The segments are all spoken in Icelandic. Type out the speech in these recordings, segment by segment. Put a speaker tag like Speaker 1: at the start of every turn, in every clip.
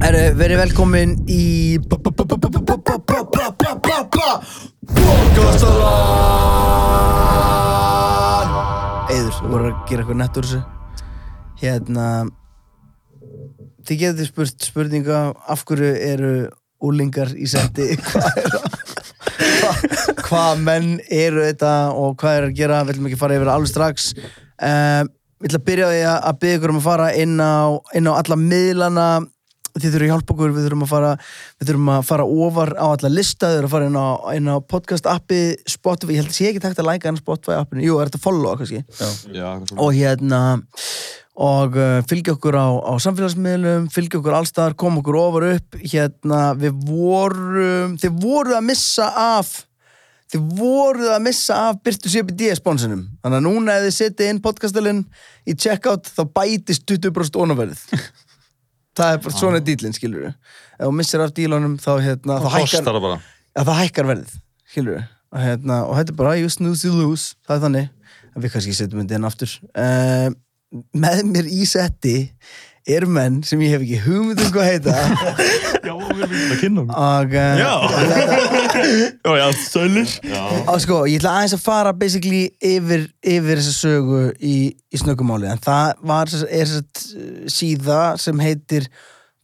Speaker 1: verið velkomin í Bókastalan Eður, þú voru að gera eitthvað nett úr þessu Hérna Þið getur spurt spurninga af hverju eru úlingar í seti Hvað er það? Hvað menn eru þetta og hvað er að gera Við viljum ekki fara yfir það alveg strax um, Við ætla að byrja á því að að byggja ykkur um að fara inn á, inn á alla miðlana þið þurfum að hjálpa okkur, við þurfum að fara við þurfum að fara ofar á alla lista þið þurfum að fara inn á, inn á podcast appi Spotify, ég held að sé ekki takt að læka hann Spotify appinu, jú, er þetta followa kannski
Speaker 2: Já, eitthvað svona.
Speaker 1: og hérna og uh, fylgja okkur á, á samfélagsmiðlum fylgja okkur allstaðar, koma okkur ofar upp hérna, við vorum þið voruð að missa af þið voruð að missa af Byrtu CBD sponsinum þannig að núna ef þið setið inn podcastalinn í checkout þá bætist 20% onaverðið það er bara svona dýlinn skilur við ef þú missir af dílunum þá, hérna, þá,
Speaker 2: það
Speaker 1: hækkar,
Speaker 2: kostar það bara
Speaker 1: að það hækkar verðið, skilur við og, hérna, og þetta er bara you snooze you lose það er þannig, en við kannski setjum þetta inn aftur uh, með mér í setti eru menn sem ég hef ekki hugmynd um hvað heita
Speaker 3: Já, við erum ekki að kynna hún.
Speaker 1: og uh,
Speaker 3: Já, já, sælir.
Speaker 1: og sko, ég ætla aðeins að fara basically yfir, yfir þessa sögu í, í snöggumáli, en það var sem sagt- er þess síða sem heitir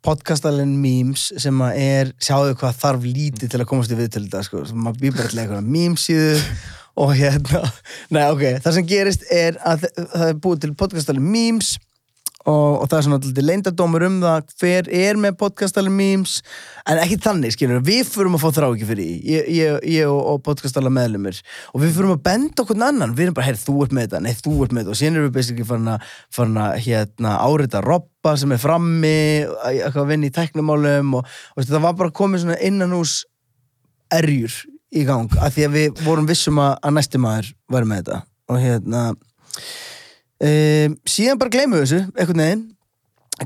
Speaker 1: podcastalinn memes sem að er, sjáðu hvað þarf lítið til að komast í viðtölu þetta, sko, sem maður býr bara til eitthvað memes síðu og hérna, nei ok, það sem gerist er að þ- það er búið til podcastalinn memes og, og það er svona alltaf leindardómur um það hver er með podcastala memes en ekki þannig, skilur, við fyrir að fá þrá ekki fyrir því, ég, ég, ég og, og podcastala meðlumir og við fyrir að benda okkur annan, við erum bara, heyrðu, þú ert með þetta, nei, þú ert með þetta og síðan erum við basically farin að, farin að hérna, árita robba sem er frammi eitthvað að vinna í teknumálum og, og veistu, það var bara komið svona innan hús erjur í gang af því að við vorum vissum að, að næsti maður væri með þetta og hérna um, síðan bara gleymum við þessu einhvern veginn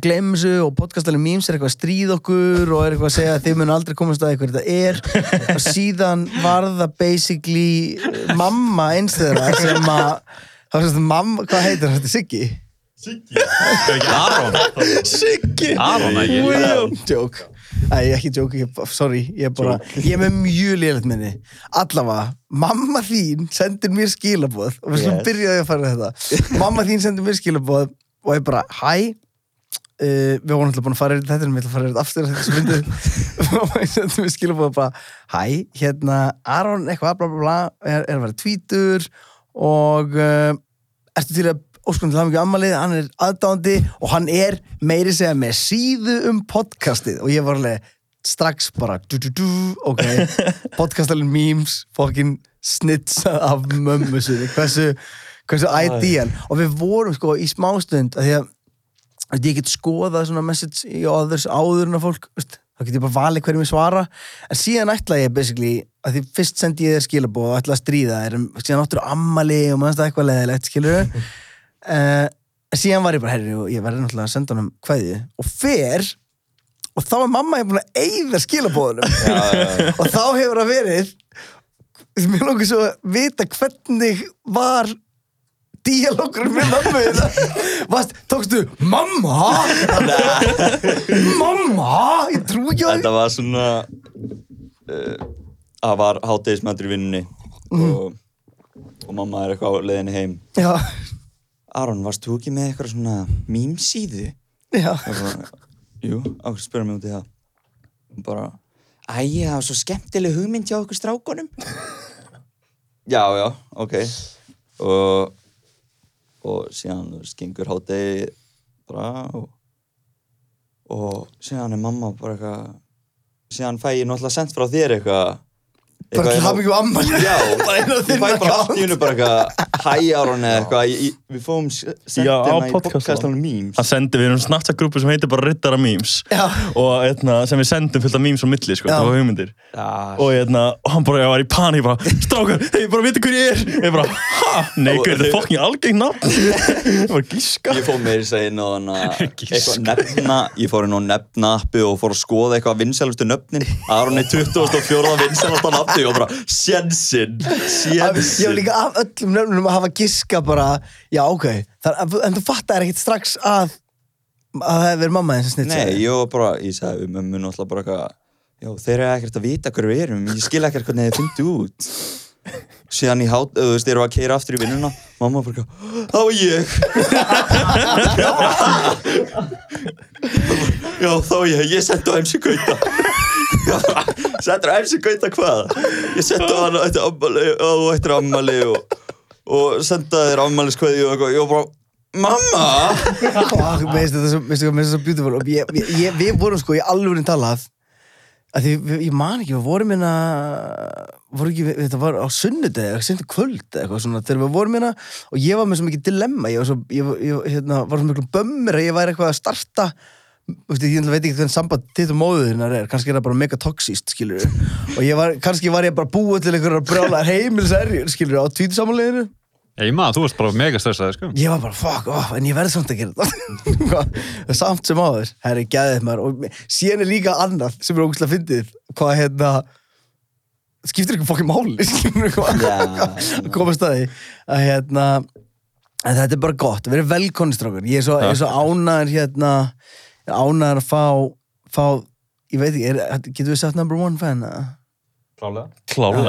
Speaker 1: gleymum þessu og podcastalinn memes er eitthvað að stríða okkur og er eitthvað að segja að þið mun aldrei komast að eitthvað þetta er og síðan var það basically eh, mamma eins þeirra sem að það var svona mamma, hvað heitir þetta, Siggi?
Speaker 3: Það er ekki Aron.
Speaker 1: Siggi!
Speaker 2: Aron, ekki?
Speaker 1: William Joke Æ, ekki joke, ég, sorry, ég er bara Ég er með mjög lélægt minni Allavega, mamma þín sendir mér skilaboð Og við slum yes.
Speaker 4: Yes.
Speaker 1: byrjaði að fara í þetta Mamma þín sendir mér skilaboð Og ég bara, hæ Uh, við vorum alltaf búin að fara yfir þetta en við ætlum að fara yfir þetta aftur þetta sem myndið og ég sendi mér skilabóð bara hæ, hérna, Aron eitthvað bla bla bla, er, er að vera tvítur og uh, ertu til að óskunni til hamingju ammalið, hann er aðdándi og hann er meiri segja með síðu um podcastið og ég var alveg strax bara du, du, du, ok, podcastalinn memes fokkin snitsa af mömmu sinni, hversu hversu ideal, og við vorum sko í smástund, að því að Þú veist, ég get skoðað svona message í others áður en að fólk, veist, þá get ég bara valið hverjum ég svara, en síðan ætla ég basically, að því fyrst sendi ég þér skilabóð og ætla að stríða þér, en síðan áttur ammali og maður það eitthvað leðilegt, skilur við Eh, síðan var ég bara, herri, ég verði náttúrulega að senda honum kveðju og fer og þá er mamma ég búin að eyða skilabóðunum og þá hefur það verið mér lókur svo að vita hvernig var díalókur með mammu þína. Varst, tókstu mamma mamma ég trú ekki á því
Speaker 4: Þetta var svona uh, að var hátegismættur í vinnunni og, og mamma er eitthvað á leiðinni heim
Speaker 1: já,
Speaker 4: Aron, varst þú ekki með eitthvað svona mýmsíðu?
Speaker 1: já,
Speaker 4: Jú, okkur spyrir mig út í það og bara, æja, það var svo skemmtileg hugmynd hjá okkur strákunum Já, já, ok og og síðan þú veist, gengur hátegi bara og, og síðan er mamma bara eitthvað síðan fæ ég náttúrulega sent frá þér eitthvað
Speaker 1: bara
Speaker 4: inn
Speaker 1: til
Speaker 4: á-
Speaker 1: hafa mjög amma
Speaker 4: Já,
Speaker 1: Bara inn á
Speaker 4: ég fæ
Speaker 1: þinn
Speaker 4: bara allt í
Speaker 1: account.
Speaker 4: hennu bara eitthvað hæ Aron eða eitthvað Ég- ég- Við fórum
Speaker 3: Já, á
Speaker 4: sendina í
Speaker 3: podcast-
Speaker 4: podcastunum memes
Speaker 3: Það sendi við erum snartagrúpu sem heitir bara Rittara Memes
Speaker 1: Já.
Speaker 3: og etna, sem við sendum fullt af memes á milli, sko,
Speaker 1: Já.
Speaker 3: það var hugmyndir
Speaker 4: Já,
Speaker 3: og, etna, og hann bara, ég var í paník bara, strákar, hei, bara viti hver ég er ég bara, ha, nei,
Speaker 4: Og
Speaker 3: hver, þetta
Speaker 4: þeir-
Speaker 3: er fokkin algeng nafn ég var gíska
Speaker 4: Ég fór meira að segja inn á hana
Speaker 3: Gísk.
Speaker 4: eitthvað nefna, ég fór inn á nefna appi og fór að skoða eitthvað vinsælustu nöfnin Aron er 24. vinsælasta nafni og bara sjensinn,
Speaker 1: ég var
Speaker 4: sjensinn
Speaker 1: líka af öllum nöfnum að hafa giska bara já ok, Þar, en þú fattar ekkert strax að að það hefði verið mamma þín sem snitsa
Speaker 4: Nei, ég var bara, ég sagði við mömmu náttúrulega bara eitthvað Já, þeir eru ekkert að vita hverju við erum Ég skil ekkert hvernig þeir fyndu út Síðan í hát, þú veist, erum við að keira aftur í vinnuna Mamma bara, eitthvað, það var ég Já, þá var ég, ég sendi á MC Gauta Sendur á MC Gauta hvað? Ég sendi á hann eftir ammali og eftir ammali og, og senda þér ammaliskveði og eitthvað Ég var bara, mamma
Speaker 1: Fuck, mér finnst þetta svo, mér finnst þetta mér finnst þetta svo beautiful og ég, ég, ég, við vorum sko í alvörin talað að því, við- ég man ekki, við vorum hérna vorum ekki, við- þetta var á sunnudegi sunnudegi kvöld eða eitthvað svona þegar við vorum hérna og ég var með svo mikið dilemma ég var svo, ég, var- ég var- hérna, var svo mikið bömmir að ég væri eitthvað að starta Þú veist, ég náttúrulega veit ekki hvernig samband þitt og móðurinnar er, kannski er það bara mega toxíst, skilur og ég var, kannski var ég bara búið til einhverjar brjálar heimilserjur, skilur á tvítisamleinu
Speaker 2: Ég maður, þú varst bara mega stressaði, sko.
Speaker 1: ég var bara fuck off, en ég verði samt að gera þetta Hvað? samt sem áður herri, gæðið maður og me- síðan er líka annað sem er ógustlega fyndið hvað hérna skiptir ekki fokkin máli skilurðu, hvað-
Speaker 4: Já.
Speaker 1: að komast að því að hérna en þetta er bara gott, verið velkonni strákar ég er svo, ég er svo ánæður hérna ánæður að fá, fá ég veit ekki, er, getur við sett number one fan eða?
Speaker 2: Klálega.
Speaker 3: Klálega,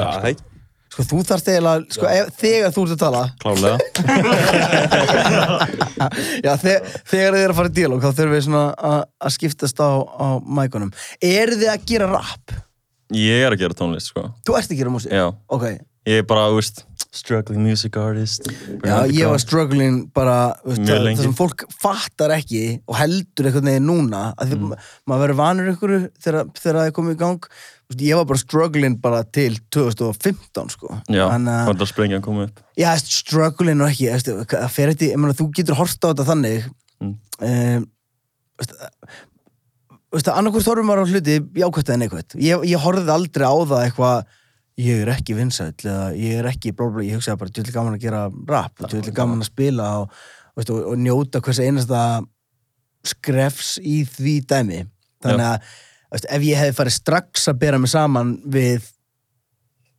Speaker 4: Já,
Speaker 3: sko.
Speaker 1: sko þú þarft eiginlega, sko ef, þegar þú ert að tala
Speaker 3: Klálega.
Speaker 1: Já, þe þegar þið er að fara í dialóg þá þurfum við svona að- að skiptast á, á mækunum. Eru þið að gera rap?
Speaker 3: Ég er að gera tónlist, sko.
Speaker 1: Þú ert að gera músík?
Speaker 3: Já.
Speaker 1: Ok.
Speaker 3: Ég er bara, þú veist, struggling music artist.
Speaker 1: Já, ég var struggling bara, þú veist,
Speaker 3: Mjög
Speaker 1: það,
Speaker 3: lengi.
Speaker 1: það sem fólk fattar ekki og heldur einhvern veginn núna að því
Speaker 3: Mm.
Speaker 1: maður verður vanur einhverju þegar, þegar það er komið í gang. Þú veist, Ég var bara struggling bara til 2015, sko.
Speaker 3: Já,
Speaker 1: Þannig að-
Speaker 3: hann er að sprengja að koma upp.
Speaker 1: Já, struggling og ekki, þú veist, það fer eftir, ég meina, þú getur horft á þetta þannig, mm.
Speaker 3: Mm.
Speaker 1: um, veist, þú veist, annarkvort horfum maður á hluti jákvæmt eða neikvæmt. Ég, ég horfði aldrei á það eitthvað, ég er ekki vinsæll eða ég er ekki bláblá, ég hugsaði bara, djúðlega gaman að gera rap, djúðlega gaman að spila og, veist, og, og njóta hvers einasta skrefs í því dæmi. Þannig að, þú veist, ef ég hefði farið strax að bera mig saman við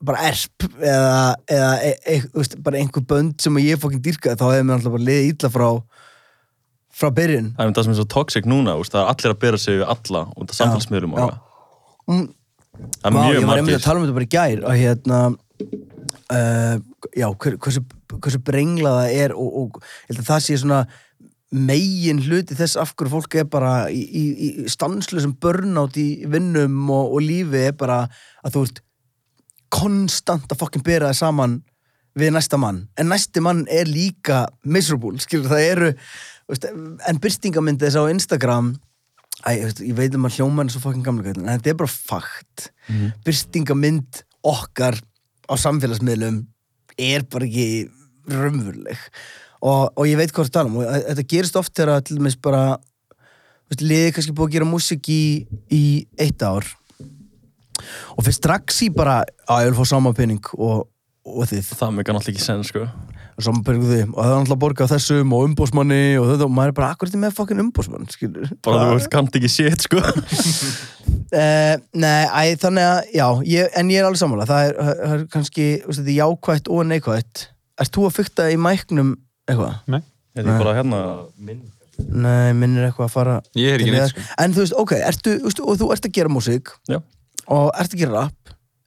Speaker 1: bara erp eða, eða e, e, þú veist, bara einhver bönd sem ég fokkin dýrkaði þá hefði mér alltaf bara liðið illa frá frá byrjun
Speaker 3: Það er um það sem er svo toxic núna, úst, það er allir að bera sig við alla út af samfélsmiðlum
Speaker 1: já.
Speaker 3: og
Speaker 1: Mm.
Speaker 3: það.
Speaker 1: Vá,
Speaker 3: Það er
Speaker 1: ég
Speaker 3: mjög
Speaker 1: var einmitt að
Speaker 3: margir.
Speaker 1: tala um þetta bara í gær og hérna uh, já, hver, hversu, hversu brengla það er og, og ég held að það sé svona megin hluti þess af hverju fólk er bara í, í, í stanslusum burnout í vinnum og, og lífi er bara að þú ert konstant að fokkin bera það saman við næsta mann, en næsti mann er líka miserable, skilur það eru þú veist, en byrtingamyndi þess á Instagram Æ, ég veist, ég veit um að hljóma hann svo fokkin gamla kallin, en þetta er bara fakt
Speaker 3: Mhm.
Speaker 1: byrtingamynd okkar á samfélagsmiðlum er bara ekki raunveruleg og, og ég veit hvað það tala um og að- þetta gerist oft þegar að til dæmis bara þú veist, liðið er kannski búið að gera músík í, í eitt ár og fyrir strax í bara að ég vil fá sama penning og, og þið
Speaker 3: Það megar náttúrulega ekki senn, sko.
Speaker 1: sama penning og þið og það er náttúrulega borgað þessum og umbósmanni og þetta og maður er bara akkur þetta með fokkin umbósmann skilur
Speaker 3: Bara þú veist, kannt ekki shit, sko.
Speaker 1: Uh, nei, æ, þannig að, já, ég, en ég er alveg sammála, það er, það er kannski, þú veist, þetta er jákvætt og neikvætt. Erst þú að fykta í mæknum eitthvað?
Speaker 2: Nei.
Speaker 3: Þetta er bara hérna,
Speaker 1: Nei, minn er eitthvað að fara...
Speaker 2: Ég er ekki
Speaker 1: til
Speaker 2: neitt, sko.
Speaker 1: liðar. En þú veist, ok, ertu, þú veist, og þú ert að gera músík
Speaker 3: sko. já.
Speaker 1: og ert að gera rap.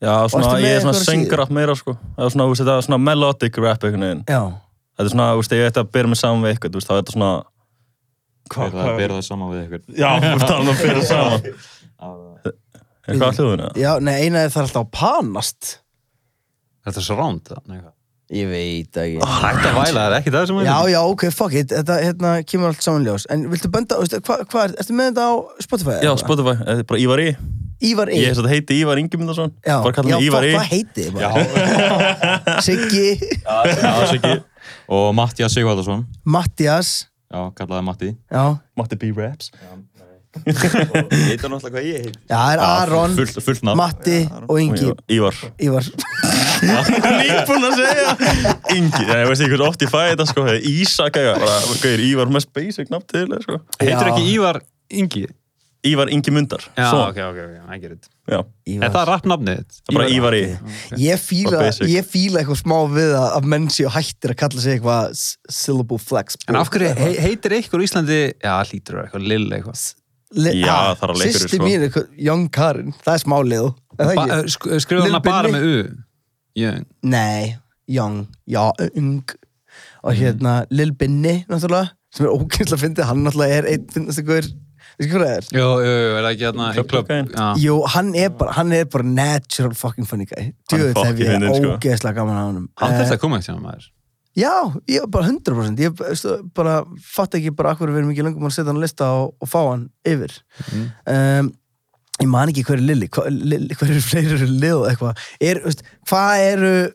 Speaker 3: Já,
Speaker 1: ertu
Speaker 3: svona,
Speaker 1: með
Speaker 3: ég er svona
Speaker 1: einhverja síðu?
Speaker 3: söngrap meira, sko. Það er svona, þú veist, þetta er svona melodic rap einhvern veginn.
Speaker 1: Já.
Speaker 3: Þetta er svona, þú veist, ef ég ætti að bera mig saman við eitthvað, þú veist, þá er þetta svona...
Speaker 5: Hvað er það að bera það saman við ykkur?
Speaker 3: Já, þú veist, það er að bera saman. Er hvað hljóðuna?
Speaker 1: Já, nei, eina er það alltaf að panast.
Speaker 2: Þetta er svo rámt, það. Nei, hvað.
Speaker 1: Ég veit ekki.
Speaker 2: Hætt að væla, það er ekki það sem
Speaker 1: Já, já, ok, fuck it, þetta, hérna, kemur allt saman í ljós. En viltu benda, veistu, hvað, hva er, ertu með þetta á Spotify? eða
Speaker 3: Já,
Speaker 1: eitthvað?
Speaker 3: Spotify, þetta er bara Ívar Í.
Speaker 1: Ívar
Speaker 3: Ég
Speaker 1: Eir.
Speaker 3: hef þetta heiti Ívar Ingemundarsson.
Speaker 1: Já,
Speaker 3: Bara kalla
Speaker 1: já,
Speaker 3: mig Ívar
Speaker 1: hvað
Speaker 3: Í.
Speaker 1: hvað heitið þið bara? Siggi,
Speaker 5: Já, Siggi. Og Mattias Sigvardarsson.
Speaker 1: Mattias,
Speaker 5: Já, kallaði Matti.
Speaker 1: Já,
Speaker 3: Matti B. Raps.
Speaker 4: Ég veit náttúrulega hvað ég heit
Speaker 1: já það er Aron,
Speaker 3: Fullt, fullt nafn.
Speaker 1: Matti og Ingi
Speaker 3: Og Ívar.
Speaker 1: Ívar
Speaker 3: Nýbúin að segja Ingi, já, ég veist ekki hversu oft ég fæði þetta sko það er Ísak eitthvað, bara, gauðir, Ívar mest basic nafn til sko.
Speaker 2: Heitir
Speaker 1: Já.
Speaker 2: ekki Ívar Ingi?
Speaker 3: Ívar Ingi Mundar
Speaker 2: Já,
Speaker 3: Son.
Speaker 2: ok, ok, ok, I get it.
Speaker 3: Já,
Speaker 2: Er það rappnafnið þitt?
Speaker 3: það er bara Ívar í
Speaker 1: Ég fíla,
Speaker 3: Bara basic.
Speaker 1: ég fíla eitthvað smá við að, að menn séu hættir að kalla sig eitthvað s- syllable flex
Speaker 2: En af hverju he heitir ykkur á Íslandi, já, hlýtur það eitthvað, lill eitthvað.
Speaker 1: Le
Speaker 3: Já, það er alveg einhverju,
Speaker 1: Sýsti
Speaker 3: sko.
Speaker 1: mín er eitthvað, Young Karin, það er smá lið Er það
Speaker 2: Ba-
Speaker 1: ekki?
Speaker 2: eh, sk- eh, Skrifa
Speaker 1: Lil
Speaker 2: hana bara
Speaker 1: Binni?
Speaker 2: með U. Jöng.
Speaker 1: Nei, Young, já, Ung og
Speaker 3: Mhm.
Speaker 1: hérna Lil Binni náttúrulega, sem er ókynslega fyndið hann náttúrulega er einn finnast ykkur veist ekki hvað það er?
Speaker 2: Jú, jú, jú, er það ekki hérna í
Speaker 3: Club
Speaker 2: klubb?
Speaker 3: Cocaine.
Speaker 2: Já.
Speaker 1: Jú, hann er bara, hann er bara natural fucking funny guy
Speaker 3: er
Speaker 1: Djöðu
Speaker 3: fucking
Speaker 1: þegar ég
Speaker 3: fyndinn,
Speaker 1: er
Speaker 3: sko.
Speaker 1: ógeðslega gaman á honum
Speaker 2: Hann þurfti
Speaker 1: Eh,
Speaker 2: að koma ekki sem maður.
Speaker 1: Já, ég er bara 100% Ég veistu, bara fatt ekki bara akkur við erum ekki lengum að setja hann á lista og, og fá hann yfir um, Ég man ekki hver er Lilli hva- Lilli- Hver eru fleiri eru Lil eitthvað er, veist, Hvað eru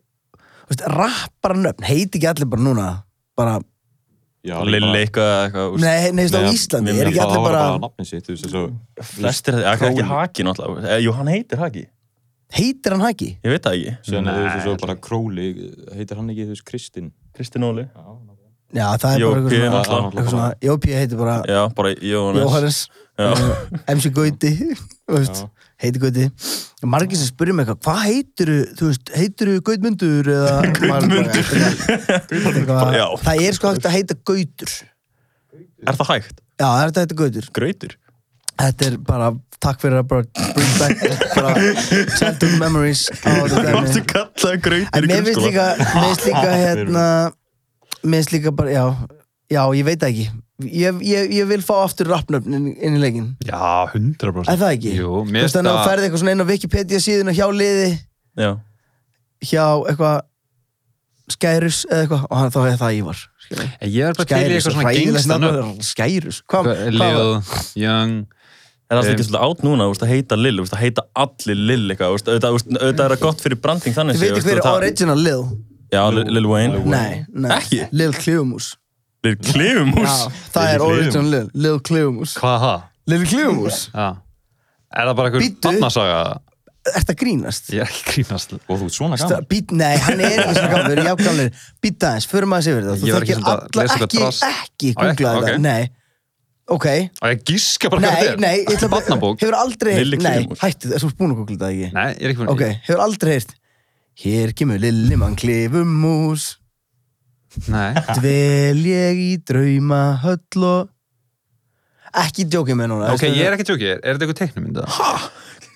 Speaker 1: veist, rappara nöfn, heiti ekki allir bara núna bara,
Speaker 5: Já,
Speaker 3: Bara
Speaker 5: líka bara-
Speaker 3: Lilli eitthvað eitthvað úst.
Speaker 1: nei, nei, veist, á
Speaker 5: Nei,
Speaker 1: Íslandi
Speaker 5: mér
Speaker 1: er
Speaker 5: meina
Speaker 1: ekki
Speaker 5: það
Speaker 1: allir
Speaker 5: var
Speaker 1: bara
Speaker 5: nafnið sitt, þú veist, eins og-
Speaker 3: Flestir, ekki, ekki Haki náttúrulega Eh, Jú, hann heitir Haki
Speaker 1: heitir hann haki?
Speaker 3: Ég veit það ekki
Speaker 5: Síðan er þú veist, svo bara Króli, heitir hann ekki, þú veist, Kristinn?
Speaker 3: Kristinn Óli
Speaker 1: Já, það er bara
Speaker 3: Jópi
Speaker 1: eitthvað svona,
Speaker 5: náttúrulega.
Speaker 1: eitthvað svona Jópi heitir bara
Speaker 3: Já, bara Jóhannes
Speaker 1: Jóhannes
Speaker 3: Já.
Speaker 1: eh, MC Gauti þú veist,
Speaker 5: Já.
Speaker 1: heiti Gauti margir sem spyrir mig eitthvað, hvað heitiru þú veist, heitiru Gautmundur eða Gautmundur
Speaker 3: Já.
Speaker 1: það er sko hægt að heita Gautur já,
Speaker 3: Er það hægt?
Speaker 1: það er hægt að heita Gautur
Speaker 3: Grautur
Speaker 1: þetta er bara, takk fyrir að bara bring back bara childhood memories á þetta
Speaker 3: Það varstu
Speaker 1: dæmi.
Speaker 3: kallað
Speaker 1: en
Speaker 3: grautur í
Speaker 1: mér finnst
Speaker 3: grunnskóla
Speaker 1: líka mér finnst líka hérna mér finnst líka bara, já já, ég veit það ekki ég, ég, ég vil fá aftur rappnöfn inn, inn í leikinn
Speaker 2: Já, 100%.
Speaker 1: Er það ekki?
Speaker 2: Jú,
Speaker 1: Þú
Speaker 2: mér
Speaker 1: veist
Speaker 2: finnst
Speaker 1: þannig að þú
Speaker 2: það...
Speaker 1: ferði eitthvað svona inn á Wikipedia síðuna hjá liði
Speaker 3: Já
Speaker 1: hjá eitthvað Skærus eða eitthvað og hann, þá er það Ívar skilur.
Speaker 2: En Ég er bara til í
Speaker 1: Skærus,
Speaker 2: eitthvað svona
Speaker 1: hræðilegt
Speaker 2: gengsta
Speaker 1: nafn, Skærus, hvað hvað var
Speaker 2: Lil, Young,
Speaker 3: Er það ekki svolítið átt núna, þú veist, að heita Lill, þú veist, að heita allir Lill eitthvað, þú veist, auðvitað þú veist, auðvitað er það gott fyrir branding þannig
Speaker 1: Þið
Speaker 3: séð,
Speaker 1: veitir
Speaker 3: þú
Speaker 1: hver
Speaker 3: veist,
Speaker 1: er
Speaker 3: það-
Speaker 1: original Lil
Speaker 3: Já, Lil- Lil Wayne
Speaker 1: Nei, nei
Speaker 3: Ekki?
Speaker 1: Lil Klifumús
Speaker 3: Lil Klifumús
Speaker 1: Já, það er original Lil Lil Klifumús
Speaker 2: hvað er það?
Speaker 1: Lil Klifumús
Speaker 2: Já. Er það bara einhver
Speaker 1: Bíddu.
Speaker 2: barnasaga?
Speaker 1: Ert það grínast?
Speaker 2: Ég er ekki grínast.
Speaker 5: Og þú ert svona gaman.
Speaker 1: Být, nei, hann er ekki svona gammal, við erum jáfngamlir Být aðeins, förum aðeins yfir það Þú
Speaker 2: Ég var ekki
Speaker 1: þekkir
Speaker 2: samt að
Speaker 1: alla,
Speaker 2: lesa eitthvað
Speaker 1: ekki,
Speaker 2: drasl.
Speaker 1: ekki,
Speaker 2: Á, ekki?
Speaker 1: googla
Speaker 2: Ok.
Speaker 1: þetta Nei, ok
Speaker 2: Og ég gíska bara hvað
Speaker 1: Nei,
Speaker 2: þetta er.
Speaker 1: nei, ég ætla bara-
Speaker 2: Barnabók.
Speaker 1: Hefur aldrei
Speaker 3: Lilli
Speaker 1: heyrt, nei,
Speaker 3: Klifumús.
Speaker 1: hættu, þú ert búin að googla það ekki
Speaker 2: Nei, ég er ekki
Speaker 1: Ok,
Speaker 2: fyrir.
Speaker 1: hefur aldrei heyrt Hér kemur lilli mann klifum mús
Speaker 2: Nei.
Speaker 1: Dvel ég í drauma höll og Ekki djókið með núna
Speaker 2: Ok, ég er ekki tjókið. Er þetta eitthvað teiknumynda?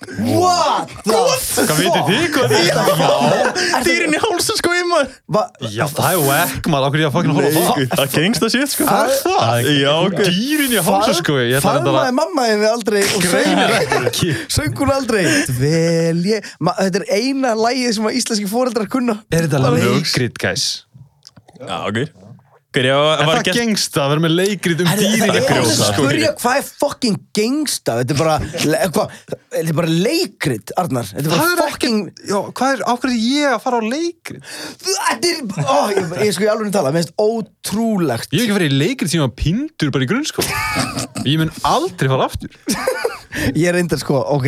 Speaker 1: What the fuck
Speaker 2: Hvað veitir þið? Hvað veitir þið?
Speaker 3: Dýrin í hálsa sko í maður
Speaker 1: Va-
Speaker 2: Já, það er wack, maður. Okkur ég að fokkin horfa á það.
Speaker 3: Það gengst að shit sko
Speaker 1: Það-
Speaker 3: það? Já, ok
Speaker 2: Dýrin í hálsa, sko. Ég ætla reyndar
Speaker 1: Faðmaði mamma þið við aldrei og söng-
Speaker 2: að... Ekki.
Speaker 1: söng hún aldrei Dvel ég Ma, Þetta er eina lægið sem að íslenski fóreldrar kunna
Speaker 2: Er þetta
Speaker 3: Ljóks.
Speaker 2: leikrit, guys?
Speaker 3: Já, ok Hver, já,
Speaker 2: Er
Speaker 3: var
Speaker 2: það
Speaker 3: gert
Speaker 2: gengsta að vera með leikrit um
Speaker 1: Herri,
Speaker 2: dýrin
Speaker 1: Það er
Speaker 2: að
Speaker 1: að
Speaker 2: grjóta?
Speaker 1: spurja hvað er fucking gangsta Þetta er bara, le- hvað, þetta er bara leikrit, Arnar Þetta er
Speaker 2: Það er
Speaker 1: bara
Speaker 2: ekki,
Speaker 1: fucking
Speaker 2: já, hvað er, ákveður ég að fara á leikrit?
Speaker 1: Þetta er, ó, ég, ég sko ég alveg tala Mér finnst ótrúlegt
Speaker 2: Ég hef ekki farið í leikrit sem ég var pindur bara í grunnskóla. Ég mun aldrei fara aftur.
Speaker 1: Ég er reyndar sko, ok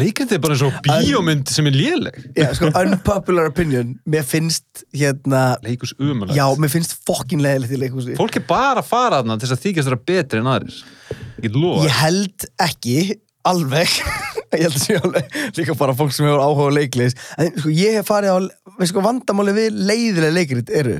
Speaker 2: Leikrit er bara eins og bíómynd sem er léleg.
Speaker 1: já, sko, Unpopular opinion Mér finnst hérna
Speaker 2: Leikus umulægt.
Speaker 1: Já, mér finnst fucking leðilegt í leikhúsi
Speaker 2: Fólk er bara að fara þarna til þess að þykjast vera betri en aðrir. Ég get lofa.
Speaker 1: Ég held ekki, alveg Ég held að sé alveg líka bara fólk sem hefur áhuga á leiklis En sko, ég hef farið á veist sko, vandamáli við leiðilega leikrit eru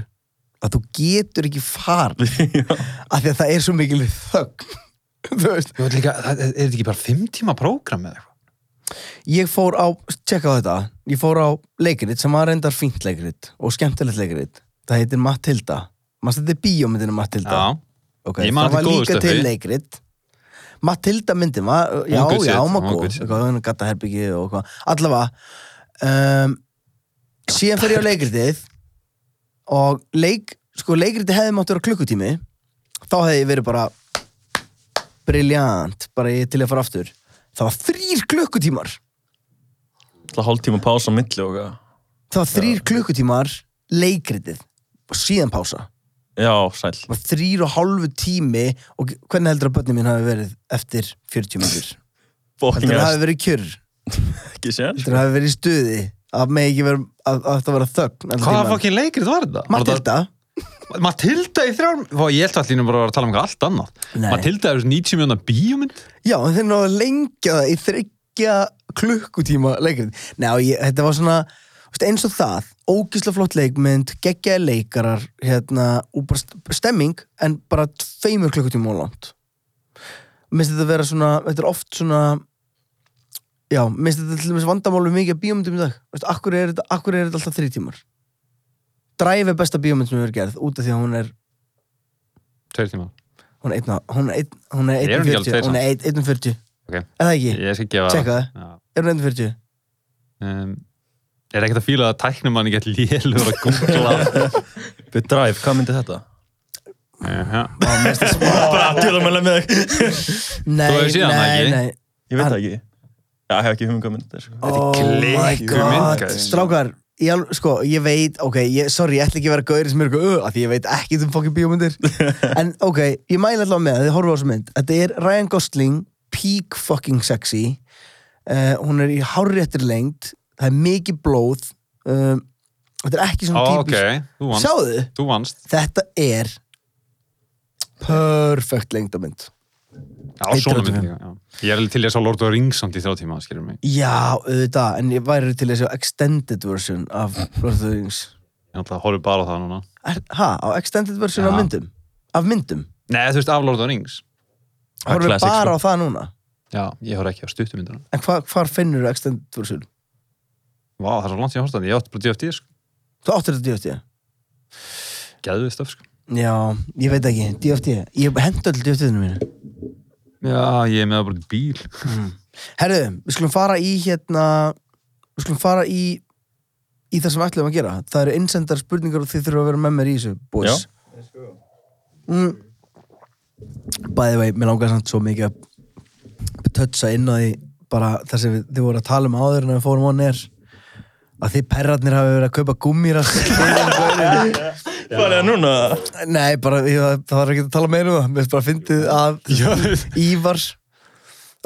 Speaker 1: að þú getur ekki farið af því að það er svo mikil þögg Þú veist,
Speaker 2: Ég veit líka, það- er þetta ekki bara fimm tíma prógram eða eitthvað?
Speaker 1: ég fór á tjekka á þetta, ég fór á leikrit sem var reyndar fínt leikrit og skemmtilegt leikrit það heitir Matilda Manstu þetta er um bíómyndinu Matilda okay.
Speaker 2: Ég man
Speaker 1: það
Speaker 2: eftir
Speaker 1: var
Speaker 2: góðu
Speaker 1: líka
Speaker 2: stöffi.
Speaker 1: til leikrit Matilda myndin var, já, já,
Speaker 2: good
Speaker 1: hún
Speaker 2: shit,
Speaker 1: var
Speaker 2: hún var
Speaker 1: góð
Speaker 2: good shit.
Speaker 1: eitthvað, hún gata herbyggi og hvað, allavega um, síðan fer ég á leikritið og leik, sko leikritið hefði mátt vera klukkutími þá hefði ég verið bara briljant, bara ég til að fara aftur það var þrýr klukkutímar
Speaker 3: Það hálftíma pása á milli og eitthvað.
Speaker 1: það var þrýr klukkutímar leikritið og síðan pása
Speaker 3: Já, sæl
Speaker 1: var þrýr og hálfu tími og hvernig heldur að börnum mín hafi verið eftir 40 minnur?
Speaker 3: Fucking
Speaker 1: Heldur að
Speaker 3: ass
Speaker 1: hafi verið kjör?
Speaker 3: Ekki séð
Speaker 1: Heldur að hafi verið í stuði? Að með ekki verið að, að það vera þögn? allan
Speaker 2: Hvaða
Speaker 1: tímann?
Speaker 2: fokkin leikrit var þetta? Var
Speaker 1: Matilda?
Speaker 2: þetta- Matilda í þrjár Vá, ég held allir bara að tala um eitthvað allt annað
Speaker 1: Nei.
Speaker 2: Matilda er þessu 90 mjóna bíómynd
Speaker 1: Já, en þeir náðu að lengja það í þryggja klukkutíma leikrit. Nei, og ég, þetta var svona veist, eins og það, ógísla flott leikmynd, geggjaði leikarar, hérna, og bara st- stemming, en bara tveimur klukkutíma og langt. Mér finnst þetta vera svona, þetta er oft svona, já, mér finnst þetta til dæmis vandamálu mikið að bíómyndum í dag. Veist, akkur er þetta, akkur er þetta alltaf þrý tímar? Drive er besta bíómynd sem hefur verið gerð, út af því að hún er
Speaker 2: Tveir tíma
Speaker 1: Hún er 1.40 Hún er 1.40 Hún er
Speaker 2: Er hún ekki alveg
Speaker 1: 1.40
Speaker 2: tveir
Speaker 1: Hún er 1.40
Speaker 2: Ok.
Speaker 1: Er það ekki?
Speaker 2: Ég skal gefa
Speaker 1: Tjekka það.
Speaker 2: Já.
Speaker 1: Er hún 1.40?
Speaker 2: um, Er ekkert að fíla að tæknum manni gett lélur að googla
Speaker 3: Við drive, hvað myndi þetta?
Speaker 2: Jaha.
Speaker 3: Bara að djóla meðlega með þig.
Speaker 1: Nei,
Speaker 2: Þú hefur séð hana, ekki?
Speaker 1: nei
Speaker 3: Ég veit það ekki. Já, ég hef ekki hugmynd hvað myndi þetta er, sko.
Speaker 1: Oh my
Speaker 2: klikkjuð mynd,
Speaker 1: god
Speaker 2: guys.
Speaker 1: Strákar Ég, al- sko, ég veit, ok, ég, sorry, ég ætla ekki að vera gaurið sem er eitthvað, uh, af því ég veit ekki um fokkin bíómyndir en ok, ég mæla allavega með þið horfa á þessu mynd, þetta er Ryan Gosling peak fucking sexy uh, hún er í hárréttir lengd það er mikið blóð uh, þetta er ekki svona
Speaker 2: Ó, Ok,
Speaker 1: típisk
Speaker 2: þú vannst
Speaker 1: sjáðu,
Speaker 2: Þú vannst
Speaker 1: þetta er perfect lengdamynd
Speaker 2: Já, svona
Speaker 1: 1.35.
Speaker 2: mynd líka, já. Ég er alveg til í að sá Lord of the Rings samt í þrjá tíma, skilur mig
Speaker 1: já, auðvitað, en ég væri til þessi extended version af Lord of the Rings
Speaker 2: Ég ætla að horfa bara á það núna
Speaker 1: Er- ha, á extended version af
Speaker 2: Já.
Speaker 1: myndum af myndum,
Speaker 2: Nei, þú veist, af Lord of the Rings
Speaker 3: Það er
Speaker 1: horfum við
Speaker 3: classic,
Speaker 1: bara
Speaker 3: sko.
Speaker 1: á það núna
Speaker 2: Já, ég horf ekki á stuttumyndunum
Speaker 1: en hva, hvar finnur þú extended version?
Speaker 2: Vá, það er svo langt ég horfst að ég átt bara DFT, sko
Speaker 1: þú áttir þetta DFT?
Speaker 2: Gæðið stöf, sko
Speaker 1: Já, ég veit ekki, DFT ég hendu öll DFT-inu mínu
Speaker 2: Já, ég er með það bara í bíl
Speaker 1: herðu, við skulum fara í hérna við skulum fara í í það sem við ætlum að gera það eru innsendar spurningar og þið þurfum að vera með mér í þessu boys
Speaker 3: Já.
Speaker 1: mm. By the way, mér langar samt svo mikið að tötsa inn á því bara þar sem við, þið voru að tala um áður en við fórum á nér að þið perrarnir hafi verið að kaupa gummírast
Speaker 3: Hvað er það núna?
Speaker 1: Nei, bara ég, það var ekki að tala meira um það mér finnst bara fyndið að Ívar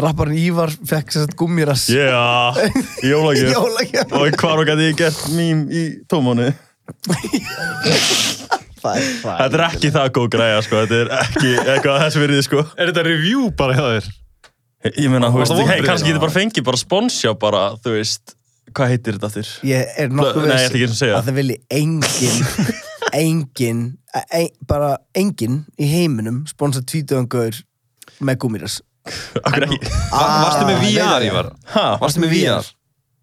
Speaker 1: rapparinn Ívar fekk sér gummírast
Speaker 3: Já, jólagjöf.
Speaker 1: Jólagjöf.
Speaker 3: Og hvað var gæti ég gert mím í tómónu? Þetta er ekki það góð græja, sko. Þetta er ekki eitthvað þess virðið, sko.
Speaker 2: Er þetta review bara hjá þér?
Speaker 3: Ég meina, þú veist,
Speaker 2: Varstu
Speaker 3: hei,
Speaker 2: vonbrigði?
Speaker 3: kannski getur bara fengið bara sponsja bara, þú veist, hvað heitir þetta þér?
Speaker 1: Ég er nokkuð
Speaker 3: Nei, ég ætla ekki einu
Speaker 1: viss
Speaker 3: að segja.
Speaker 1: að það vilji engin engin, ein, e, bara engin í heiminum sponsa tvítuðangur með gúmíras
Speaker 3: Akkur ekki.
Speaker 2: Ah, Varstu með
Speaker 1: ég veit það.
Speaker 2: VR, Ívar?
Speaker 3: Ha?
Speaker 2: Varstu með VR?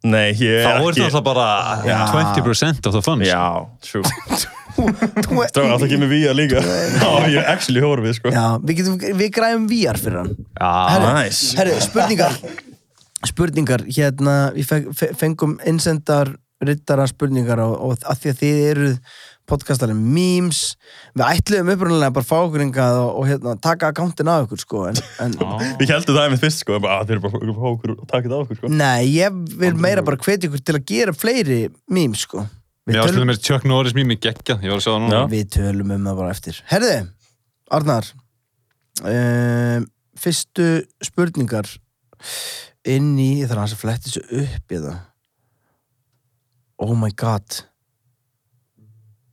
Speaker 3: Nei, ég
Speaker 2: Þá
Speaker 3: er
Speaker 2: er
Speaker 3: ekki.
Speaker 2: þetta alltaf bara 20% of the fun sko.
Speaker 3: Já, true. Stráðan, það kemur við að líka. Já, ég er actually horfið, sko.
Speaker 1: Já, við, getum, við græðum VR fyrir hann
Speaker 2: Já,
Speaker 1: Herru,
Speaker 3: nice.
Speaker 1: herru, spurningar Spurningar, hérna við feng- fe- fengum innsendar rittara spurningar og, og að því að þið eruð podcastalinn memes við ætluðum upprunalega bara að fá okkur hingað og, og hérna, taka akkántin af okkur sko, en, en
Speaker 3: Ég heldur það einmitt fyrst, sko. Ég bara, að þeir eru bara að fá okkur og taka þetta af okkur, sko.
Speaker 1: Nei, ég vil meira bara hvetja ykkur til að gera fleiri mím, sko. Við,
Speaker 2: Mér ástæðum
Speaker 1: tölum,
Speaker 2: mér Chuck Norris mými geggja, ég var að sjá það núna
Speaker 3: Já.
Speaker 1: við tölum um það bara eftir. Herði, Arnar, um, fyrstu spurningar inn í, ég þarf að hans að fletti þessu upp í það. Oh my god.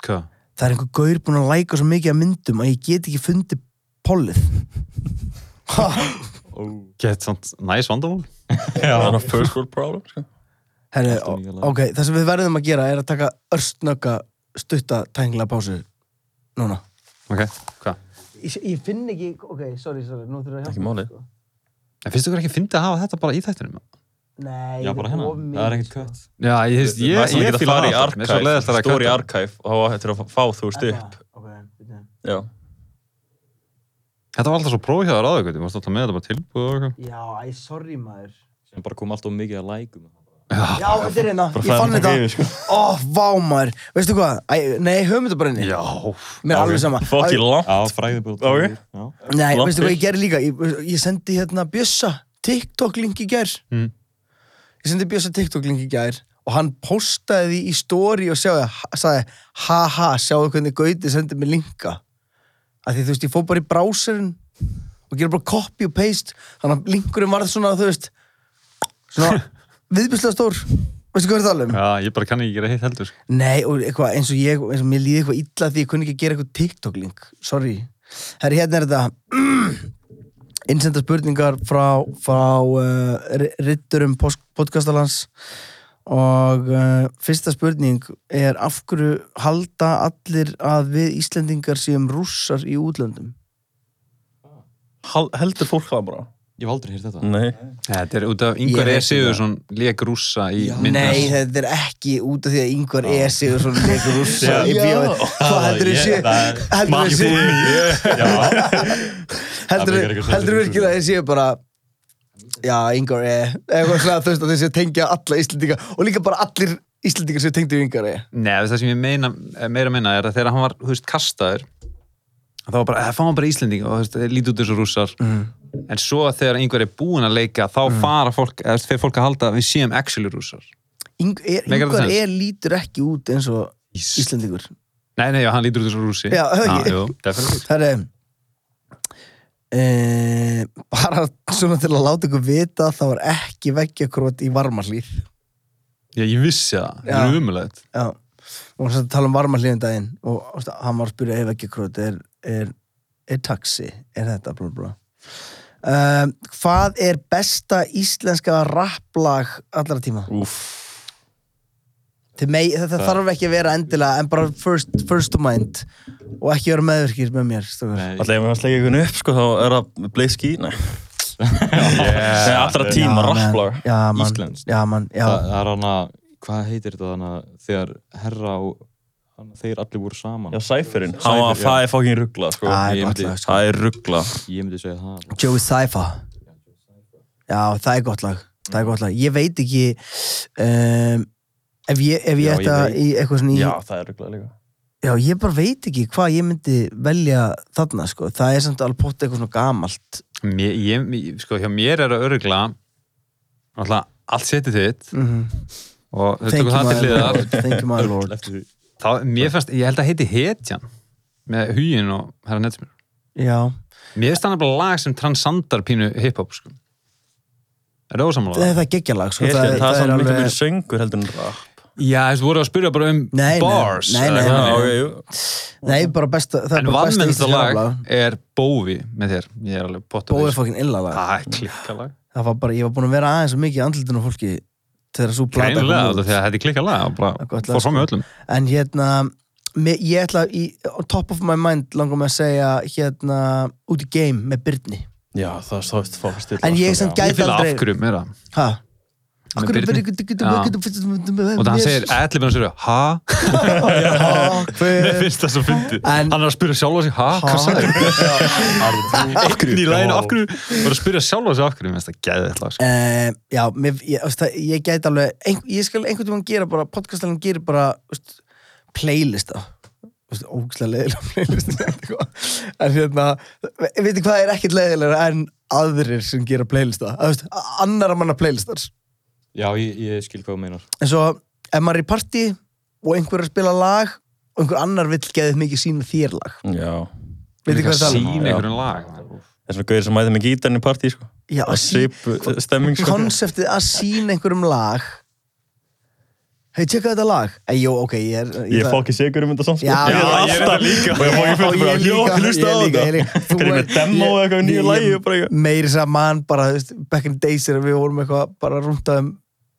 Speaker 2: Hvað?
Speaker 1: Það er einhver gaur búinn að læka svo mikið að myndum að ég get ekki fundið pollið. Ha,
Speaker 2: Gett samt næs vandamál
Speaker 3: Það er að first world problem, sko.
Speaker 1: Herri,
Speaker 5: Alltaf mikið lag.
Speaker 1: ok, það sem við verðum að gera er að taka örstnögga stutta tængla pásu núna.
Speaker 2: Ok, hvað?
Speaker 1: Ég, ég finn ekki, ok, sorry, sorry, nú þurfum við að hjálpa
Speaker 3: Ekki málið.
Speaker 1: sko.
Speaker 2: En finnst ykkur ekki fyndið að hafa þetta bara í þættinum?
Speaker 1: Nei,
Speaker 5: Já, bara hérna. Það
Speaker 1: sko.
Speaker 5: er ekkert kött.
Speaker 2: Já, ég finnst, ég,
Speaker 3: Næst að
Speaker 2: ég
Speaker 3: geta
Speaker 2: fíla
Speaker 3: farið í
Speaker 2: það Mér er svo leiðast
Speaker 3: arkæf,
Speaker 2: að
Speaker 3: stóri
Speaker 2: kvarta.
Speaker 3: arkæf og þá hættir að fá þú veist upp.
Speaker 1: Ok, byrju.
Speaker 3: Já.
Speaker 2: Þetta var alltaf svo prófið hjá þér áður, Gauti, þú varst alltaf með þetta bara tilbúið og eitthvað.
Speaker 1: já, æ, sorry maður.
Speaker 5: sem bara kom alltaf mikið að lækum
Speaker 1: Já, þetta er hérna, ég
Speaker 3: flæðir
Speaker 1: fann
Speaker 3: þetta
Speaker 1: þetta.
Speaker 3: yfir, sko.
Speaker 1: Ó, vá maður, veistu hvað, æ, nei, höfum þetta bara inni.
Speaker 2: Já.
Speaker 1: Mér er alveg sama.
Speaker 3: Fuck
Speaker 1: Æ,
Speaker 3: you langt.
Speaker 5: Já, fræðibúl
Speaker 3: Ok.
Speaker 5: Já,
Speaker 1: Nei,
Speaker 3: Langt
Speaker 1: veistu hvað ég
Speaker 3: til.
Speaker 1: gerði líka, ég, ég sendi hérna Bjössa TikTok-link í gær.
Speaker 2: Mm.
Speaker 1: Ég sendi Bjössa TikTok-link í gær og hann postaði því í story og sjáði, sagði, haha, sjáðu hvernig Gauti sendi mér linka. Af því þú veist, ég fór bara í browserin og gera bara copy og paste þannig að linkurinn varð svona, þú veist svona viðbjörslega stór veistu hvað við erum að tala um?
Speaker 2: Já, ég bara kann ekki gera hitt heldur. sko.
Speaker 1: Nei, og eitthvað, eins og ég, eins og mér líði eitthvað illa því ég kunni ekki að gera eitthvað TikTok-link. Sorry. Herri, hérna er þetta. Innsenda spurningar frá, frá uh, ritturum podcastalans og uh, fyrsta spurning er af hverju halda allir að við Íslendingar séum rússar í útlöndum?
Speaker 3: Hal- heldur fólk það bara?
Speaker 5: Ég hef aldrei heyrt þetta.
Speaker 3: Nei.
Speaker 2: Þetta er út af
Speaker 1: Ég
Speaker 2: yngvar
Speaker 1: veit
Speaker 2: E. Sigurðsson leik rússa í
Speaker 4: Já.
Speaker 1: Nei,
Speaker 2: myndast.
Speaker 1: þetta er ekki út af því að E yngvar er sigur svona leikur rússar í
Speaker 3: Já.
Speaker 1: bíóið. Hvað heldur
Speaker 5: Ég-
Speaker 1: þið sé?
Speaker 5: það er-
Speaker 1: Heldur þið sé?
Speaker 5: Já.
Speaker 1: heldur
Speaker 5: Það meikar eitthvað
Speaker 1: heldur
Speaker 5: sens.
Speaker 1: virkilega að ég séu bara já, yngur er eitthvað svona þú veist að þessi tengja alla Íslendinga og líka bara allir Íslendingar sem tengdu yngur er
Speaker 2: Nei, það sem ég meina, meira meina er að þegar hann var, þú veist, kastaður, þá var bara, það fá hann bara Íslending og þú veist, þeir líti út þessu rússar.
Speaker 1: Mhm.
Speaker 2: En svo að þegar yngvar er búin að leika, þá fara fólk, eða þú veist, fyrir fólk að halda að við séum actually rússar. Meikar það
Speaker 1: yngur
Speaker 2: sens?
Speaker 1: er lítur ekki út eins og Íslendingur
Speaker 2: Nei, nei, já, hann lítur út þessu rússi.
Speaker 1: Já, það ekki.
Speaker 2: Jú, definitív.
Speaker 1: það er e, bara svona til að láta ykkur vita þá er ekki veggjakrót í varmarlíð
Speaker 2: Já, ég vissi það.
Speaker 1: Já.
Speaker 2: Það er umulegt.
Speaker 1: já og hann sagði að tala um varmarlíðin daginn og þú veist, hann var að spyrja ef veggjakrót er, er, er taxi, er þetta blá blá Um, hvað er besta íslenska rapplag allra tíma?
Speaker 3: Úff.
Speaker 1: Þið Mei, þetta þarf ekki að vera endilega en bara first, first to mind og ekki vera meðvirkir með mér strókar.
Speaker 5: Nei.
Speaker 3: Alltaf ef maður sleikja einhvern upp, sko, þá er það bleið ský, nei. Nei, allra tíma,
Speaker 1: Já, man.
Speaker 3: rapplag.
Speaker 1: Já, man.
Speaker 5: Íslenskt.
Speaker 1: Já, man, já.
Speaker 5: Það það er hana, hvað heitir þetta hana þegar herra og hana, þeir allir voru saman?
Speaker 3: Já, Cypherinn. Hann
Speaker 5: Cypher,
Speaker 3: var,
Speaker 5: já.
Speaker 3: það er fokkin ruggla, sko.
Speaker 1: Það er
Speaker 3: Ég
Speaker 1: gott
Speaker 3: myndi-
Speaker 1: lag, sko.
Speaker 3: Það er ruggla.
Speaker 5: Ég myndi segja það. alveg.
Speaker 1: Joey Saifa Já, það er gott lag Það er gott lag, ég veit ekki um, ef ég, ef ég
Speaker 5: Já,
Speaker 1: ætta
Speaker 5: ég veit.
Speaker 1: í eitthvað svona í,
Speaker 3: Já,
Speaker 1: já.
Speaker 3: það er ruggla líka.
Speaker 1: ég bara veit ekki hvað ég myndi velja þarna, sko, það er samt alveg pott eitthvað svona gamalt
Speaker 2: Mér, ég, mér- sko, hjá mér er að örgla alltaf allt setið þitt
Speaker 1: mm -hmm.
Speaker 2: og þetta er það til liðar
Speaker 1: Thank you my lord
Speaker 5: Eftir því.
Speaker 2: þá, mér fannst, ég held að heiti Hetjan með hugin og herra nettsmjör
Speaker 1: Já,
Speaker 2: mér finnst þannig bara lag sem transandar pínu hiphop sko. er það ósamlega?
Speaker 1: það er geggjalag sko.
Speaker 3: Ég skil, það er samt miklu meiri söngur heldur en rap.
Speaker 2: Já, þú veist, voru að spyrja bara um
Speaker 1: Nei, nei,
Speaker 2: bars
Speaker 1: nei, nei, nei,
Speaker 2: eða eitthvað.
Speaker 3: Já,
Speaker 1: nei.
Speaker 3: ok, jú.
Speaker 1: Nei, bara besta Það er
Speaker 2: en
Speaker 1: bara besta
Speaker 2: vannmennsta
Speaker 1: íslenska
Speaker 2: lag
Speaker 1: raflag.
Speaker 2: er Bóvi með þér, ég er alveg pott
Speaker 1: Bóið fokkin illa lag
Speaker 2: það er klikkalag
Speaker 1: Það var bara, ég var búin að vera aðeins og mikið andlutinu fólki Þegar svo plata kom
Speaker 2: greinilega,
Speaker 1: út.
Speaker 2: þetta er- þetta er klikkalag og
Speaker 1: Það er
Speaker 2: bara
Speaker 1: gott lag, sko.
Speaker 2: fór fram með öllum
Speaker 1: En hérna, me, ég ætla í, on top of my mind langar mig að segja hérna, út í game með Byrni
Speaker 3: Já, það er stóðist fokkin stilla.
Speaker 1: En ég sem
Speaker 2: ég
Speaker 1: gæti
Speaker 2: fylg
Speaker 1: aldrei
Speaker 2: afgjörum meira
Speaker 1: Hæ?
Speaker 2: Með
Speaker 1: Akkur
Speaker 2: Birni.
Speaker 1: Byrni
Speaker 2: Já. og það hann segir "Ah, allir byrjum að segja ha mér
Speaker 1: Hver
Speaker 2: finnst það svo fyndið
Speaker 1: En-
Speaker 2: hann er að spyrja sjálfa sig ha,
Speaker 1: Ha?
Speaker 2: hvað sagði einn í læginu af hverju bara að spyrja sjálfa sig af hverju mér finnst það gæðið eitthvað sko.
Speaker 1: Uh, já, mér, ég, veist, það, ég gæti alveg ein, ég skal einhvern veginn gera bara podcastalinn gerir bara veist, playlista veist, ógæslega leðilega playlista eitthvað. en hérna ve- veitir hvað er ekkert leðilega en aðrir sem gera playlista Að, veist, a- annarra manna playlistar
Speaker 5: Já, ég, ég skil hvað þú meinar.
Speaker 1: en svo ef maður er í partí og einhver er að spila lag og einhver annar vill geðið mikið sína þér lag
Speaker 3: Já.
Speaker 1: veitir hvað það er
Speaker 2: sín
Speaker 3: Já.
Speaker 2: einhverjum lag
Speaker 3: Það er svona gauðir sem mæði með gítarinn í partí, sko.
Speaker 1: Já,
Speaker 3: Það er
Speaker 1: sí-
Speaker 3: svip stemming, sko.
Speaker 1: konseptið að sína einhverjum lag hei, tjekka þetta lag Ei, jó, ok, ég er
Speaker 3: Ég er
Speaker 1: það-
Speaker 3: fokkin sigur um þetta samt sko.
Speaker 1: Já,
Speaker 3: ég er
Speaker 1: já, ég er
Speaker 3: alltaf líka Og ég er fokkin fyrir bara, jó, hlusta á
Speaker 1: líka, ég
Speaker 3: þetta
Speaker 1: líka. Þú
Speaker 3: Hvernig
Speaker 1: er-
Speaker 3: með demo
Speaker 1: ég-
Speaker 3: eða eitthvað í nýju
Speaker 1: ég-
Speaker 3: lagi og bara eitthvað.
Speaker 1: meiri sem að mann bara, þú veist, back in the days þegar við vorum eitthvað bara rúntað um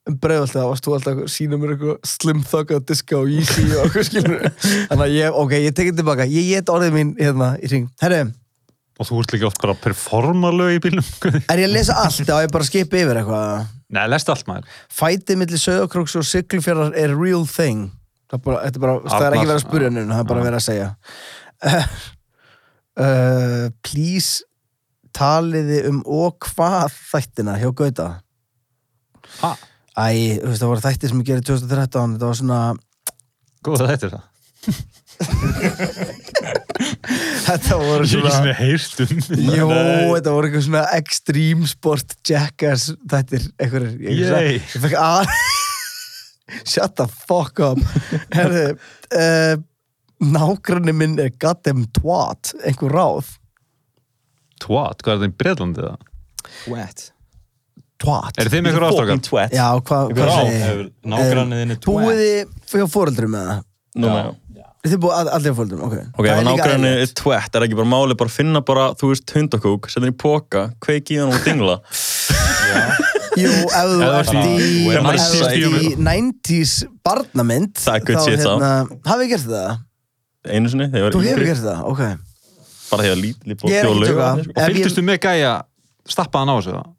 Speaker 1: um breið alltaf, varst þú alltaf að sína mér eitthvað slim thug að diska og easy og eitthvað skilur þannig að ég, ok, ég tekið tilbaka ég get orðið mín hérna í ring herru,
Speaker 2: og þú ert líka oft bara að performa lög í bílnum
Speaker 1: er ég að lesa allt þá ég bara að skipa yfir eitthvað
Speaker 2: nei, lest allt maður
Speaker 1: fætið millir söðakróks og siglufjörðar er real thing það er, bara, þetta er, bara, það er
Speaker 2: Arnar,
Speaker 1: ekki verið að spurja
Speaker 2: já.
Speaker 1: nýna það er bara
Speaker 2: Já.
Speaker 1: verið að segja uh, please taliði um og hvað þættina hjá Gauta
Speaker 2: ha,
Speaker 1: Æ, þú veist, það voru þættir sem ég gerði 2013 þetta var svona
Speaker 2: góða þetta er það
Speaker 1: þetta voru
Speaker 2: ég er ekki
Speaker 1: svona
Speaker 2: svona heyrst um
Speaker 1: Jó, þetta voru eitthvað svona extreme sport jackass þættir, einhverjir ég,
Speaker 2: Yay.
Speaker 1: ég fekk að Shut the fuck up Herðu uh, Nágranni minn er goddamn twat einhver ráð
Speaker 2: twat, hvað er það í Breitlandi það
Speaker 5: What?
Speaker 1: twat
Speaker 2: Eru þið með ykkur
Speaker 3: Fucking
Speaker 2: ástrákar?
Speaker 3: twat.
Speaker 1: Já, hvað
Speaker 5: Ykkur
Speaker 1: hva
Speaker 5: á,
Speaker 1: segir
Speaker 5: hefur nágranniðinni twat.
Speaker 1: Búið þið hjá fóreldrum með það?
Speaker 3: Núna, já.
Speaker 1: Þið búið að- allir hjá fóreldrum, ok
Speaker 3: Ok,
Speaker 1: Það
Speaker 3: ef
Speaker 1: er líka
Speaker 3: nákvæmni
Speaker 1: eðlilegt.
Speaker 3: er tvett, er ekki bara máli bara að finna bara, þú veist, hundakúk, setja hann í póka, kveiki í hann og dingla.
Speaker 1: Jú, ef þú ert
Speaker 5: bara-
Speaker 1: í
Speaker 3: þú
Speaker 5: Ef
Speaker 3: ert í
Speaker 1: ef þú ert í 90s barnamynd
Speaker 3: Það er good
Speaker 1: þá, hérna-
Speaker 3: shit, þá.
Speaker 1: Hafið þið gert það?
Speaker 3: Einu sinni, þegar ég
Speaker 1: Þú
Speaker 3: var
Speaker 1: hefur
Speaker 3: yngri,
Speaker 1: gert það, ok
Speaker 3: bara þegar ég var lítil, ég
Speaker 1: Ég
Speaker 3: bótti
Speaker 1: er
Speaker 3: og
Speaker 1: ekki
Speaker 3: lög.
Speaker 1: tjóka
Speaker 2: Og fylgdustu með gæja stappaðan á þessu það?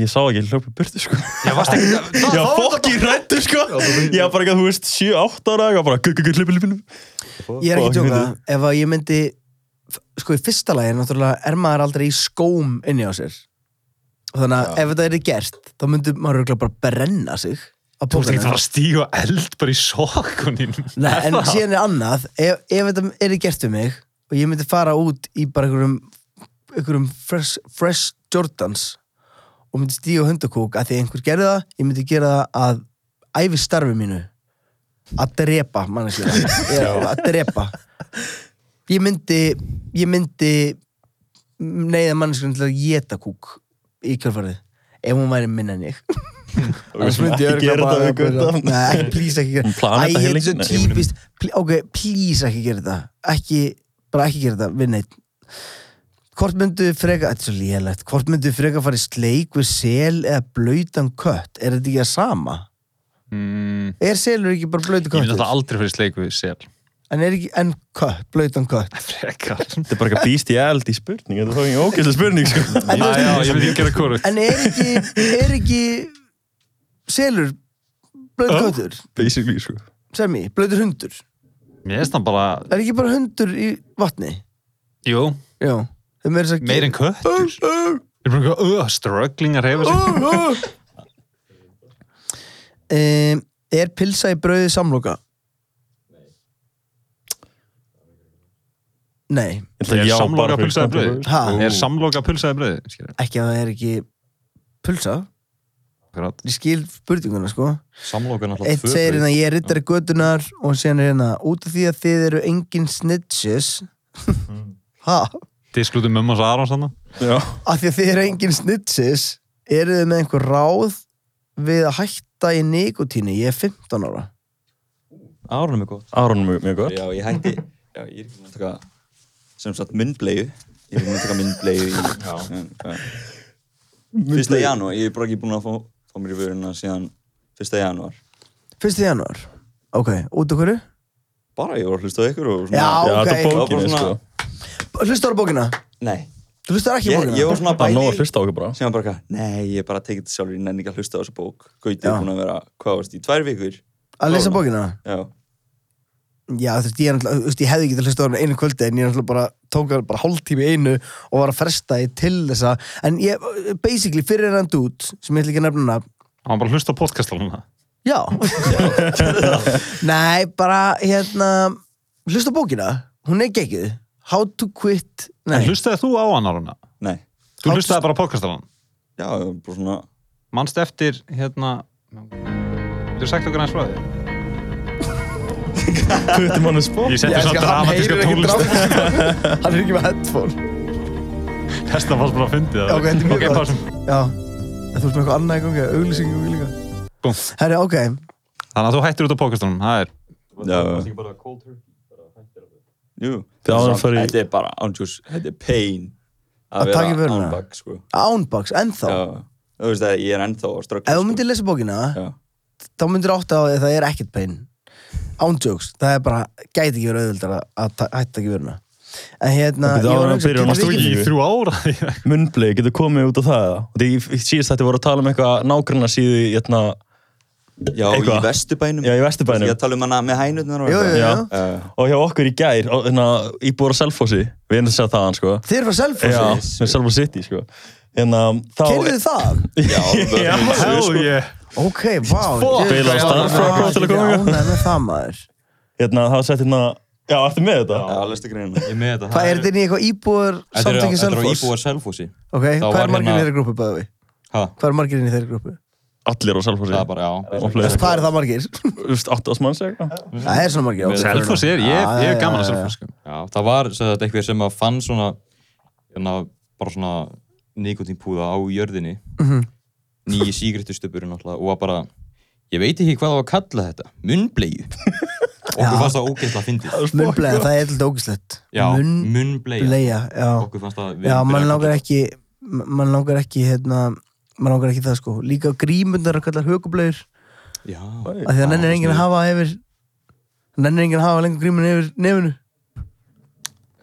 Speaker 3: Ég sá ekki, ég hljópi burtu, sko.
Speaker 2: Já, varst ekki
Speaker 3: Ég var fokkin rættu, sko. Ég var bara ekki, þú veist, 7-8 ára, ég var bara, gugg, gugg, hlupi, hlupi.
Speaker 1: Ég er ekki að tjóka, ef að ég myndi sko í fyrsta lagi, náttúrulega er maður aldrei í skóm inni á sér og þannig að ef þetta er gert þá myndi maður örugglega bara brenna sig á
Speaker 2: Þú veist ekki að
Speaker 1: bókanum.
Speaker 2: fara að stíga eld bara í sokkunin
Speaker 1: Nei, en síðan er annað ef, ef þetta er gert við mig og ég myndi fara út í bara einhverjum einhverjum fresh, fresh Jordans og myndi stíga á hundakúk að því einhver gerði það, ég myndi gera það að æfi starfi mínu að drepa manneskjöla Ég- að drepa ég myndi ég myndi neyða manneskjöla til að geta kúk í kjörfarið ef hún væri minna en ég Annars myndi ég
Speaker 3: Ekki
Speaker 1: örugglega
Speaker 3: gera
Speaker 1: bara-
Speaker 3: þetta við guttan.
Speaker 1: Nei, ekki, please ekki gera
Speaker 3: Hún planar þetta
Speaker 1: Æ, ég er
Speaker 3: heilin.
Speaker 1: svo
Speaker 3: Nei, ég meina-
Speaker 1: típist Pl- ok, please ekki gera þetta ekki, bara ekki gera þetta við neitt hvort myndu þið freka þetta er svo lélegt, hvort myndu þið freka fara í sleik við sel eða blautan kött er þetta ekki að sama?
Speaker 2: Mm,
Speaker 1: er selur ekki bara blautan
Speaker 2: Ég myndi alltaf
Speaker 1: kött?
Speaker 2: aldrei fyrir sleik við sel
Speaker 1: en er ekki, en kött, blautan kött
Speaker 2: Frekar
Speaker 3: Þetta er bara eitthvað býst í eld í spurning, þetta er fokkin ógæslega spurning, sko.
Speaker 1: en, þú
Speaker 2: Já, já,
Speaker 1: veist,
Speaker 2: ég myndi ekki gera kóru
Speaker 1: en er ekki er ekki selur blautan köttur
Speaker 3: Basically, sko.
Speaker 1: sem í, blautur hundur
Speaker 2: Mér finnst það bara,
Speaker 1: er ekki bara hundur í vatni?
Speaker 2: jú,
Speaker 1: já, þeim er þess að
Speaker 2: meir en köttur Ég er bara eitthvað, uh, struggling að reyfa sig
Speaker 1: um, Er pilsa í brauði samloka? Nei,
Speaker 3: Ég ætla
Speaker 2: Er
Speaker 3: að já,
Speaker 2: samloka
Speaker 3: bara fyrir
Speaker 2: pulsaði
Speaker 3: skemmtilega.
Speaker 2: brauð?
Speaker 1: ha,
Speaker 2: Er samloka pulsaði bröði? Skilja,
Speaker 1: ekki að það er ekki pulsa
Speaker 2: akkurat
Speaker 1: Ég skil spurninguna sko
Speaker 5: Samlokan alltaf
Speaker 1: Eitt segir hérna ég er rittari gödunar og sen er hérna út af því að þið eru engin snitches Ha,
Speaker 2: Disklúti mömmas um Arons hann
Speaker 3: Já.
Speaker 1: af því að þið eru engin snitches eru þið með einhver ráð við að hætta í nikotínu ég er 15 ára hérna-
Speaker 5: Árunum er gott
Speaker 3: Aron er mjög, mjög gott.
Speaker 4: Já, ég hætti Já, ég er ekki búin að taka sem sagt munnbleiðu Ég er ekki búin að taka munnbleiðu í um, hvað? Fyrsta janúar, ég er bara ekki búin að fá, fá mér í vöruna síðan fyrsta janúar
Speaker 1: Fyrsti janúar Ok, út af hverju?
Speaker 4: Bara ég var að hlusta á ykkur og
Speaker 1: Já,
Speaker 3: Já,
Speaker 1: ok.
Speaker 3: þetta er
Speaker 4: Það
Speaker 3: bókinni,
Speaker 4: var
Speaker 3: sko.
Speaker 4: svona-
Speaker 1: Hlustar á bókina?
Speaker 4: Nei,
Speaker 1: Þú hlustar ekki á
Speaker 4: ég,
Speaker 1: bókina?
Speaker 4: ég var svona
Speaker 3: Bara nóg að
Speaker 4: bæði
Speaker 3: hlusta á okkur bara.
Speaker 4: sem var bara eitthvað, nei, ég er bara að tekið þetta sjálfur ég nenni ekki að hlusta á þessu bók Gautið
Speaker 1: Já.
Speaker 4: er búin að vera, hvað varst, í tvær vikur
Speaker 1: Að lesa bókina?
Speaker 4: Já,
Speaker 1: Já, þú veist, ég, er náttúrulega- þú veist, ég hefði getað hlustað á hana einu kvöldi en ég náttúrulega bara tók hana bara hálftími í einu og var að fresta í til þessa en ég, basically, fyrir hennan dút sem ég ætla ekki að nefna hana
Speaker 2: Hann bara hlusta á podcastaluna
Speaker 1: Já Nei, bara, hérna hlusta á bókina, hún er gekkið How to quit
Speaker 2: En
Speaker 1: Nei,
Speaker 2: hlustaði þú á hann Arona?
Speaker 4: nei
Speaker 2: Þú hlustaði bara á podcastaluna
Speaker 4: Já, ég var bara svona
Speaker 2: Manst eftir, hérna Þú sagt okkur hans frá því?
Speaker 3: Puttum hann í spók.
Speaker 2: Ég setti samt dramatíska tónlist
Speaker 1: tónlist Hann er ekki með headphone
Speaker 2: Þessna fannst bara að fyndi það
Speaker 1: Ok, þetta er mjög gott.
Speaker 2: pásum.
Speaker 1: Já, en þú veist með eitthvað annað í gangi auglýsingum líka
Speaker 2: Búm.
Speaker 1: Herri, ok,
Speaker 2: Þannig að þú hættir út á podcastunum Það er
Speaker 4: Já,
Speaker 5: Það er bara cold turkey
Speaker 4: jú
Speaker 3: Þið áður að fara í-
Speaker 4: Þetta er bara ándjús, þetta er pain
Speaker 1: Að taka í vöruna?
Speaker 4: ánbak, sko
Speaker 1: Ánbaks, ennþá
Speaker 4: Já, þú veist að ég er ennþá að sko. ströggla
Speaker 1: Ef þú myndir lesa bókina,
Speaker 4: Já,
Speaker 1: þá myndir átta á því að það er ekkert pein Ándjóks, það er bara gæti ekki verið auðvöldar að ta- hætta ekki veruna En hérna ég
Speaker 3: Það byrja
Speaker 1: var að
Speaker 3: áður en
Speaker 1: hugsa,
Speaker 3: byrjar
Speaker 1: getum
Speaker 3: hún að
Speaker 1: við
Speaker 3: stúi.
Speaker 1: ekki-
Speaker 2: í þrjú ára
Speaker 3: munnblei getur komið út á það eða? og því síðast þetta voru að tala um eitthvað nágranna síðu hérna,
Speaker 4: já
Speaker 3: Eitthvað?
Speaker 4: í vesturbænum
Speaker 3: já í Vesturbænum
Speaker 4: Ég að tala um hana með hænutnar og
Speaker 1: Jú, jú,
Speaker 3: Já.
Speaker 1: jú
Speaker 4: Uh,
Speaker 3: og hjá okkur í gær á, hérna, íbúar á Selfossi við erum að segja þaðan sko
Speaker 1: Þið eru frá
Speaker 3: já,
Speaker 1: Selfossi,
Speaker 3: við Selfoss City sko hérna, þá
Speaker 1: keirðu það?
Speaker 4: já,
Speaker 3: Já,
Speaker 2: Hell yeah
Speaker 1: Ok, vá
Speaker 2: Fuck,
Speaker 1: ég-
Speaker 3: Bilaði á
Speaker 1: Já,
Speaker 3: Starfrog
Speaker 1: já,
Speaker 3: til að
Speaker 1: ég
Speaker 3: koma
Speaker 1: er
Speaker 3: hingað.
Speaker 1: ánægð með það maður
Speaker 3: hérna, þá sett hérna já, ertu með þetta?
Speaker 4: Já, lestu greinina
Speaker 5: Ég er með þetta
Speaker 1: Hvað er þetta inn í eitthvað íbúar samtökið
Speaker 5: Þetta er á
Speaker 1: Selfoss?
Speaker 5: íbúar Selfossi
Speaker 1: Ok,
Speaker 5: Þá
Speaker 1: hvað
Speaker 5: var
Speaker 1: er margirinn í
Speaker 5: hérna-
Speaker 1: þeirri grúpu bæði við?
Speaker 5: Ha?
Speaker 1: Hvað er margirinn í þeirri grúpu?
Speaker 3: allir á Selfossi
Speaker 5: Það er bara, já
Speaker 3: Og fleiri.
Speaker 1: Hvað er það margir?
Speaker 3: Úst, átt ás manns eitthvað
Speaker 5: Mm.
Speaker 1: Það er svona margir ok.
Speaker 2: Selfoss er, ég ég er gaman að Selfoss sko.
Speaker 5: Já, það var sem sagt, eitthvað sem að fann
Speaker 1: Mhm.
Speaker 5: svona, hérna, bara svona nikotínpúða á jörðinni nýji sígrættustubur náttúrulega og var bara, ég veit ekki hvað það var að kalla þetta, munnbleiðu okkur fannst það ógeðslega að fyndið
Speaker 1: Munnbleia, það er eitthvað ógislegt
Speaker 5: já, munnbleiða,
Speaker 1: Munnbleia, já
Speaker 5: okkur fannst það við
Speaker 1: Já,
Speaker 5: erum
Speaker 1: mann
Speaker 5: byrjað að
Speaker 1: langar
Speaker 5: kalla-
Speaker 1: ekki mann langar ekki, hérna mann langar ekki það sko, líka grímundar að kalla hökubleir,
Speaker 5: já,
Speaker 1: af því að nennir enginn að hafa yfir nennir enginn að hafa lengur grímun yfir nefinu,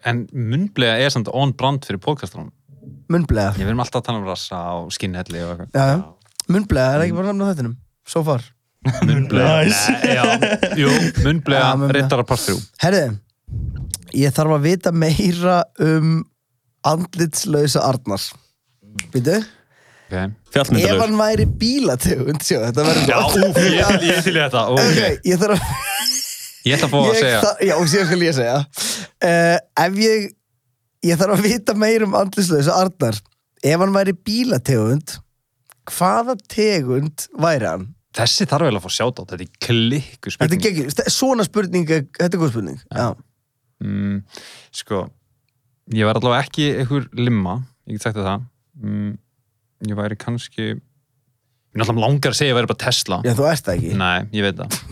Speaker 2: En munnblega er samt on brand fyrir podcastunum.
Speaker 1: munnbleia
Speaker 2: Ég verðum alltaf að tala um rassa og skinnhelli og eitthvað.
Speaker 1: Já, já, munnbleia er ekki bara nefna þettinum so far.
Speaker 2: Munnblega. Nei, já, jú, munnblega,
Speaker 1: Já, munnblega.
Speaker 2: rittara part 3.
Speaker 1: Herðu, ég þarf að vita meira um andlitslausa Arnar Býtu?
Speaker 2: Okay.
Speaker 1: Ef
Speaker 3: Fjallmyndalögur
Speaker 1: hann væri bílategund, sjá, þetta verður gott.
Speaker 2: úf, ég, ég til ég þetta.
Speaker 1: Ok, ég þarf að
Speaker 2: Ég ætla að fá að
Speaker 1: ég
Speaker 2: segja.
Speaker 1: þarf- Já, síðan skal ég segja uh, Ef ég Ég þarf að vita meir um andlislausa Arnar Ef hann væri bílategund Hvaða tegund væri hann?
Speaker 2: Þessi þarf eiginlega að fá sjátt á þetta. er klikku
Speaker 1: Þetta er
Speaker 2: spurning.
Speaker 1: geggjur, Þetta- svona spurning er- Þetta er góð spurning Já,
Speaker 2: Mm, sko, ég væri allavega ekki einhver limma, ég get sagt þér það. Mm, ég væri kannski... Ég náttúrulega langar að segja að ég væri bara Tesla.
Speaker 1: já þú ert það ekki
Speaker 2: Nei, ég veit það.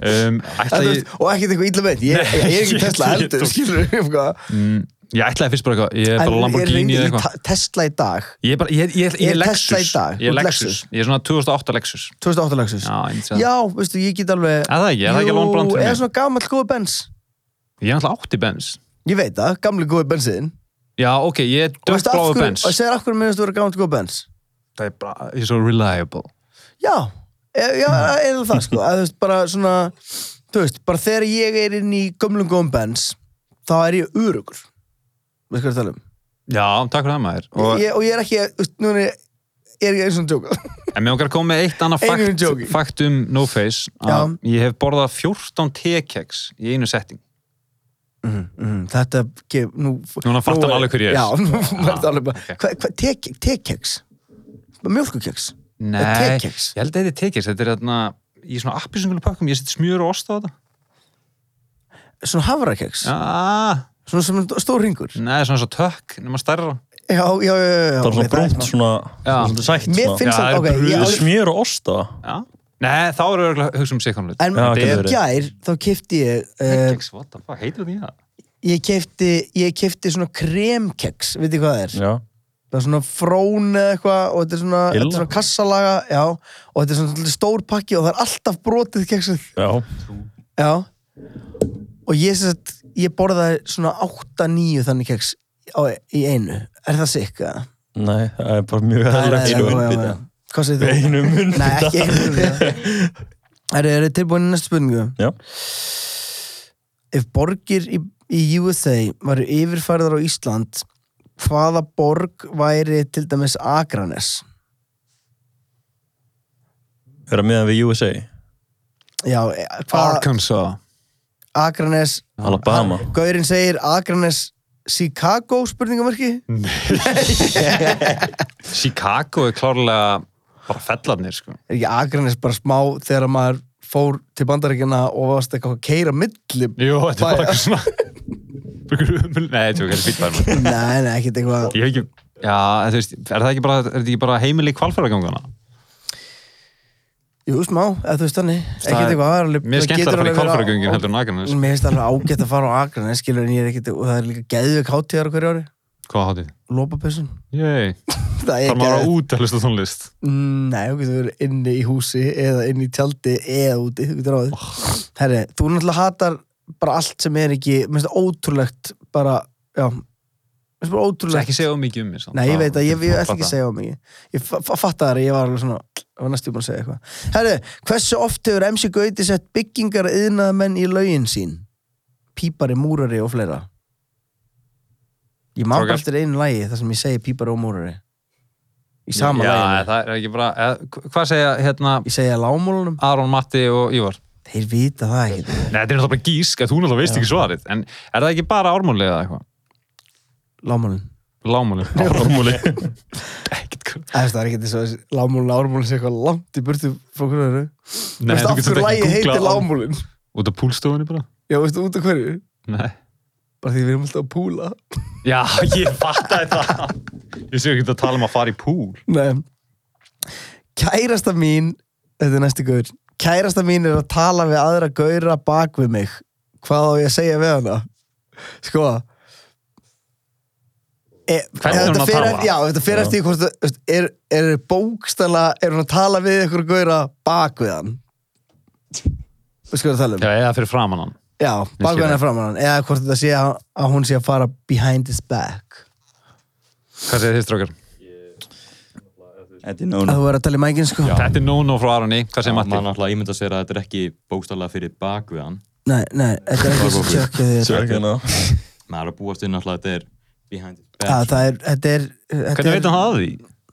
Speaker 2: um, ætla
Speaker 1: Þetta,
Speaker 2: ég...
Speaker 1: ég... Og ekkert eitthvað illa meint Ég, ég, er ekki
Speaker 2: ég-
Speaker 1: Tesla
Speaker 2: ég-
Speaker 1: heldur, skilur við hvað.
Speaker 2: Mm, ég ætlaði fyrst bara eitthvað, ég er
Speaker 1: En
Speaker 2: bara
Speaker 1: er
Speaker 2: Lamborghini
Speaker 1: reyndin í
Speaker 2: eða eitthvað.
Speaker 1: Ta- Tesla í dag
Speaker 2: Ég er bara, ég, ég, ég,
Speaker 1: Ég
Speaker 2: er
Speaker 1: er
Speaker 2: Lexus.
Speaker 1: Tesla í dag,
Speaker 2: Ég
Speaker 1: þú
Speaker 2: er
Speaker 1: ert
Speaker 2: Lexus.
Speaker 1: Lexus.
Speaker 2: Ég er svona 2008 Lexus.
Speaker 1: 2008 Lexus
Speaker 2: Já, ég myndi segja það.
Speaker 1: Já, veistu, ég get alveg
Speaker 2: Er það ekki? Er það ekki alveg on brand
Speaker 1: Jú,
Speaker 2: fyrir
Speaker 1: eða
Speaker 2: mig?
Speaker 1: svona gamall góði bens
Speaker 2: Ég er náttúrulega átti Benz.
Speaker 1: Ég veit það, gamli góði bensin
Speaker 2: Já, ok, ég er
Speaker 1: Og veistu af
Speaker 2: dökkbláðu
Speaker 1: hverju-
Speaker 2: Benz.
Speaker 1: Og segir af hverju minnast þú vera gamall sko góð bens
Speaker 2: Það er bara, ég er svo reliable.
Speaker 1: Já, e, já, eða það sko að, þú veist, bara svona þú veist, bara þegar ég er inn í gömlum góðum bens þá er ég örugur veist hvað ég er að tala um
Speaker 2: Já, takk fyrir það maður. Og,
Speaker 1: ég, og ég er ekki, þú veist, núna er ég er ekki eins og að djóka
Speaker 2: En mér okkar að koma með eitt annað
Speaker 1: Einum
Speaker 2: fakt,
Speaker 1: joking.
Speaker 2: fakt um No Face. að Ég hef borðað 14 tekeks í einu setting.
Speaker 1: Þetta gef, nú
Speaker 2: Núna fattar
Speaker 1: nú er-
Speaker 2: hann alveg hver ég er.
Speaker 1: Já, nú fattar alveg bara
Speaker 2: ok.
Speaker 1: Hvað, hvað, tek- tekkeks? Mjölkukeks?
Speaker 2: Nei, ég
Speaker 1: Tekeks?
Speaker 2: held að þetta er tekeks. Þetta er þarna, í svona appisungulu pakkum, ég set smjör og ost á þetta.
Speaker 1: Svona havrakeks?
Speaker 2: Já,
Speaker 1: Svona sem stór ringur? Já,
Speaker 2: neða, svona svo tökk, nema stærra.
Speaker 1: já, já, já, já
Speaker 3: Það var svona
Speaker 1: ok,
Speaker 3: brúnt svona,
Speaker 2: Já.
Speaker 3: svona sætt
Speaker 1: Mér
Speaker 3: svona.
Speaker 1: finnst
Speaker 2: Já, það
Speaker 1: það,
Speaker 2: er
Speaker 1: ok
Speaker 2: brugðið
Speaker 1: ég-
Speaker 3: Með smjör og osta
Speaker 2: Já. Nei, þá eru við að hugsa um sikonlut.
Speaker 1: En
Speaker 3: Já,
Speaker 1: í
Speaker 3: getur verið.
Speaker 1: gær þá kefti ég uh,
Speaker 2: Tekeks, what the fuck, heitir því það?
Speaker 1: ég kefti, ég kefti svona kremkeks, veit þið hvað það er?
Speaker 3: Já
Speaker 1: Það er svona frón eða eitthvað og þetta er svona, þetta
Speaker 3: Illa.
Speaker 1: er svona kassalaga já, og þetta er svona svolítið stór pakki og það er alltaf brotið keksið
Speaker 3: Já,
Speaker 1: já. og ég sem sagt, ég borðaði svona 8-9 þannig keks á, í einu er það sikk?
Speaker 3: nei, það er bara mjög aðlægt
Speaker 1: já, já, já. Hvað segir þú?
Speaker 3: Einu munnbita
Speaker 1: Nei, ekki einu munnbita. Er þið tilbúin í næstu spurningu?
Speaker 3: Já.
Speaker 1: Ef borgir í, í USA varu yfirfærðar á Ísland, hvaða borg væri til dæmis Akranes?
Speaker 3: Verða meðan við USA
Speaker 1: Já, e- hvaða
Speaker 2: Arkansas.
Speaker 1: Akranes...
Speaker 3: Alabama
Speaker 1: Gaurinn segir Akranes Chicago spurningamarki?
Speaker 2: Mm. Chicago er klárlega bara fellarnir, sko.
Speaker 1: Er ekki Akranes bara smá þegar maður fór til bandaríkina og varst eitthvað að keira milli?
Speaker 2: Jú,
Speaker 1: Bæja.
Speaker 2: þetta er bara eitthvað svona... Einhver umul- Nei, þetta er ekki fýtt bærum.
Speaker 1: Nei, nei, ekkert eitthvað.
Speaker 2: Ég hef ekki... Já, en þú veist, er það ekki bara, er þetta ekki bara heimili kvalfæragangana?
Speaker 1: Jú, smá, eða þú veist þannig
Speaker 2: Það
Speaker 1: ekkert
Speaker 2: er-
Speaker 1: eitthvað aðraleg
Speaker 2: Mér er skemmtilega að fara í kvalfæragöngin heldur en Akranes.
Speaker 1: Mér finnst alveg ágætt að fara á Akranes skilur en ég er ekkert og það er líka geðvik hátíðar á hverju ári
Speaker 2: Hvað hátið?
Speaker 1: Lópapessun
Speaker 2: Yey,
Speaker 1: Það
Speaker 2: þarf
Speaker 1: er
Speaker 2: maður að
Speaker 1: geðveikt.
Speaker 2: út að hlusta á tónlist.
Speaker 1: Nei, þú getur verið inni í húsi eða inni í tjaldi eða úti þú getur ráðið
Speaker 2: Oh.
Speaker 1: Herri, þú náttúrulega hatar bara allt sem er ekki mér finnst það ótrúlegt bara já mér finnst bara ótrúlegt
Speaker 2: Ekki segja of mikið um mér. samt.
Speaker 1: Nei, ég veit að ég, ég
Speaker 2: Fatta
Speaker 1: ætla ekki að
Speaker 2: það.
Speaker 1: segja á mig Ég fa- fa- fatta það að ég var alveg svona Það var næstu búin að segja eitthvað Herru, hversu oft hefur MC Gauti sett byggingar yðnaðamenn í lögin sín? Pípari, múrari og fleira Ég má bara
Speaker 2: Strákar.
Speaker 1: eftir einu lagi þar sem ég segi pípari og múrari Í sama
Speaker 2: Já,
Speaker 1: laginu
Speaker 2: það er ekki bara... eða, hva- Hvað segja, hérna,
Speaker 1: Ég segi að lámúlunum
Speaker 2: Aron, Matti og Ívar?
Speaker 1: Þeir vita það ekki
Speaker 2: Nei, þetta er náttúrulega bara gísk að þú náttúrulega veist ekki svarið en er það ekki bara ármúlið eða eitthvað?
Speaker 1: Lámúlun
Speaker 2: Lámúlið?
Speaker 3: Formúli
Speaker 2: Ekkert hvað-
Speaker 1: Það er ekki þess að lámúlun lámúlun sé eitthvað langt í burtu frá hverju það eru
Speaker 2: Nei,
Speaker 1: Veistu
Speaker 2: þú
Speaker 1: af hverju
Speaker 2: getur þetta
Speaker 1: lagi
Speaker 2: ekki
Speaker 1: heitir
Speaker 2: að googla
Speaker 1: lámúlun?
Speaker 2: út af púlstofunni bara?
Speaker 1: Já, veistu út af hverju?
Speaker 2: Nei.
Speaker 1: Bara því við erum alltaf að púla
Speaker 2: Já, ég fattaði það Ég sé ekki að tala um að fara í púl
Speaker 1: Nei kærasta mín þetta er næsti gaur kærasta mín er að tala við aðra gaura bak við mig hvað á ég að segja við hana sko e,
Speaker 2: Hvernig er hún að tala?
Speaker 1: já, þetta fyrir eftir því hvort þú veist, er, er bókstala er hún að tala við ykkur gaura bak við hann við skoðum að tala um
Speaker 2: Já, eða fyrir framan hann
Speaker 1: já, bak við
Speaker 2: skil.
Speaker 1: hann er framan hann eða hvort þetta sé að, að hún sé að fara behind his back
Speaker 2: Hvað segir þið strókar?
Speaker 4: Þetta er nóg
Speaker 1: að þú verður að tala í mækinn sko
Speaker 2: Þetta er nóno frá Aroni, hvað segir
Speaker 5: mann
Speaker 2: Matti?
Speaker 5: náttúrulega ímynda sér að þetta er ekki bókstallega fyrir bak við hann
Speaker 1: nei, nei, þetta er ekki sjökkið þér
Speaker 3: Sjá ekki hérna.
Speaker 5: maður er að búast inn náttúrulega að þetta er behind his back
Speaker 1: Já, það er, þetta er þetta
Speaker 2: Hvernig
Speaker 1: er-
Speaker 2: veit hann það að því?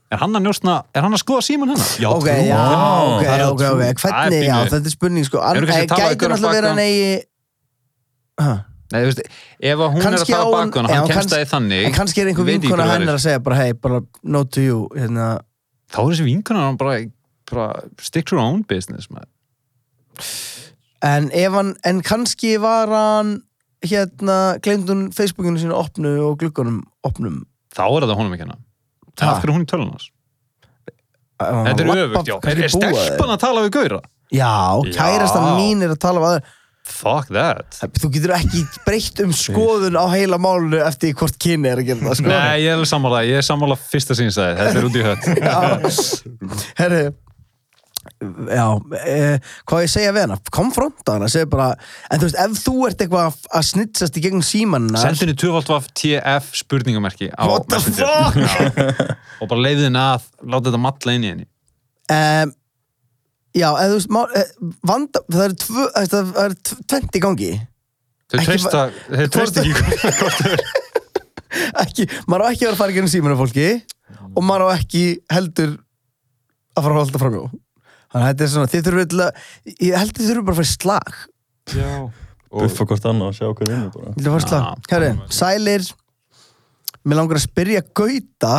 Speaker 2: Er hann að njósna, er hann að skoða síman hennar?
Speaker 5: já,
Speaker 1: Ok,
Speaker 5: trú.
Speaker 1: já, ok,
Speaker 2: það er
Speaker 1: ok,
Speaker 2: trú.
Speaker 1: ok
Speaker 2: Það er
Speaker 1: Hvernig,
Speaker 2: pínu-
Speaker 1: já, þetta er spurning sko An,
Speaker 2: Eru kannski að tala við
Speaker 1: Gæti
Speaker 2: gaur á
Speaker 1: náttúrulega verið að
Speaker 2: bakvið?
Speaker 1: negi Ha,
Speaker 2: Nei, þú veist, ef að hún
Speaker 1: kannski
Speaker 2: er
Speaker 1: á
Speaker 2: að fara baka hann,
Speaker 1: já,
Speaker 2: hann kemst
Speaker 1: kannski-
Speaker 2: að þið þannig
Speaker 1: En kannski er einhver
Speaker 2: veit ekki
Speaker 1: vinkona
Speaker 2: hver það
Speaker 1: hennar
Speaker 2: er.
Speaker 1: að segja bara hey, bara no to you hérna,
Speaker 2: Þá er þessi vinkona hann bara, bara stick to her own business maður.
Speaker 1: en, ef hann, en kannski var hann hérna, glemd hún Facebookinu sínu opnu og gluggunum opnum
Speaker 2: Þá er þetta honum ekki hennar
Speaker 1: Ha.
Speaker 2: Af hverju er hún í tölunars?
Speaker 1: Ef hann
Speaker 2: Þetta er
Speaker 1: var-
Speaker 2: öfugt, já Er,
Speaker 1: kannski
Speaker 2: er
Speaker 1: búa þeir.
Speaker 2: stelpan að tala við Gaura?
Speaker 1: Já, kærastan
Speaker 2: Já.
Speaker 1: mín er að tala um aður
Speaker 2: Fuck that
Speaker 1: Þú getur ekki breytt um skoðun á heila málunu eftir hvort kyni er að gera það sko
Speaker 2: Nei, ég er alveg sammála, ég er sammála fyrsta sín sagði, þetta er út í hött
Speaker 1: Herri Já, e, hvað á ég að segja við hana konfronta hana, segja bara en þú veist, ef þú ert eitthvað að- að snitsast í gegnum símanna
Speaker 2: Sendinu 12 TF spurningamerki á
Speaker 1: What the
Speaker 2: Messenger.
Speaker 1: fuck?
Speaker 2: Já. Og bara leiðin að láta þetta matla inn í henni
Speaker 1: um, Já, eða þú veist má, e, vanda, það eru tvö eh, það eru tv- tvennt í gangi
Speaker 2: Þau
Speaker 1: Ekki
Speaker 2: treysta, þau treysta ekki
Speaker 1: ekki, maður á ekki að vera að fara í gegnum símanna fólki og maður á ekki heldur að fara að holda fram hjá þannig að þetta er svona, þið þurfum eitthvað ég heldur þið þurfum bara að fara í slag
Speaker 3: Buffa hvort annað og sjá hver vinnur bara.
Speaker 1: Viltu fara í slag?
Speaker 2: Já.
Speaker 1: Herri, sælir Mér langar að spyrja Gauta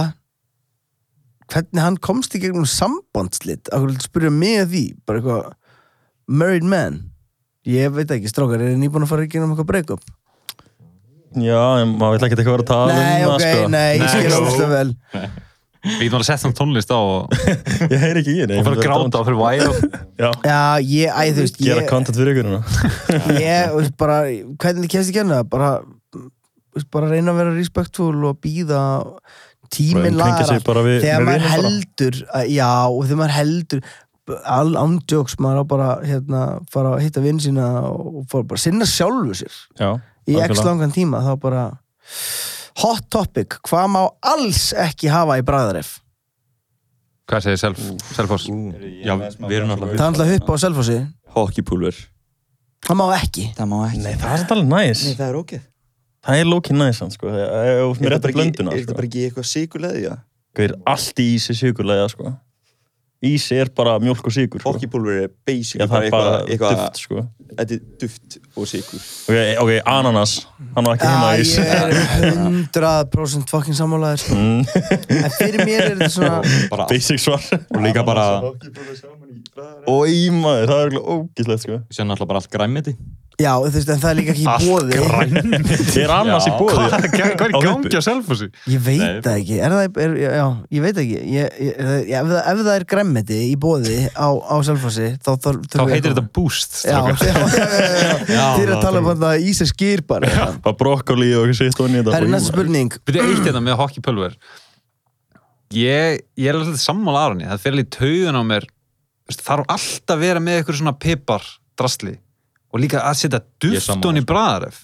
Speaker 1: hvernig hann komst í gegnum sambandslit Akkur viltu spyrja mig að því bara eitthvað married man Ég veit ekki, strákar, er nýbúin að fara í gegnum eitthvað break-up?
Speaker 3: Já, en maður vill ekki eitthvað vera að tala
Speaker 1: Nei,
Speaker 3: um
Speaker 1: ok,
Speaker 3: það, sko.
Speaker 1: nei, ég skil
Speaker 2: Nei,
Speaker 1: óslega vel
Speaker 2: Við getum alveg að setja þann tónlist á og,
Speaker 3: Ég heyri ekki í henni.
Speaker 2: og fyrir að gráta og fyrir væl
Speaker 3: Já,
Speaker 1: Já, ég, æ, þú veist,
Speaker 3: gera
Speaker 1: ég,
Speaker 3: content fyrir ykkur hérna.
Speaker 1: ég, þú veist, bara, hvernig kemst ég genna það? Bara, þú veist, bara reyna að vera respectful og býða tíminn
Speaker 3: Bara umkringja
Speaker 1: lagar
Speaker 3: sig
Speaker 1: allt.
Speaker 3: bara við-
Speaker 1: þegar
Speaker 3: með
Speaker 1: maður
Speaker 3: vinum bara.
Speaker 1: heldur að, já, og þegar maður heldur all ándjóks, maður á bara hérna, fara að hitta vinn sína og fara bara að sinna sjálfu sér
Speaker 3: Já,
Speaker 1: í x
Speaker 3: algjörlega.
Speaker 1: langan tíma, þá bara hot topic, hvað má alls ekki hafa í bræðaref
Speaker 2: Hvað segir Self, Selfoss?
Speaker 5: já, við erum náttúrulega
Speaker 1: það er alltaf upp á selfhósi,
Speaker 5: hockeypulver
Speaker 1: það má ekki
Speaker 4: Það má ekki
Speaker 3: Nei, það er samt alveg næs.
Speaker 4: Nei, það er ógeð
Speaker 3: Það er lókin næs, hann, sko. Ef- Ef mér
Speaker 4: Er þetta
Speaker 3: réttar
Speaker 4: bara ekki-
Speaker 3: blönduna,
Speaker 4: Er þetta
Speaker 3: sko.
Speaker 4: bara ekki eitthvað síkuleði, já?
Speaker 3: Gauðir, allt í ísi sigurlega, sko. Ísi er bara mjólk og sigur, sko.
Speaker 4: Hockeypulver er
Speaker 3: Já,
Speaker 4: basically
Speaker 3: það
Speaker 4: bara
Speaker 3: er bara
Speaker 4: eitthvað eitthvað-
Speaker 3: duft, sko.
Speaker 4: Þetta er duft og sikur
Speaker 3: Ok, ok, ananas. Hann var ekki
Speaker 1: Já,
Speaker 3: heima í
Speaker 1: Ah, ég
Speaker 3: ísi. Mm,
Speaker 1: er 100% fucking sammálaður sko. en fyrir mér er þetta svona
Speaker 5: bara
Speaker 3: Basic svar.
Speaker 5: og líka bara
Speaker 3: Ói, maður, það er örugglega ógeðslegt, sko.
Speaker 5: sér náttúrulega bara allt græmiti
Speaker 1: já, þú veist, en það er líka ekki í bóði
Speaker 3: Er ananas í bóði?
Speaker 2: Hvað er í gangi á Selfossi?
Speaker 1: Ég veit það ekki, er það, er, já, ég veit ekki ég, ég, ég, ef, það, ef það er gremmiti í bóði á, á Selfossi þá, þá,
Speaker 2: Þá heitir þetta Boost
Speaker 1: Já,
Speaker 2: strákar.
Speaker 1: já, já, já, já. Þið eru að tala um þetta í sér skýr bara
Speaker 3: Bara brokkoli og eitthvað sitt og nýta.
Speaker 1: Það er næsta spurning
Speaker 2: Byrja eitt þetta með hockeypulver Ég, ég er alltaf sammála Aroni Það fer alveg í taugun á mér Þú veist, Þarf alltaf að vera með eitthvað svona pipar drasli og líka að setja
Speaker 5: Ég er sammála,
Speaker 2: duftun í bræðaref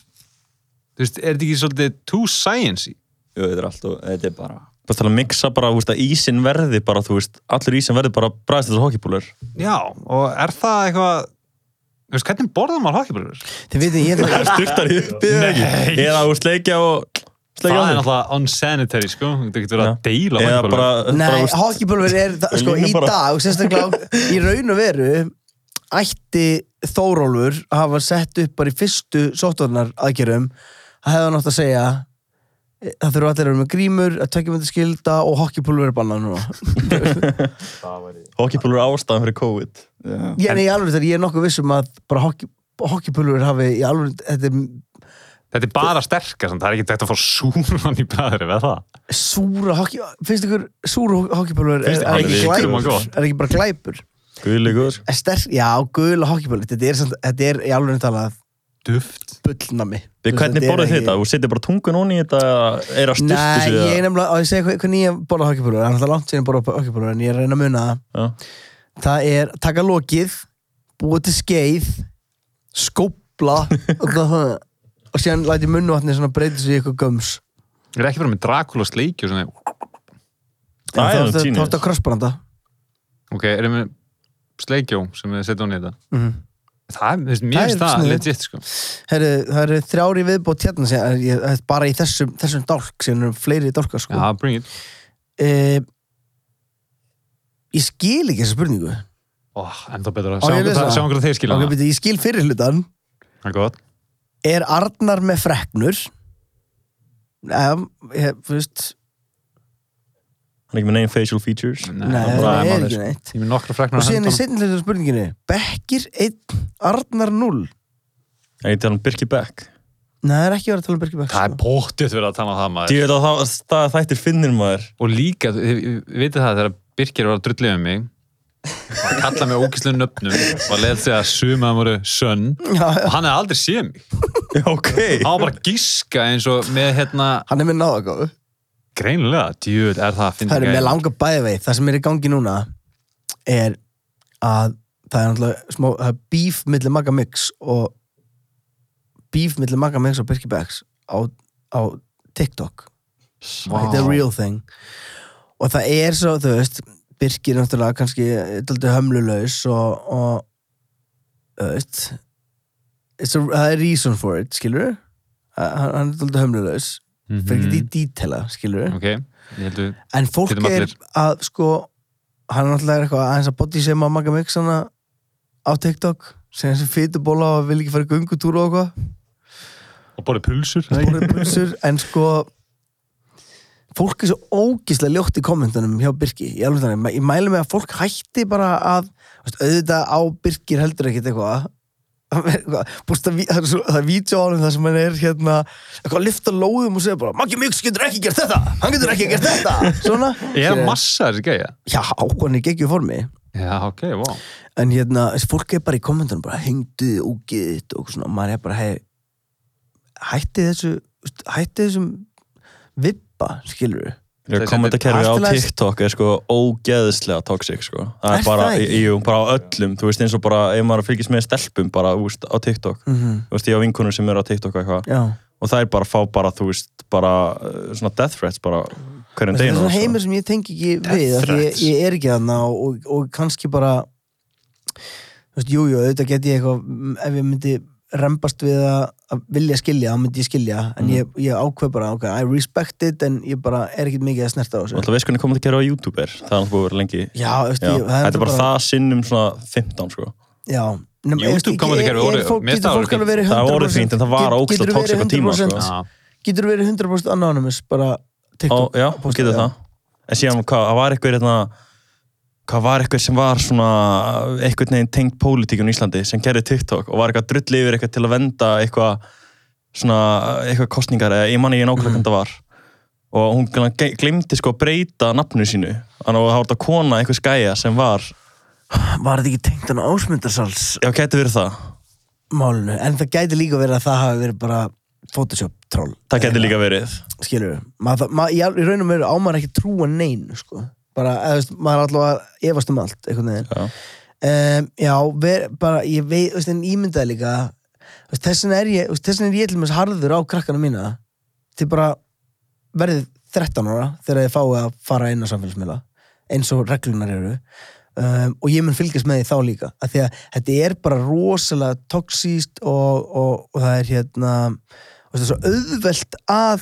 Speaker 2: Þú veist, er þetta ekki svolítið too science
Speaker 4: Jú, þetta er alltaf, þetta er bara
Speaker 3: Það tala að mixa bara, þú veist, að ísin verði bara, þú veist, allur ísin verði bara bræðist þetta hokkipúlar.
Speaker 2: Já, og er það eitthvað Þú veist, hvernig borðar maður hockeypulver?
Speaker 1: Þið veitum, ég er
Speaker 3: Sturtar í uppið eða ekki. Eða, þú veist, leikja og
Speaker 2: Það
Speaker 3: sleikja
Speaker 2: er náttúrulega unsanitary, sko Þú getur verið að deila
Speaker 3: Eða
Speaker 2: hockeypulver
Speaker 3: bara, bara,
Speaker 1: Nei,
Speaker 3: þú veist,
Speaker 1: hockeypulver er það- sko,
Speaker 3: Línu
Speaker 1: í
Speaker 3: bara.
Speaker 1: dag, sérstaklega á- í raun og veru ætti Þórólfur að hafa sett upp bara í fyrstu sóttvarnar aðgerum að hefða nátt að segja e, það þurfa allir að vera með grímur að tökjumöndu skilda og hockeypulver er bannað núna
Speaker 3: hockeypúlar er ástæðan fyrir COVID.
Speaker 1: um ég, en, ég, alveg, ég er nokkuð vissum að bara hockey- hockeypulver hafi í alveg þetta er
Speaker 2: Þetta er bara sterkar, samt, það er ekki þetta að fá súran í bræður eða það.
Speaker 1: Súra hockey, finnst ykkur súra hockeypölver er,
Speaker 3: Finnst
Speaker 1: er,
Speaker 3: ykkur
Speaker 1: ekki
Speaker 3: alveg
Speaker 1: glæpur?
Speaker 3: sko.
Speaker 2: ykkur gott?
Speaker 1: er ekki bara glæpur
Speaker 3: Guðlegur.
Speaker 1: En sterk, já, gula hockeypölver þetta, er samt- þetta er í alveg talað
Speaker 2: Duft.
Speaker 1: bullnami
Speaker 3: Við hvernig borðið þið þetta? Þú setið bara tungun onni í þetta, er að styrta
Speaker 1: Nei,
Speaker 3: sig
Speaker 1: ég er nefnilega, og ég segi hva- hvernig ég borða hockeypölver það er alltaf langt síðan ég borða hockeypölver en ég er að reyna að muna það
Speaker 3: Já.
Speaker 1: það er taka lokið búa til skeið skópla og, það- og síðan læti munnuvatni svona breyta sig í eitthvað göms
Speaker 2: Ég er ekki bara með Dracula sleikju og svona,
Speaker 3: Það er
Speaker 1: En
Speaker 3: nú
Speaker 1: þá
Speaker 3: genius.
Speaker 1: þá ertu að krossbranda
Speaker 2: ok, erum við sleikjó sem við setjum hún í þetta.
Speaker 1: Mhm.
Speaker 2: Það er, þú veist,
Speaker 1: Það
Speaker 2: mér
Speaker 1: er
Speaker 2: finnst það
Speaker 1: sniðugt.
Speaker 2: legit, sko.
Speaker 1: Herru, það eru þrjári viðbót hérna sem, er, ég, þetta er bara í þessum, þessum dálk sem eru fleiri dálkar sko.
Speaker 2: Já, bring it.
Speaker 1: Eh, ég skil ekki þessa spurningu
Speaker 2: Ó, ennþá betra.
Speaker 1: Á, ég lesa það.
Speaker 2: Sjáum hvernig þeir skilja
Speaker 1: okay,
Speaker 2: það.
Speaker 1: beti, ég skil fyrir hlutan
Speaker 2: Það er gott.
Speaker 1: er Arnar með freknur eða, ég, þú veist
Speaker 3: Hann er ekki með negin facial features.
Speaker 2: Nei,
Speaker 1: nei,
Speaker 2: það er
Speaker 1: það
Speaker 2: bara
Speaker 1: er
Speaker 2: málið,
Speaker 1: ekki
Speaker 2: sko.
Speaker 1: neitt
Speaker 2: Ég er með nokkra freknar
Speaker 1: og
Speaker 2: að
Speaker 1: síðan í
Speaker 2: höndunum.
Speaker 1: seinni hluta spurninginni Bekkir 1, Arnar 0
Speaker 3: En ég tala um Birki Beck.
Speaker 1: Nei, það er ekki verið að tala um Birki Bekk
Speaker 2: Það er bóttið verið að tala um það, maður.
Speaker 3: Því að það, það þættir finnir maður.
Speaker 2: og líka, þið- þið vitið það þegar Birkir var að drullið um mig var að kalla mig ógíslun nöfnum og leðið segja að suma það voru sönn
Speaker 1: Já, já.
Speaker 2: og hann hefði aldrei séð mig
Speaker 3: Já, ok.
Speaker 2: hann var bara að gíska eins og með hérna
Speaker 1: Hann er með náðagóðu
Speaker 2: greinilega, djúð, er það að finna
Speaker 1: Það er með langa bæðið Það sem er í gangi núna er að það er náttúrulega smá, það er bíf millir Magga Mix og bíf millir Magga Mix og Birki Becks á, á TikTok Þetta er real thing og það er svo, þú veist Birki er náttúrulega kannski daldið hömlulaus og, og þú veist it's a, það er reason for it, skilur við hann hann er daldið hömlulaus
Speaker 2: Mhm.
Speaker 1: fyrir ekki því dítela, skilur við
Speaker 2: ok, ég heldur
Speaker 1: En fólk
Speaker 2: Getum
Speaker 1: er
Speaker 2: allir.
Speaker 1: að sko hann er náttúrulega eitthvað aðeins að body sem að maga mig svona á TikTok sem þessi fytubóla og vil ekki fara í göngutúr og eitthvað
Speaker 2: og borðið pulsur
Speaker 1: Borið pulsur, en sko fólk er svo ógislega ljótt í kommentunum hjá Birki ég, alveg þannig, ég mæli mig að fólk hætti bara að þú veist, auðvitað á Birkir heldur ekkit eitthvað Búst, það, það er, svo, það er vídeo á hann það sem hann er hérna eitthvað að lyfta lóðum og segja bara Maggi Mjöks getur ekki gert þetta, hann getur ekki gert þetta svona
Speaker 2: er
Speaker 1: Skilurðu?
Speaker 2: massa þessi gæja
Speaker 1: Já, hann er geggjum formi
Speaker 2: já, ok, wow
Speaker 1: En hérna, þessi fólk er bara í kommentunum bara hengduði ógið þitt og eitthvað svona og maður er bara, hei hætti þessu, veist, hætti þessum vippa, skilur við
Speaker 3: Já, kommentakerfi á
Speaker 1: Allt í lagi.
Speaker 3: TikTok er sko ógeðslega toxic sko. Það
Speaker 1: Er
Speaker 3: er bara,
Speaker 1: það ekki?
Speaker 3: jú, bara á öllum, þú veist eins og bara ef maður fylgist með stelpum bara úst, á TikTok
Speaker 1: -hmm.
Speaker 3: þú veist, ég á vinkunum sem eru á TikTok og eitthvað
Speaker 1: Já,
Speaker 3: og það er bara að fá bara, þú veist, bara uh, svona death threats bara hverjum
Speaker 1: það er
Speaker 3: deginu
Speaker 1: svona
Speaker 3: sko.
Speaker 1: heimur sem ég tengi ekki við af því ég,
Speaker 3: threats.
Speaker 1: ég er ekki þarna og, og, og kannski bara þú veist, jújú, jú, auðvitað get ég eitthvað m, ef ég myndi rembast við að, að vilja skilja, þá myndi ég skilja en ég, ég ákveð bara, ok, I respect it en ég bara er ekkert mikið að snerta á
Speaker 3: og
Speaker 1: þessu
Speaker 3: alltaf veist hvernig kommentakerfi á YouTube er það er alltaf búið að vera lengi
Speaker 1: Já, þú veist,
Speaker 3: Já.
Speaker 1: ég, það
Speaker 3: þetta er bara það sinnum svona 15 sko.
Speaker 1: Já Nefnum,
Speaker 2: YouTube kommentarkerfi voru- mér
Speaker 1: Getur
Speaker 2: það
Speaker 1: fólk
Speaker 2: voru
Speaker 1: alveg verið 100%
Speaker 3: fínt. Það voru fínt, en það var
Speaker 1: get- getur
Speaker 3: ógeðslega
Speaker 1: verið
Speaker 3: toxic á tíma, sko.
Speaker 1: 100% Getur verið 100% anonymous bara
Speaker 3: Ó,
Speaker 1: TikTok
Speaker 3: já,
Speaker 1: posta,
Speaker 3: getur það en síðan, hvað það var eitthvað hérna, hvað var eitthvað sem var svona eitthvað neginn tengt pólitíkun í Íslandi sem gerði TikTok og var eitthvað drull yfir eitthvað til að venda eitthvað svona, eitthvað kostningar eða ég manni ég nákvæmlega hvernig það var og hún gl- ge- gleymdi sko að breyta nafnu sínu þannig að það var þetta kona eitthvað skæja sem var
Speaker 1: Var þetta ekki tengt hann ásmundarsals
Speaker 3: já, gæti verið það
Speaker 1: málinu En það gæti líka verið að það hafi verið bara Photoshop troll
Speaker 3: það gæti líka verið
Speaker 1: Skilur maður, það- maður, Í al- í raun og veru á maður ekki að trúa neinu sko. Bara, eða, þú veist, maður er allavega að efast um allt einhvern veginn
Speaker 3: já,
Speaker 1: um, já, ver, bara ég vei, veist, en ímyndaði líka þú veist, þess vegna er ég, þú veist, þess vegna er ég til mjög harður á krakkana mína til bara verðið 13 ára þegar ég fái að fara inn á samfélagsmiðla eins og reglunar eru um, og ég mun fylgjast með því þá líka af því að þetta er bara rosalega toxíst og, og, og það er hérna þú veist, það er svo auðvelt að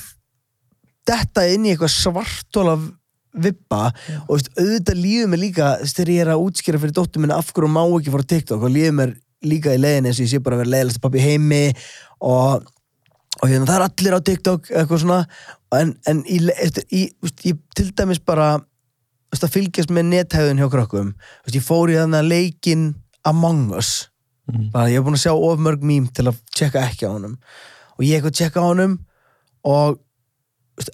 Speaker 1: detta inn í eitthvað svartóla vippa og þú veist, auðvitað líður mér líka þú veist, þegar ég er að útskýra fyrir dóttur minna af hverju hún má ekki fara á TikTok og líður mér líka í leiðin eins og ég sé bara að vera leiðilegst pappi heimi og, og hérna, það er allir á TikTok eitthvað svona en, en í, le- eftir, í, þú veist, ég til dæmis bara þú veist, að fylgjast með nethæðun hjá krökkum Þú veist, ég fór í þannig að leikin Among Us
Speaker 3: Mhm.
Speaker 1: bara ég er búin að sjá of mörg mím til að tjekka ekki á honum og og ég eitthvað tjekka á honum og veist,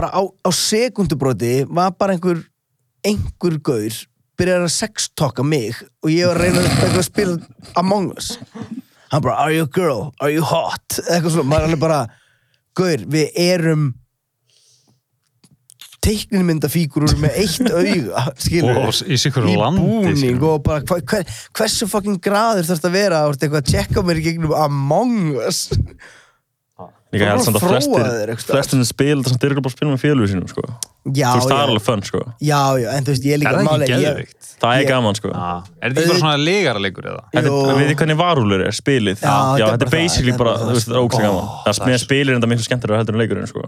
Speaker 1: bara á, á sekundubróti var bara einhver einhver gaur byrjar að sextokka mig og ég var að reyna eitthvað að spila Among Us hann bara, are you a girl, are you hot eitthvað svona, maður er alveg bara gaur, við erum teiknumyndafígurur með eitt auga skilur
Speaker 2: Og í sikkur landi, sko.
Speaker 1: í
Speaker 2: skilurðu.
Speaker 3: sko.
Speaker 1: búning og bara hva, hver, hversu fucking graður þarf þetta að vera þú ert eitthvað að tjekka á mér í gegnum Among Us
Speaker 3: Líka
Speaker 1: Það
Speaker 3: ég
Speaker 1: er
Speaker 3: held samt að
Speaker 1: bara að þróa
Speaker 3: flestir,
Speaker 1: þér einhvers staðar.
Speaker 3: flestir sem spila þetta samt eru bara að spila með félögu sínum, sko.
Speaker 1: já,
Speaker 3: þú veist, það er
Speaker 1: já,
Speaker 3: alveg fönn, sko.
Speaker 1: já, já, en þú veist, ég er
Speaker 2: Er
Speaker 1: líka
Speaker 2: það ekki
Speaker 1: málega- ég-
Speaker 2: geðvikt?
Speaker 3: Það
Speaker 1: Ég-
Speaker 3: er gaman, sko.
Speaker 2: Ah, er þetta ekki bara svona legaralegur eða?
Speaker 3: Þetta
Speaker 1: Jú.
Speaker 3: er, við þið hvernig varúlur er spilið
Speaker 1: Já, þetta er
Speaker 3: þetta er
Speaker 1: bara
Speaker 3: basically
Speaker 1: það,
Speaker 3: bara,
Speaker 1: þetta er bara
Speaker 3: þú veist, það er ógæslega
Speaker 2: Ó,
Speaker 3: gaman það er með spilir en það er miklu skemmtilega heldur en leikurinn, sko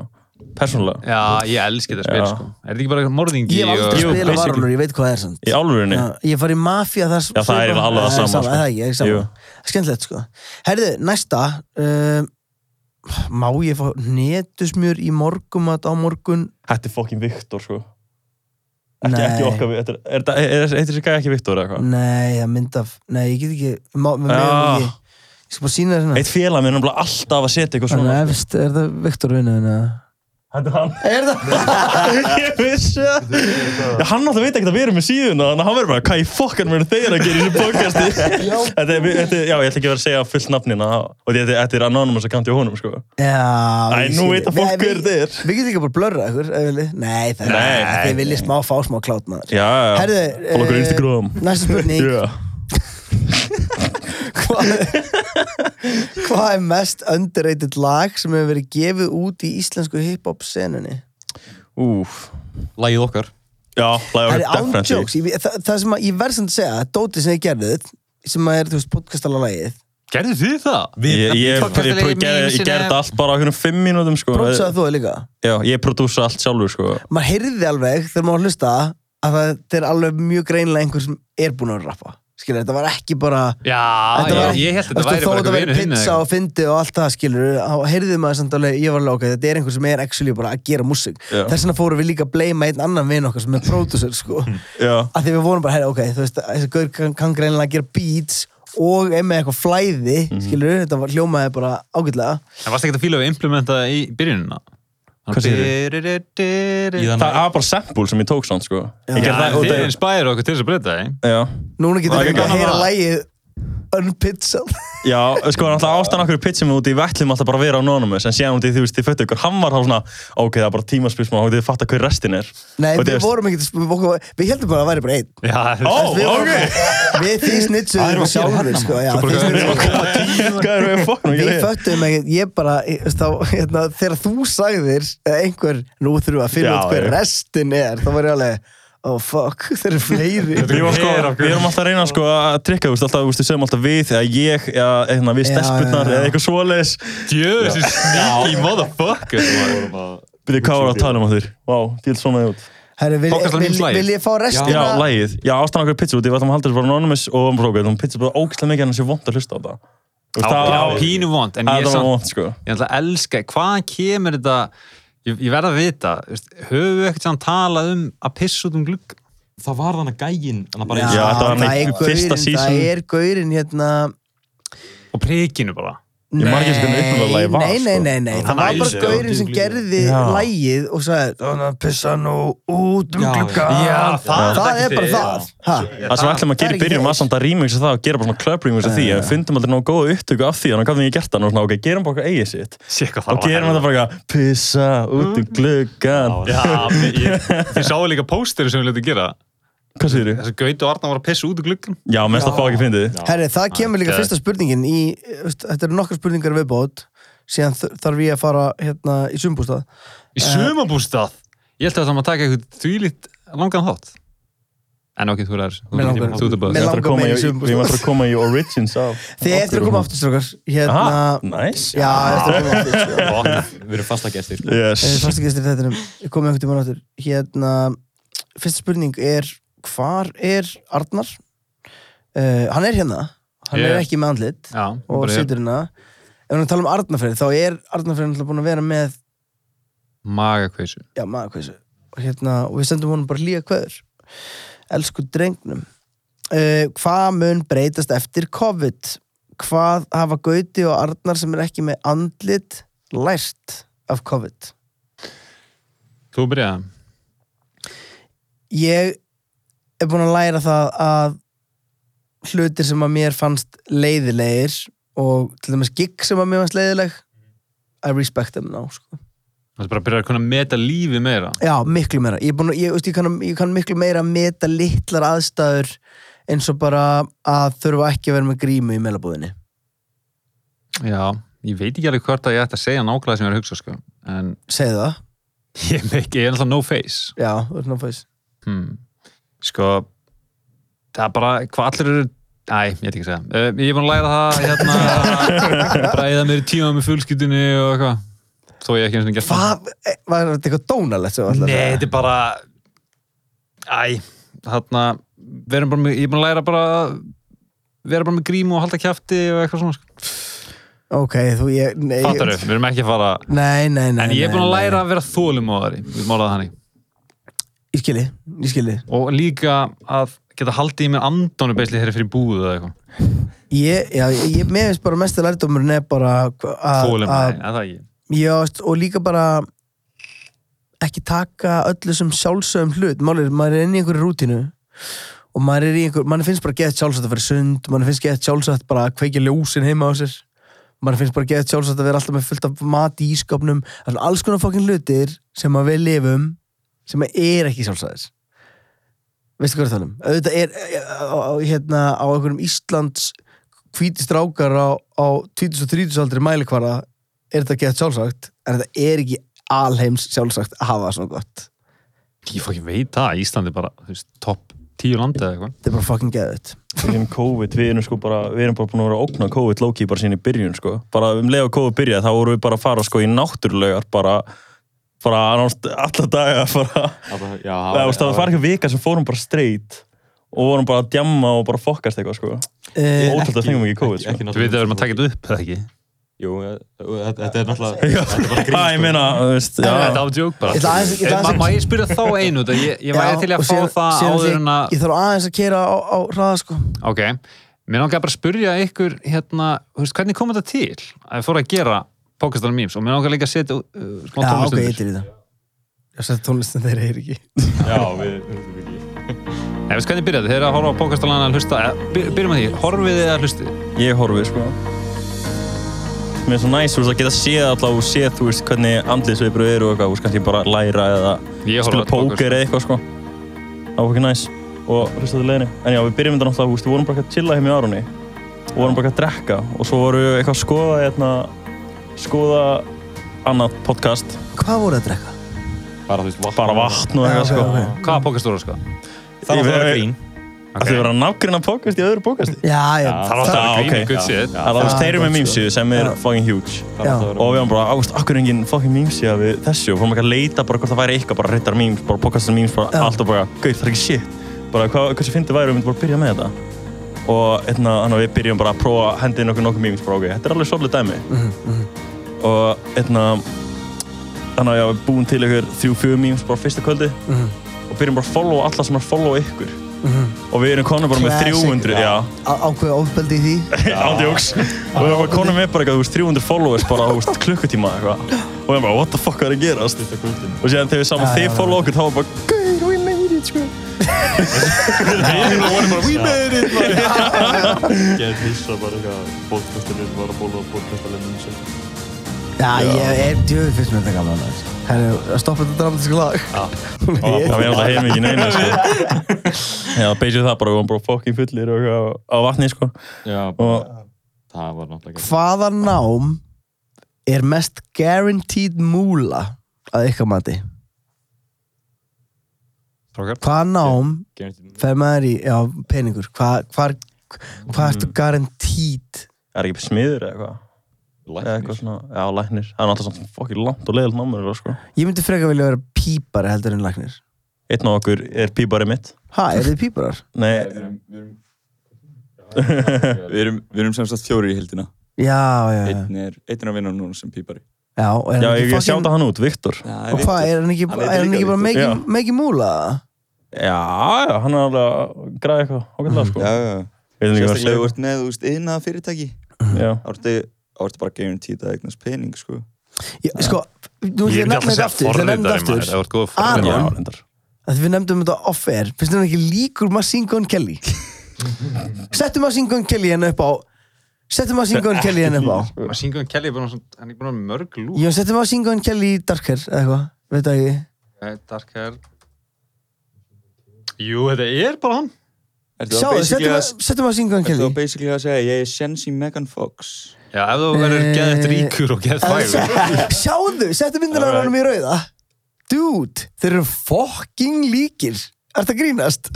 Speaker 3: persónulega,
Speaker 2: Já, ég elski þetta spil
Speaker 3: Já.
Speaker 2: sko. Er þetta ekki bara morðingi?
Speaker 1: ég hef aldrei
Speaker 3: Jú,
Speaker 1: spilað
Speaker 3: basically.
Speaker 1: varulur, ég veit hvað það er samt
Speaker 3: í álfurinni
Speaker 1: Já, ég fari í mafía þar
Speaker 3: Já, það er eiginlega alveg það sama, sko.
Speaker 1: Það er ekki, það er
Speaker 3: Jú.
Speaker 1: sama Það er Skemmtilegt, sko Herðu, næsta um, Má ég fá netusmjör í morgumat á morgun?
Speaker 3: Þetta er fokkin Viktor, sko ekki, ekki okkar, Vi- þetta er, er, er, er, er heitir þessi gæði ekki Viktor eða hvað
Speaker 1: Nei, það mynd af Nei, ég get ekki Má, við
Speaker 3: Já.
Speaker 1: meðum ekki Ég skal bara sína þér
Speaker 3: Ah. eitt félag minn er nefnilega alltaf að setja eitthvað
Speaker 1: hérna
Speaker 3: svona
Speaker 1: Efst, er það Viktor vinnuðin eða?
Speaker 3: Þetta er hann
Speaker 1: Er það?
Speaker 3: Ég vissi það Já, Hann náttúrulega veit ekkert að við erum með síðuna Þannig að hann verður bara Hvað í fokkanum eru þeir að gera í þessu podcasti Þetta er, þetta er, já, ég ætla ekki að vera að segja fullt nafnina Og þetta er, þetta er anonymous account í honum, sko
Speaker 1: Já
Speaker 3: Æ,
Speaker 1: ég
Speaker 3: nú
Speaker 1: skil
Speaker 3: veit
Speaker 1: þig.
Speaker 3: að fólk
Speaker 1: Nei,
Speaker 3: hver
Speaker 1: við-
Speaker 3: þetta er.
Speaker 1: Við getum ekki bara blörra ykkur, ef vilji Nei, það
Speaker 3: Nei,
Speaker 1: er Þið viljið smá fá smá klát maður
Speaker 3: Já, já, já
Speaker 1: Herðu,
Speaker 3: Fólk okkur
Speaker 1: eh,
Speaker 3: Instagram
Speaker 1: Næsta spurning
Speaker 3: Já
Speaker 1: hvað hvað er mest underrated lag sem hefur verið gefið út í íslensku hiphop senunni?
Speaker 3: Úf
Speaker 5: Lægið okkar
Speaker 3: Já, hlæði
Speaker 1: Það
Speaker 3: okkur
Speaker 1: er ándjóks,
Speaker 3: definitely
Speaker 1: það, það sem að, ég verð samt að segja, dótið sem þið gerðuð, sem að er, þú veist, podcastala lagið,
Speaker 2: Gerðu þið það?
Speaker 3: Ég, ég, ég,
Speaker 2: Fuck,
Speaker 3: ég,
Speaker 2: þetta er
Speaker 3: ég, gerði-
Speaker 2: mín
Speaker 3: ég gerði
Speaker 2: sinni.
Speaker 3: þetta allt bara á hvernig fimm mínútum sko.
Speaker 1: prótsaði þú það líka.
Speaker 3: Já, ég prodúsa allt sjálfur sko.
Speaker 1: Maður heyrði alveg, þegar maður var að hlusta, að það þetta er alveg mjög greinlega einhver sem er búinn að rappa. Skilur, þetta var ekki bara...
Speaker 2: Já,
Speaker 1: Þetta
Speaker 2: já,
Speaker 1: var-
Speaker 2: ég held að
Speaker 1: Þú veist,
Speaker 2: þetta væri
Speaker 1: þó þetta
Speaker 2: bara eitthvað
Speaker 1: væri
Speaker 2: vinnu hinn
Speaker 1: pizza og fyndi og allt það skilur þá heyrðið maður samt alveg, ég var alveg okkar þetta er einhver sem er actually bara að gera músík
Speaker 3: Já.
Speaker 1: þess vegna fórum við líka að bleima einn annan vin okkar sem er producer sko
Speaker 3: Já,
Speaker 1: að því við vorum bara, herri, ok, þú veist þessi gaur kann, kann greinlega að gera beats og er með eitthvað flæði,
Speaker 2: Mhm.
Speaker 1: skilur þetta var, hljómaði bara ágætlega
Speaker 2: En varst ekki að fíla að implementa það í byrjunina?
Speaker 3: Hvað
Speaker 2: segir
Speaker 5: Í
Speaker 2: þið?
Speaker 5: þann-
Speaker 3: það var bara sample sem ég tók samt sko. Ég gerði það út
Speaker 2: Þið
Speaker 3: af
Speaker 2: inspire okkur til þess að breyta það, eh?
Speaker 3: Já,
Speaker 1: núna getur
Speaker 3: Það er
Speaker 1: við að
Speaker 2: gaman
Speaker 1: heyra
Speaker 2: að-
Speaker 1: lægið unpizzað
Speaker 3: já sko, náttúrulega ástæðan okkur pitchum við út í við ætlum alltaf bara að vera á anonymous en síðan út í því, þú veist, þið föttu ykkur hann var þá svona, ok, það er bara tímaspilsmá og þið fatta hver restin er
Speaker 1: Nei,
Speaker 3: Og þið
Speaker 1: við
Speaker 3: veist-
Speaker 1: vorum ekkert, við, okkur- við heldum bara að það væri bara einn
Speaker 2: Já,
Speaker 3: Ó,
Speaker 1: Við vorum
Speaker 3: ok
Speaker 1: bara- Við því
Speaker 5: Það er
Speaker 1: snitsuðum
Speaker 5: að gera
Speaker 1: sjálfur
Speaker 5: þarna,
Speaker 1: sko, já,
Speaker 3: Svo bara,
Speaker 1: þið
Speaker 3: hvað-
Speaker 1: snitsuðum
Speaker 3: Hvað erum við að fokna að
Speaker 1: Við
Speaker 3: gera hér?
Speaker 1: föttum ekkert, ég bara, ég- veist, þá, hérna, þegar þú sagðir eða einhver, nú þurfum við að finna
Speaker 3: Já,
Speaker 1: út hver
Speaker 3: já.
Speaker 1: restin er, þá var ég alveg, oh fuck, þeir eru fleiri.
Speaker 3: Við erum, sko,
Speaker 2: Hver af
Speaker 3: við erum alltaf að reyna sko, að trikka, þú veist, alltaf, þú veist, við segjum alltaf við eða ég, eða eða við
Speaker 1: Já,
Speaker 3: stelpunnar
Speaker 1: já, já.
Speaker 3: eða eitthvað svoleiðis
Speaker 2: Djöðu, þessi sneaky motherfucker maður.
Speaker 3: Byrju, hvað var að tala um á þér? Vá, því er svona út
Speaker 1: Herru, vil,
Speaker 2: Fokast á
Speaker 1: vil,
Speaker 2: mín slagið.
Speaker 1: vil ég fá restina?
Speaker 3: Já, lægið. Já, ástæðan okkur pitchur út, ég var það að halda þessu bara anonymous og um brókið, þú pitchur bara ógæslega mikið en það sé vond að hlusta á það. Þú veist,
Speaker 2: Já,
Speaker 3: það-
Speaker 2: pínu vond, en ég
Speaker 3: Það það var
Speaker 2: samt
Speaker 3: vond, sko.
Speaker 2: ég ætla að elska, hvaðan kemur þetta ég, ég verð að vita þú veist, höfum við ekkert saman talað um að pissa út um glugg
Speaker 5: Það var þannig gægin En það bara
Speaker 3: Já, þetta var
Speaker 1: það
Speaker 3: hann
Speaker 1: er
Speaker 3: í fyrsta
Speaker 1: gaurinn,
Speaker 3: season.
Speaker 1: það er gaurinn, hérna,
Speaker 2: og prikinu bara
Speaker 3: Ég man ekki einu sinni hvernig upprunalega lagið var,
Speaker 1: nei, nei,
Speaker 3: sko.
Speaker 1: nei, nei, það
Speaker 2: Hann
Speaker 1: var bara
Speaker 2: æsir.
Speaker 1: gaurinn sem gerði
Speaker 3: Já.
Speaker 1: lægið og sagði, þannig að pissa nú út um
Speaker 5: Já, já.
Speaker 1: gluggan.
Speaker 2: Já, það er
Speaker 1: það
Speaker 2: ekki
Speaker 1: er bara
Speaker 2: þið.
Speaker 1: það. Ha?
Speaker 3: Það sem við ætlum að
Speaker 1: það er
Speaker 3: gera í
Speaker 1: ekki
Speaker 3: byrjun var samt að remix það og gera bara svona club remix af því, en við fundum aldrei nógu góða upptöku af því, þannig að gafum við ekki gert það og svona, ok, gerum bara okkar eigið sitt.
Speaker 2: sé hvað
Speaker 3: Og
Speaker 2: það
Speaker 3: gerum þetta bara eitthvað, pissa út
Speaker 1: Mm.
Speaker 3: um gluggan.
Speaker 2: Já, þið sáu líka pósteri sem við letum gera
Speaker 3: Hvað segir
Speaker 2: Þessi Gauti og Arna var að pissa út um í gluggan
Speaker 3: Já, mest að fá ekki fyndið.
Speaker 1: Herri, það kemur líka
Speaker 2: geðveikt.
Speaker 1: fyrsta spurningin í, veist, þetta eru nokkar spurningar viðbót síðan þ- þarf ég að fara hérna í sumbústað
Speaker 2: Í sumabústað Eh, Ég held að það maður taka eitthvað þvílít langan þátt En ok, þú er aðeins
Speaker 1: Mig langar-
Speaker 2: Þú ert
Speaker 1: mig
Speaker 2: bara
Speaker 1: langar-
Speaker 3: Ég ætla að koma
Speaker 1: meira í
Speaker 3: í-
Speaker 1: sumarbústað.
Speaker 3: ég ætla að koma í origins af.
Speaker 1: Þið eftir að koma aftur strókar hérna,
Speaker 3: Aha, nice.
Speaker 1: Já, eftir að koma aftur sko.
Speaker 5: Við erum fasta gestir
Speaker 1: Eh,
Speaker 3: Yes.
Speaker 1: Fyrsta gestur í þettinum, ég komið einhvern tímann aftur Hérna, fyrsta spurning er Hvar er Arnar? Uh, hann er hérna Hann
Speaker 2: Ég-
Speaker 1: er ekki með andlit
Speaker 2: Já,
Speaker 1: og
Speaker 2: bara ég-
Speaker 1: situr hérna Ef hann tala um Arnarfrið, þá er Arnarfrið náttúrulega búin að vera með
Speaker 2: magakveisu
Speaker 1: já maður hvað þessu og, hérna, og við sendum honum bara líka kveður Eh, elsku drengnum uh, hvað mun breytast eftir COVID hvað hafa Gauti og Arnar sem er ekki með andlit lært af COVID?
Speaker 2: Þú byrjaði.
Speaker 1: Ég er búin að læra það að hlutir sem að mér fannst leiðilegir og til dæmis gig sem að mér fannst leiðileg I respect them now sko.
Speaker 2: Það er bara að byrja að kunna meta lífi meira.
Speaker 1: Já, miklu meira. Ég, er búinn að, ég, veist, ég, kann, ég kann miklu meira að meta litlar aðstæður eins og bara að þurfa ekki að vera með grímu í meilabúðinni.
Speaker 2: Já, ég veit ekki alveg hvort að ég ætti að segja nákvæmlega sem ég er að hugsa, sko. En
Speaker 1: Segðu það.
Speaker 2: ég er ekki, ég er alltaf no face.
Speaker 1: Já, þú ert náfæs.
Speaker 2: Hmm. Sko, það er bara, hvað allir eru... Æ, ég veit ekki að segja. Uh, ég er búin að læra það, hérna, bræða mér í tíma með fullskiptunni og eitthvað. Þó ég hef ekki eins og gert það.
Speaker 1: Hvað? Eh, Var þetta eitthvað dónalegt sem þú ætlar
Speaker 2: Nei, þetta er bara Æ, þarna við erum bara með, ég er búin að læra bara að vera bara með grímu og halda kjafti og eitthvað svona, sko.
Speaker 1: Ok, þú, ég... Nei, ég-
Speaker 2: fattar við erum ekki að fara
Speaker 1: Nei, nei, nei.
Speaker 2: en ég er
Speaker 1: nei,
Speaker 2: búin að
Speaker 1: nei.
Speaker 2: læra að vera þólum á þari við málaði þannig,
Speaker 1: Ég skilji, ég skilji.
Speaker 2: og líka að geta haldið í mér andónu beisli þegar ég fyrir búið eða eitthvað,
Speaker 1: Ég, já, ég, ég- mér finnst bara mestu lærdómurinn er bara hva- að...
Speaker 2: þólum
Speaker 1: að-
Speaker 2: að það er ekki,
Speaker 1: Já, veist, og líka bara ekki taka öllu sem sjálfsögum hlut Málið, er, maður er inn í einhverju rútínu og maður er í einhver, mann finnst bara gett sjálfsagt að vera sund mann finnst gett sjálfsagt bara að kveikja ljósin heima á sér mann finnst bara gett sjálfsagt að vera alltaf með fullt af mat í ískapnum Það er alls konar fokkin hlutir sem að við lifum sem að er ekki sjálfsagðis veistu hvað er þannig? auðvitað er eh, á, á, hérna, á einhverjum Íslands hvíti strákar á, á 20-30 aldri mælikvara er þetta gett sjálfsagt en þetta er ekki alheims sjálfsagt að hafa það svona gott
Speaker 2: ég fór ekki veit það Íslandi bara, þú veist, topp tíu landi eða eitthvað,
Speaker 1: þetta er bara fucking geðut
Speaker 3: Fyrir COVID, við erum sko bara, við erum bara búin að vera að ógna COVID Loki bara sín í byrjun sko. Bara um leið og COVID byrjaði þá vorum við bara að fara sko í náttúrulegar bara, bara nánast alla daga bara,
Speaker 5: Bara, já,
Speaker 3: það var, það var ekki vika sem fórum bara straight og vorum bara að djamma og bara fokkast eitthvað sko.
Speaker 1: uh,
Speaker 3: Ótrúlega þengum ekki COVID sko.
Speaker 2: þú veit að við erum að taka þetta upp eða ekki,
Speaker 5: Jú, eh, þetta þetta er
Speaker 3: Já,
Speaker 5: náttúrulega
Speaker 3: Já, ég meina, þú veist,
Speaker 2: þetta
Speaker 3: já,
Speaker 2: er ádjók
Speaker 1: Ég ætla
Speaker 2: bara
Speaker 1: aðeins- ég ætla
Speaker 2: Eh,
Speaker 1: aðeins-
Speaker 2: má- má ég spyrja þá einu þetta, ég,
Speaker 1: Eh,
Speaker 2: ég væri til í að fá það
Speaker 1: um
Speaker 2: áður en að
Speaker 1: ég, ég þarf aðeins að kera á, á hraða sko
Speaker 2: Ok, mér langar bara að spyrja ykkur hérna, þú veist, hvernig kom þetta til að þið fóru að gera podcastan memes og mér langar líka að setja uh, smá
Speaker 1: já ok, ég
Speaker 2: tónlistundur
Speaker 1: til í það já, sér tónlistin þeir eru ekki
Speaker 5: Já, við erum ekki
Speaker 2: Ég veist hvernig byrjaði, þeir eru að horfa á podcastan að hlusta eða, by- byrjum að því, horfið þið að hlusti
Speaker 3: ég horfi sko. Mér er svo næs þú veist, að geta séð alltaf og séð þú veist hvernig andliðsveifur eru og eitthvað, þú veist kannski bara læra eða
Speaker 2: Ég horfi
Speaker 3: spila
Speaker 2: á
Speaker 3: póker
Speaker 2: podcast.
Speaker 3: eða eitthvað sko. Það var ekki næs og hlusta til leiðinni. En já, við byrjum þetta náttúrulega, þú veist, við vorum bara eitthvað að chilla heim í árunni og vorum bara eitthvað að drekka og svo vorum við eitthvað að skoða, hérna, skoða annað podcast,
Speaker 1: hvað voru að drekka?
Speaker 5: Bara, þú veist, vatn
Speaker 3: bara vatn og eitthvað
Speaker 1: Já,
Speaker 3: sko.
Speaker 1: ok, ok.
Speaker 2: Hvaða podcast voru sko?
Speaker 5: Það var það grín
Speaker 3: Það er verið að nágrina podcast í öðru podcasti.
Speaker 1: já, já,
Speaker 2: Það var alltaf að
Speaker 3: Já,
Speaker 2: vera grín,
Speaker 3: ok.
Speaker 2: good shit
Speaker 3: Það er alveg
Speaker 1: það er
Speaker 3: þeirri með
Speaker 1: gott, sko.
Speaker 3: mýmsíðu sem er
Speaker 1: Já.
Speaker 3: fucking huge.
Speaker 5: Það var það
Speaker 3: og við varum bara, águst, akkur er enginn fucking memes ég við þessu og fórum ekki að leita bara hvort það væri eitthvað bara reytar memes, bara pokastar memes, bara
Speaker 1: Já.
Speaker 3: allt og bara, gauð, það er ekki shit bara hva, hversu fyndið væri, við myndum bara að byrja með þetta og hérna, þannig að við byrjum bara að prófa að hendi inn okkur nokkuð memes, bara ok, þetta er alveg svolítið dæmi
Speaker 1: Mhm,
Speaker 3: og hérna þannig að já, við búum til ykkur þrjú, fjögur memes bara fyrsta kvöldi
Speaker 1: Mhm.
Speaker 3: og byrjum bara að followa alla sem er að followa ykkur og við erum konum bara með
Speaker 1: Classic.
Speaker 3: 300 já,
Speaker 1: Á- ákveða ofbeldi í því
Speaker 3: ándjóks og við varum konum með bara eitthvað, þú veist, 300 followers bara, þú veist, klukkutíma eða eitthvað og við varum bara, what the fuck, hvað er að gerast og síðan þegar við saman
Speaker 1: Já, já,
Speaker 3: þið
Speaker 1: já.
Speaker 3: follow okkur þá var bara, gauð, we made it, sko við vorum bara, we made it bara.
Speaker 5: Gerð hissa bara eitthvað Podcastarinn var að bóla á podcastarinn sem
Speaker 1: já, ég er djöðu fyrst með þetta gaman maður. Herru, að stoppa þetta dramatíska lag
Speaker 3: og það var alltaf heim ekki neina, sko já, beysið það bara, við varum bara fucking fullir og eitthvað á vatni, sko
Speaker 5: Já, bara,
Speaker 3: og
Speaker 5: það var náttúrulega grín.
Speaker 1: hvaða nám er mest guaranteed múla að ykkar mati?
Speaker 2: Strákar.
Speaker 1: hvaða nám
Speaker 5: Gerðist-
Speaker 1: fer maður í, já, peningur hvað hva, hva
Speaker 2: Mm.
Speaker 1: ertu garantít
Speaker 3: er ekki smiður eða eitthvað eða
Speaker 5: Læknir.
Speaker 3: eitthvað svona, já, læknir það er náttúrulega svona fucking langt og leiðilt námur sko.
Speaker 1: ég myndi freka vilja vera pípari heldur en lagnir
Speaker 3: einn af okkur er pípari mitt
Speaker 1: ha, er þið píparar?
Speaker 3: Nei,
Speaker 4: Við erum, við erum sem sagt fjóri í hildina
Speaker 1: já, já, já,
Speaker 4: Einn er, einn er að vinna núna sem pípari
Speaker 1: já og er
Speaker 3: Já,
Speaker 1: hann
Speaker 3: ég,
Speaker 1: ekki
Speaker 3: ég sjáta
Speaker 1: fucking
Speaker 3: hann út, Viktor. Já,
Speaker 4: Já,
Speaker 1: og hvað, er hann ekki,
Speaker 4: Hann
Speaker 1: er
Speaker 4: heitir
Speaker 1: hann
Speaker 4: líka
Speaker 1: ekki bara
Speaker 4: Viktor.
Speaker 1: making,
Speaker 3: Já.
Speaker 1: making múla
Speaker 3: já, hann er alveg að græða eitthvað ákveðlega, sko.
Speaker 4: Já, já, já
Speaker 3: Við veitum ekki hvað að
Speaker 4: Sérstaklega þú
Speaker 3: segja.
Speaker 4: ert með, þú veist, innað fyrirtæki
Speaker 3: Já.
Speaker 4: þá ertu þá ertu bara guaranteed að eignast pening sko.
Speaker 1: Ég, sko, nú
Speaker 2: Ég
Speaker 1: ætlum ég
Speaker 2: er
Speaker 1: að
Speaker 2: ekki
Speaker 1: nefna
Speaker 2: alltaf
Speaker 1: þetta
Speaker 2: að segja
Speaker 1: aftur, ég ætla að nefna þetta
Speaker 2: forritari maður, það
Speaker 1: aftur.
Speaker 2: var góð
Speaker 1: Aron.
Speaker 2: forritari.
Speaker 3: Já, reyndar.
Speaker 1: að við nefndum þetta off-air finnst þér hann ekki líkur Machine Gun Kelly settum Machine Gun Kelly henni upp á settum Machine Gun Kelly henni upp á
Speaker 2: Machine Gun um Kelly er búin að svona- hann er búin að vera með mörg lúk
Speaker 1: já, settum Machine Gun Kelly í Darker eða eitthvað, veit það ekki
Speaker 2: Eh, Dark Hair Jú, þetta er bara hann
Speaker 4: Ertu
Speaker 1: sjá,
Speaker 4: þá basically
Speaker 1: settum,
Speaker 4: að-
Speaker 1: að, settum Machine Gun
Speaker 4: ertu
Speaker 1: Kelly
Speaker 4: þá basically að segja ég er sjens í Megan Fox
Speaker 2: Já, ef þú verður
Speaker 1: Eh,
Speaker 2: geðið ríkur og geðið fægur
Speaker 1: sjáðu, settum myndina á
Speaker 3: Alright.
Speaker 1: honum í rauða dude, þeir eru fucking líkir Er það grínast?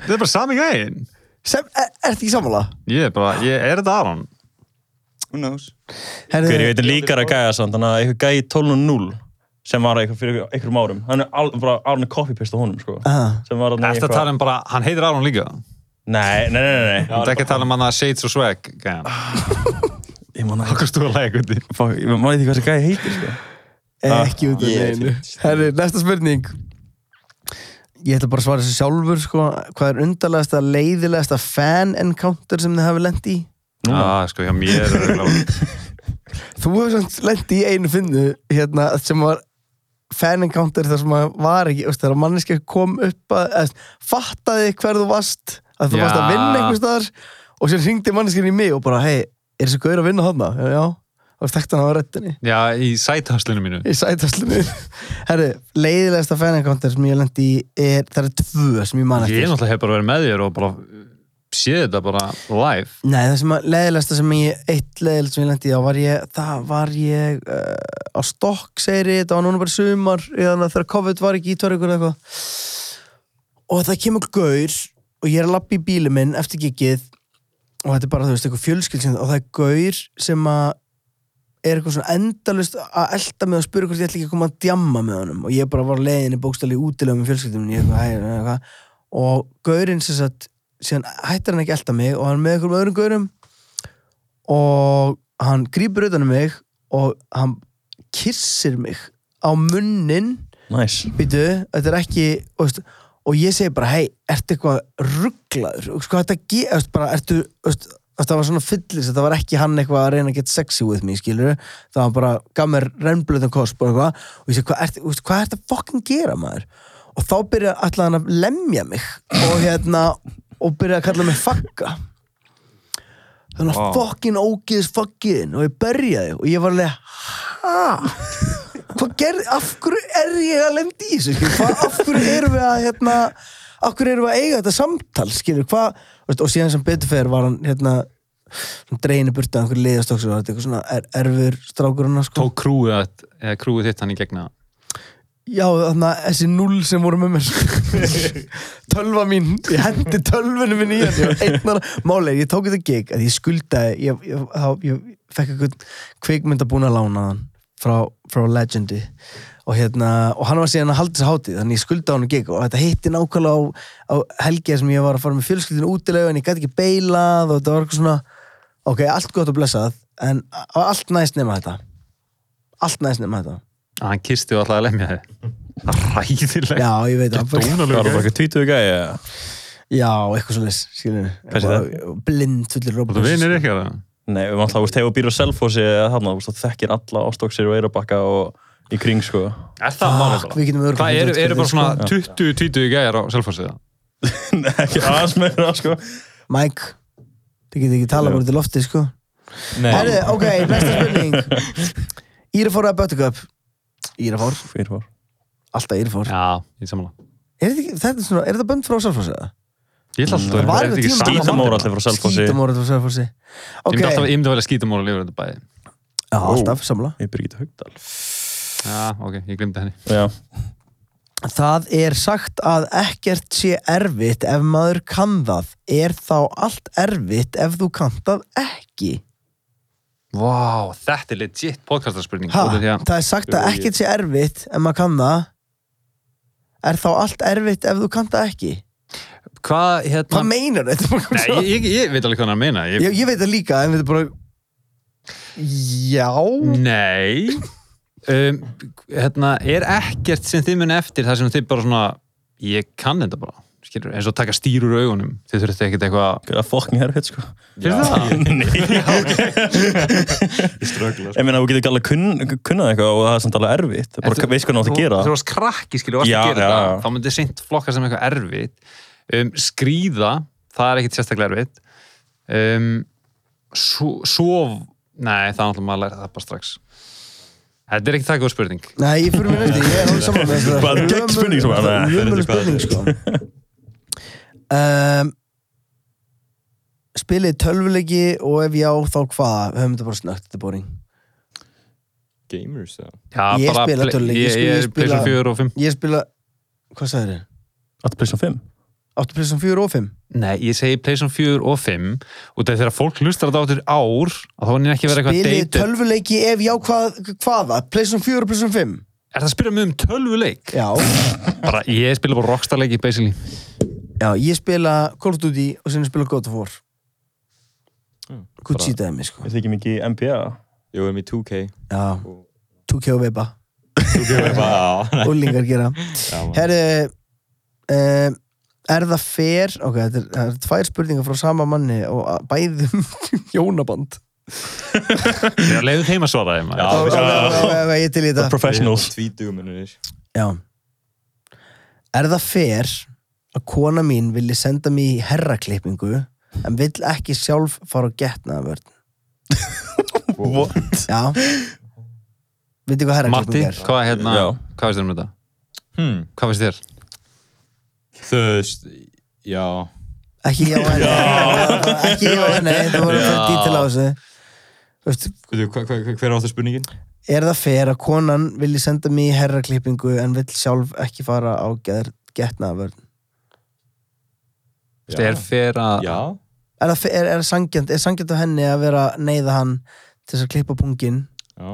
Speaker 2: Þetta er bara sami gæðin
Speaker 1: Sem, er, er ekki sammála?
Speaker 2: Ég er bara, ég er þetta Aron
Speaker 4: who knows
Speaker 1: Herðu,
Speaker 3: Hver, Eh, ég veit en líkar að gæja samt, þannig að eitthvað gæja í 12.0 sem var eitthvað fyrir einhverjum árum. Hann er al, bara árni copy-paste á honum, sko.
Speaker 1: Aha.
Speaker 3: Sem var þarna í
Speaker 2: Þetta
Speaker 3: eitthvað-
Speaker 2: tala um bara, hann heitir Aron líka
Speaker 3: Nei, nei, nei, nei, nei.
Speaker 2: Þetta er ekki að tala um hann að Shades og Swag gæðan
Speaker 3: Ég man ekki,
Speaker 2: Akkur stúið að lægja gutti
Speaker 3: fuck, ég man ekki hvað þessi gæja heitir, sko.
Speaker 1: ekki út af
Speaker 4: Ég er
Speaker 1: neginu
Speaker 4: fínn.
Speaker 1: Herri, næsta spurning Ég ætla bara að svara þessu sjálfur sko. Hvað er undarlegasta, leiðilegasta fan encounter sem þið hafi lent í?
Speaker 2: Já, sko, hjá mér er örugglega-
Speaker 1: Þú hefur samt lent í einu finnu hérna, sem var fan encounter þar sem maður var ekki, veist, þegar manneski kom upp að, að fattaði hver þú varst að þú
Speaker 2: Já.
Speaker 1: varst að vinna einhvers staðar og sér hringdi manneskinn í mig og bara hei, er þessi gaur að vinna hana? Já, það var þekkt hann á röddinni
Speaker 2: Já, í sæthaslinu mínu
Speaker 1: í sætaslunni Herru, leiðilegasta fan encounter sem ég lendi í er, það eru tvö sem ég man
Speaker 2: Ég
Speaker 1: eftir
Speaker 2: náttúrulega hef bara verið með þér og bara uh, séð þetta bara live
Speaker 1: Nei, það sem að leiðilegasta sem ég eitt leiðilegt sem ég lendi í þá var ég, það var ég uh, á stokk segri, þetta var núna bara sumar eða þegar COVID var ekki í törgur eitthvað og það kemur gaur og ég er að lappa í bílum minn eftir gigið og þetta er bara, þú veist, eitthvað fjölskyldsinn og það er gaur sem að er eitthvað svona endalust að elda mig og spura hvort ég ætla ekki að koma að djamma með honum og ég bara var á leiðinni bókstæli útilegum með fjölskyldum minni, ég eitthvað, hæ, hæ, hæ, hæ, og gaurinn sem sagt síðan hættir hann ekki að elda mig og hann er með einhverjum öðrum gaurum og hann grýpur utan um mig og hann kissir mig á munnin
Speaker 3: Næs.
Speaker 1: býtu, þetta er ekki og, veist, og ég segi bara, hei, ertu eitthvað rugglaður, sko þetta ge- þú veist, bara, ertu, þú veist, þetta var svona fyllis þetta var ekki hann eitthvað að reyna að get sexy with me skilur, það var bara, gaf mér rennblöðum kosp og eitthvað, og ég segi, hvað ertu þú veist, hvað ertu að fucking gera maður og þá byrja allan hann að lemja mig og hérna, og byrja að kalla mig fagga þannig að fokkin ógiðis fokkin og ég berjaði og ég var alveg hæ hvað gerði, af hverju er ég að lendi í þessu skilur, hvað, af hverju erum við að hérna, af hverju erum við að eiga þetta samtal skilur, hvað, veist, og síðan sem betur fer var hann hérna dreinu burtu að einhverju liðastokks og var þetta eitthvað svona er, erfur strákur hann sko.
Speaker 2: Tók krúið, að- eða krúið þitt hann í gegna
Speaker 1: já þannig að þessi null sem voru með mér tölva mín, ég hendi tölvunum minn í hann einnar, málega, ég tók þetta gig að ég skuldaði, ég, ég, þá, ég fekk einhvern kvikmynd að búin að lána hann frá, frá Legendi og hérna, og hann var síðan að halda þessi hátíð þannig ég skuldaði hann gig og þetta hitti nákvæmlega á, á helgið sem ég var að fara með fjölskyldinu útilega en ég gæti ekki beilað og þetta var eitthvað svona, ok, allt gott og blessað en a- allt næst nema þetta allt næst nema þetta
Speaker 2: að hann kisti og alltaf að lemja þig Það er ræðilegt
Speaker 1: já, ég veit það
Speaker 3: Það var bara eitthvað 20 gæja.
Speaker 1: Já, eitthvað svona leys, skilur
Speaker 3: Hvað sé
Speaker 1: það? Blind fullir
Speaker 2: Þú
Speaker 1: Robocop
Speaker 2: vinir ekki að það
Speaker 3: Nei, við mannlega, þú veist, hefur býr á Selfossi eða þarna, þú veist, þú þekkir alla ástóksir og eirabakka og í kring, sko.
Speaker 2: Er það málið
Speaker 1: Við
Speaker 2: bara?
Speaker 1: getum örugglega
Speaker 2: Það eru,
Speaker 1: fundið út
Speaker 2: eru bara
Speaker 1: fyrir
Speaker 2: svona 20-20 gæjar á selfhósið
Speaker 3: Nei, ekki aðeins meira, sko.
Speaker 1: sko. Mike, þið getur ekki talað bara til lofti sko
Speaker 5: Nei,
Speaker 1: Herðu, ok, næsta spurning Írafór eða Böttuköp Írafór,
Speaker 3: Fyrirvar.
Speaker 1: alltaf Írafór
Speaker 2: Já, ég samla
Speaker 1: Er þetta, ekki, þetta er svona, er þetta bönd frá Salfossi eða?
Speaker 2: Ég ætla alltaf
Speaker 1: Það var
Speaker 2: er
Speaker 1: einhver
Speaker 2: þetta
Speaker 1: tímabil.
Speaker 2: ekki sama
Speaker 3: Skítamóra
Speaker 2: málið?
Speaker 3: allir frá Selfossi.
Speaker 1: Skítamórið frá Salfossi
Speaker 2: Ég
Speaker 1: Ok,
Speaker 2: myndi alltaf, ég myndi velja skítamóra lifur þetta bæði
Speaker 1: Já, alltaf, samla
Speaker 3: Ég byrgit Haugdal.
Speaker 2: Já, ok, ég glimti henni
Speaker 3: Já.
Speaker 1: Það er sagt að ekkert sé erfitt ef maður kann það Er þá allt erfitt ef þú kann það ekki?
Speaker 2: Vá, þetta er legit podcastarspurning
Speaker 1: Ha,
Speaker 2: út af því að-
Speaker 1: það er sagt að ekkert sé erfitt ef maður kann það Er þá allt erfitt ef þú kann það ekki?
Speaker 2: Hvað,
Speaker 1: Hvað
Speaker 2: hérna
Speaker 1: meinar þetta?
Speaker 2: Nei, ég, ég, ég veit alveg hvað hann er að meina
Speaker 1: ég,
Speaker 2: ég,
Speaker 1: ég veit það líka en við erum bara Já
Speaker 2: Nei um, Hérna, er ekkert sem þið muni eftir þar sem þið bara svona Ég kann þetta bara skilur, eins og taka stýrur úr augunum þið þurfti ekkert eitthvað
Speaker 3: Það er fokkin herfitt, sko.
Speaker 2: Finnst þér það?
Speaker 5: ströggla
Speaker 3: Ég meina, þú getur ekki alveg kun, kunnað eitthvað og það er samt alveg erfitt. Það er bara, veist hvernig þú átt að gera.
Speaker 2: þú varst krakki skilur, varst
Speaker 3: Já,
Speaker 2: að gera
Speaker 3: já,
Speaker 2: þetta
Speaker 3: já.
Speaker 2: þá myndi seint flokka sem eitthvað erfitt um, skrýða, það er ekkit sérstaklega erfitt um, svo, sof nei, það er náttúrulega maður að læra það bara strax þetta er ekki það góð spurning
Speaker 1: Nei, ég fyrir mér nætti, ég er alveg saman með þetta.
Speaker 3: Bara gegn spurning sem var,
Speaker 1: Það er
Speaker 3: nei,
Speaker 1: Mjög mjög
Speaker 5: þetta er
Speaker 1: spurning, sko. Um, spilið tölvuleiki og ef já, þá hvaða? Við höfum þetta bara snögt, þetta er boring.
Speaker 5: gamers eða?
Speaker 2: Já,
Speaker 1: Ég
Speaker 2: bara
Speaker 1: spila
Speaker 2: play-
Speaker 1: tölvuleiki,
Speaker 2: ég,
Speaker 1: sko,
Speaker 2: ég,
Speaker 1: ég
Speaker 2: ég spila
Speaker 1: spila-
Speaker 2: 4 og 5
Speaker 1: Ég spila, hvað sagðið þér?
Speaker 3: Allt plissum fimm.
Speaker 1: 8 plussum 4 og 5?
Speaker 2: Nei, ég segi Playstation 4 og 5 út af þegar fólk hlustar þetta áttur ár að þá er henni ekki verið eitthvað
Speaker 1: Spilið
Speaker 2: deytið
Speaker 1: tölvuleiki ef já, hvað, hvaða? Plussum 4 og plussum 5?
Speaker 2: Er það að spyrja mig um tölvuleik?
Speaker 1: Já.
Speaker 2: Bara, ég spila bara rockstarleiki basically
Speaker 1: Já, ég spila Call of Duty og sinni spila God of War. Gucci dæmi, sko.
Speaker 3: Við þykjum ekki NBA.
Speaker 5: Jú, við erum í 2K
Speaker 1: Já, 2K og Veba.
Speaker 5: 2K er bara
Speaker 1: Úlingar gera.
Speaker 5: Já, maður.
Speaker 1: Herru, um, er það fair, ok, þetta er, það er tvær spurningar frá sama manni og að- bæðum hjónaband.
Speaker 2: Já, leiðu þeim að svara þeim
Speaker 5: Já.
Speaker 1: Já, já, já, já, ég til í þetta.
Speaker 3: Professionals.
Speaker 5: Tvítugum minnir
Speaker 1: Já. Er það fair að kona mín vilji senda mig í herraklippingu en vill ekki sjálf fara á getnaðavörn?
Speaker 3: What?
Speaker 1: Já. Veitir hvað
Speaker 2: Matti,
Speaker 1: herraklipping er?
Speaker 2: hvað hérna,
Speaker 3: Já.
Speaker 2: hvað veist þér um þetta?
Speaker 5: hmm.
Speaker 2: Hvað veist þér?
Speaker 5: Þú veist Já
Speaker 1: Ekki já en nei. Ekki já en nei, það voru fyrir dítil á þessu. Þú veist,
Speaker 5: Veitu, hva, hva, hva, Hver er áttu spurningin?
Speaker 1: Er það fair að konan vilji senda mig í herraklippingu en vill sjálf ekki fara á geðar getnaðavörn?
Speaker 2: Þetta er fyrir að
Speaker 5: Já
Speaker 1: Er það, fe- er, er sangjant, er sangjant á henni að vera að neyða hann til þess að klippa pungin
Speaker 5: Já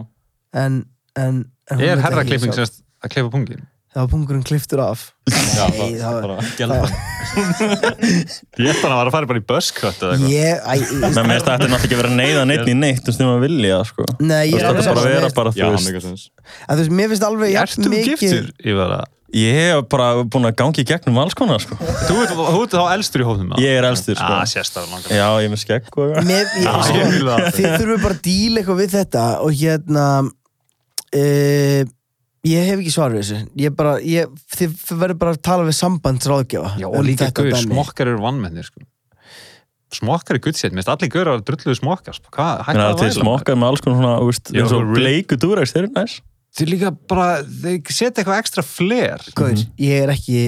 Speaker 1: en, en, en hún vill
Speaker 2: Er
Speaker 1: ekki
Speaker 2: herraklipping
Speaker 1: sjálf?
Speaker 2: sem sagt að klippa pungin?
Speaker 1: Það var pungurinn kliftur af.
Speaker 5: Já,
Speaker 1: Nei,
Speaker 5: bara-
Speaker 1: það var...
Speaker 5: bara gælda
Speaker 2: Ég ætti hann að vera að fara bara í buskvött
Speaker 1: Ég,
Speaker 2: eða
Speaker 1: æ, ég,
Speaker 3: Nei, mér finnst þetta náttúrulega ekki verið að neyða neitt í neitt, þú veist, nema að vilja, sko.
Speaker 1: nei,
Speaker 3: Þú
Speaker 1: ég
Speaker 3: veist,
Speaker 1: er
Speaker 3: þetta
Speaker 1: alveg
Speaker 3: er bara að
Speaker 1: saman
Speaker 3: vera
Speaker 1: með-
Speaker 3: bara,
Speaker 5: Já,
Speaker 3: þú veist.
Speaker 5: mega sens
Speaker 1: En þú veist, mér finnst alveg jafn
Speaker 2: Ertu um giftur? Ég var að
Speaker 3: Ég hef bara búin að gangi í gegnum alls konar, sko.
Speaker 1: Ah.
Speaker 2: Þú ert þú ert þá elstur í hófnum
Speaker 3: Ég er elstur,
Speaker 2: Já,
Speaker 3: sko.
Speaker 2: sérstaklega langar
Speaker 3: Já, ég er með skegg og eitthvað.
Speaker 1: Mér, ég,
Speaker 2: Já,
Speaker 1: sko,
Speaker 2: ég vil það.
Speaker 1: þið þurfum bara að díla eitthvað við þetta og hérna e, ég hef ekki svar við þessu ég bara, ég, þið verður bara að tala við sambandsráðgjafa
Speaker 2: Já,
Speaker 1: um
Speaker 2: og líka
Speaker 1: þetta
Speaker 2: guður,
Speaker 1: dæmi.
Speaker 2: smokkar eru vannmennir sko. Smokkar eru guttsett, minnst allir guður að drulluðu smokkar sko. Hvað,
Speaker 3: Mér
Speaker 2: hættu
Speaker 3: er til
Speaker 2: væla?
Speaker 3: smokkar með alls konar svona, þú veist,
Speaker 2: Já,
Speaker 3: eins og
Speaker 2: svo re-
Speaker 3: bleiku dúræks, þeir eru næs.
Speaker 2: Þeir líka bara, þeir setja eitthvað ekstra fler
Speaker 1: Guður, ég er ekki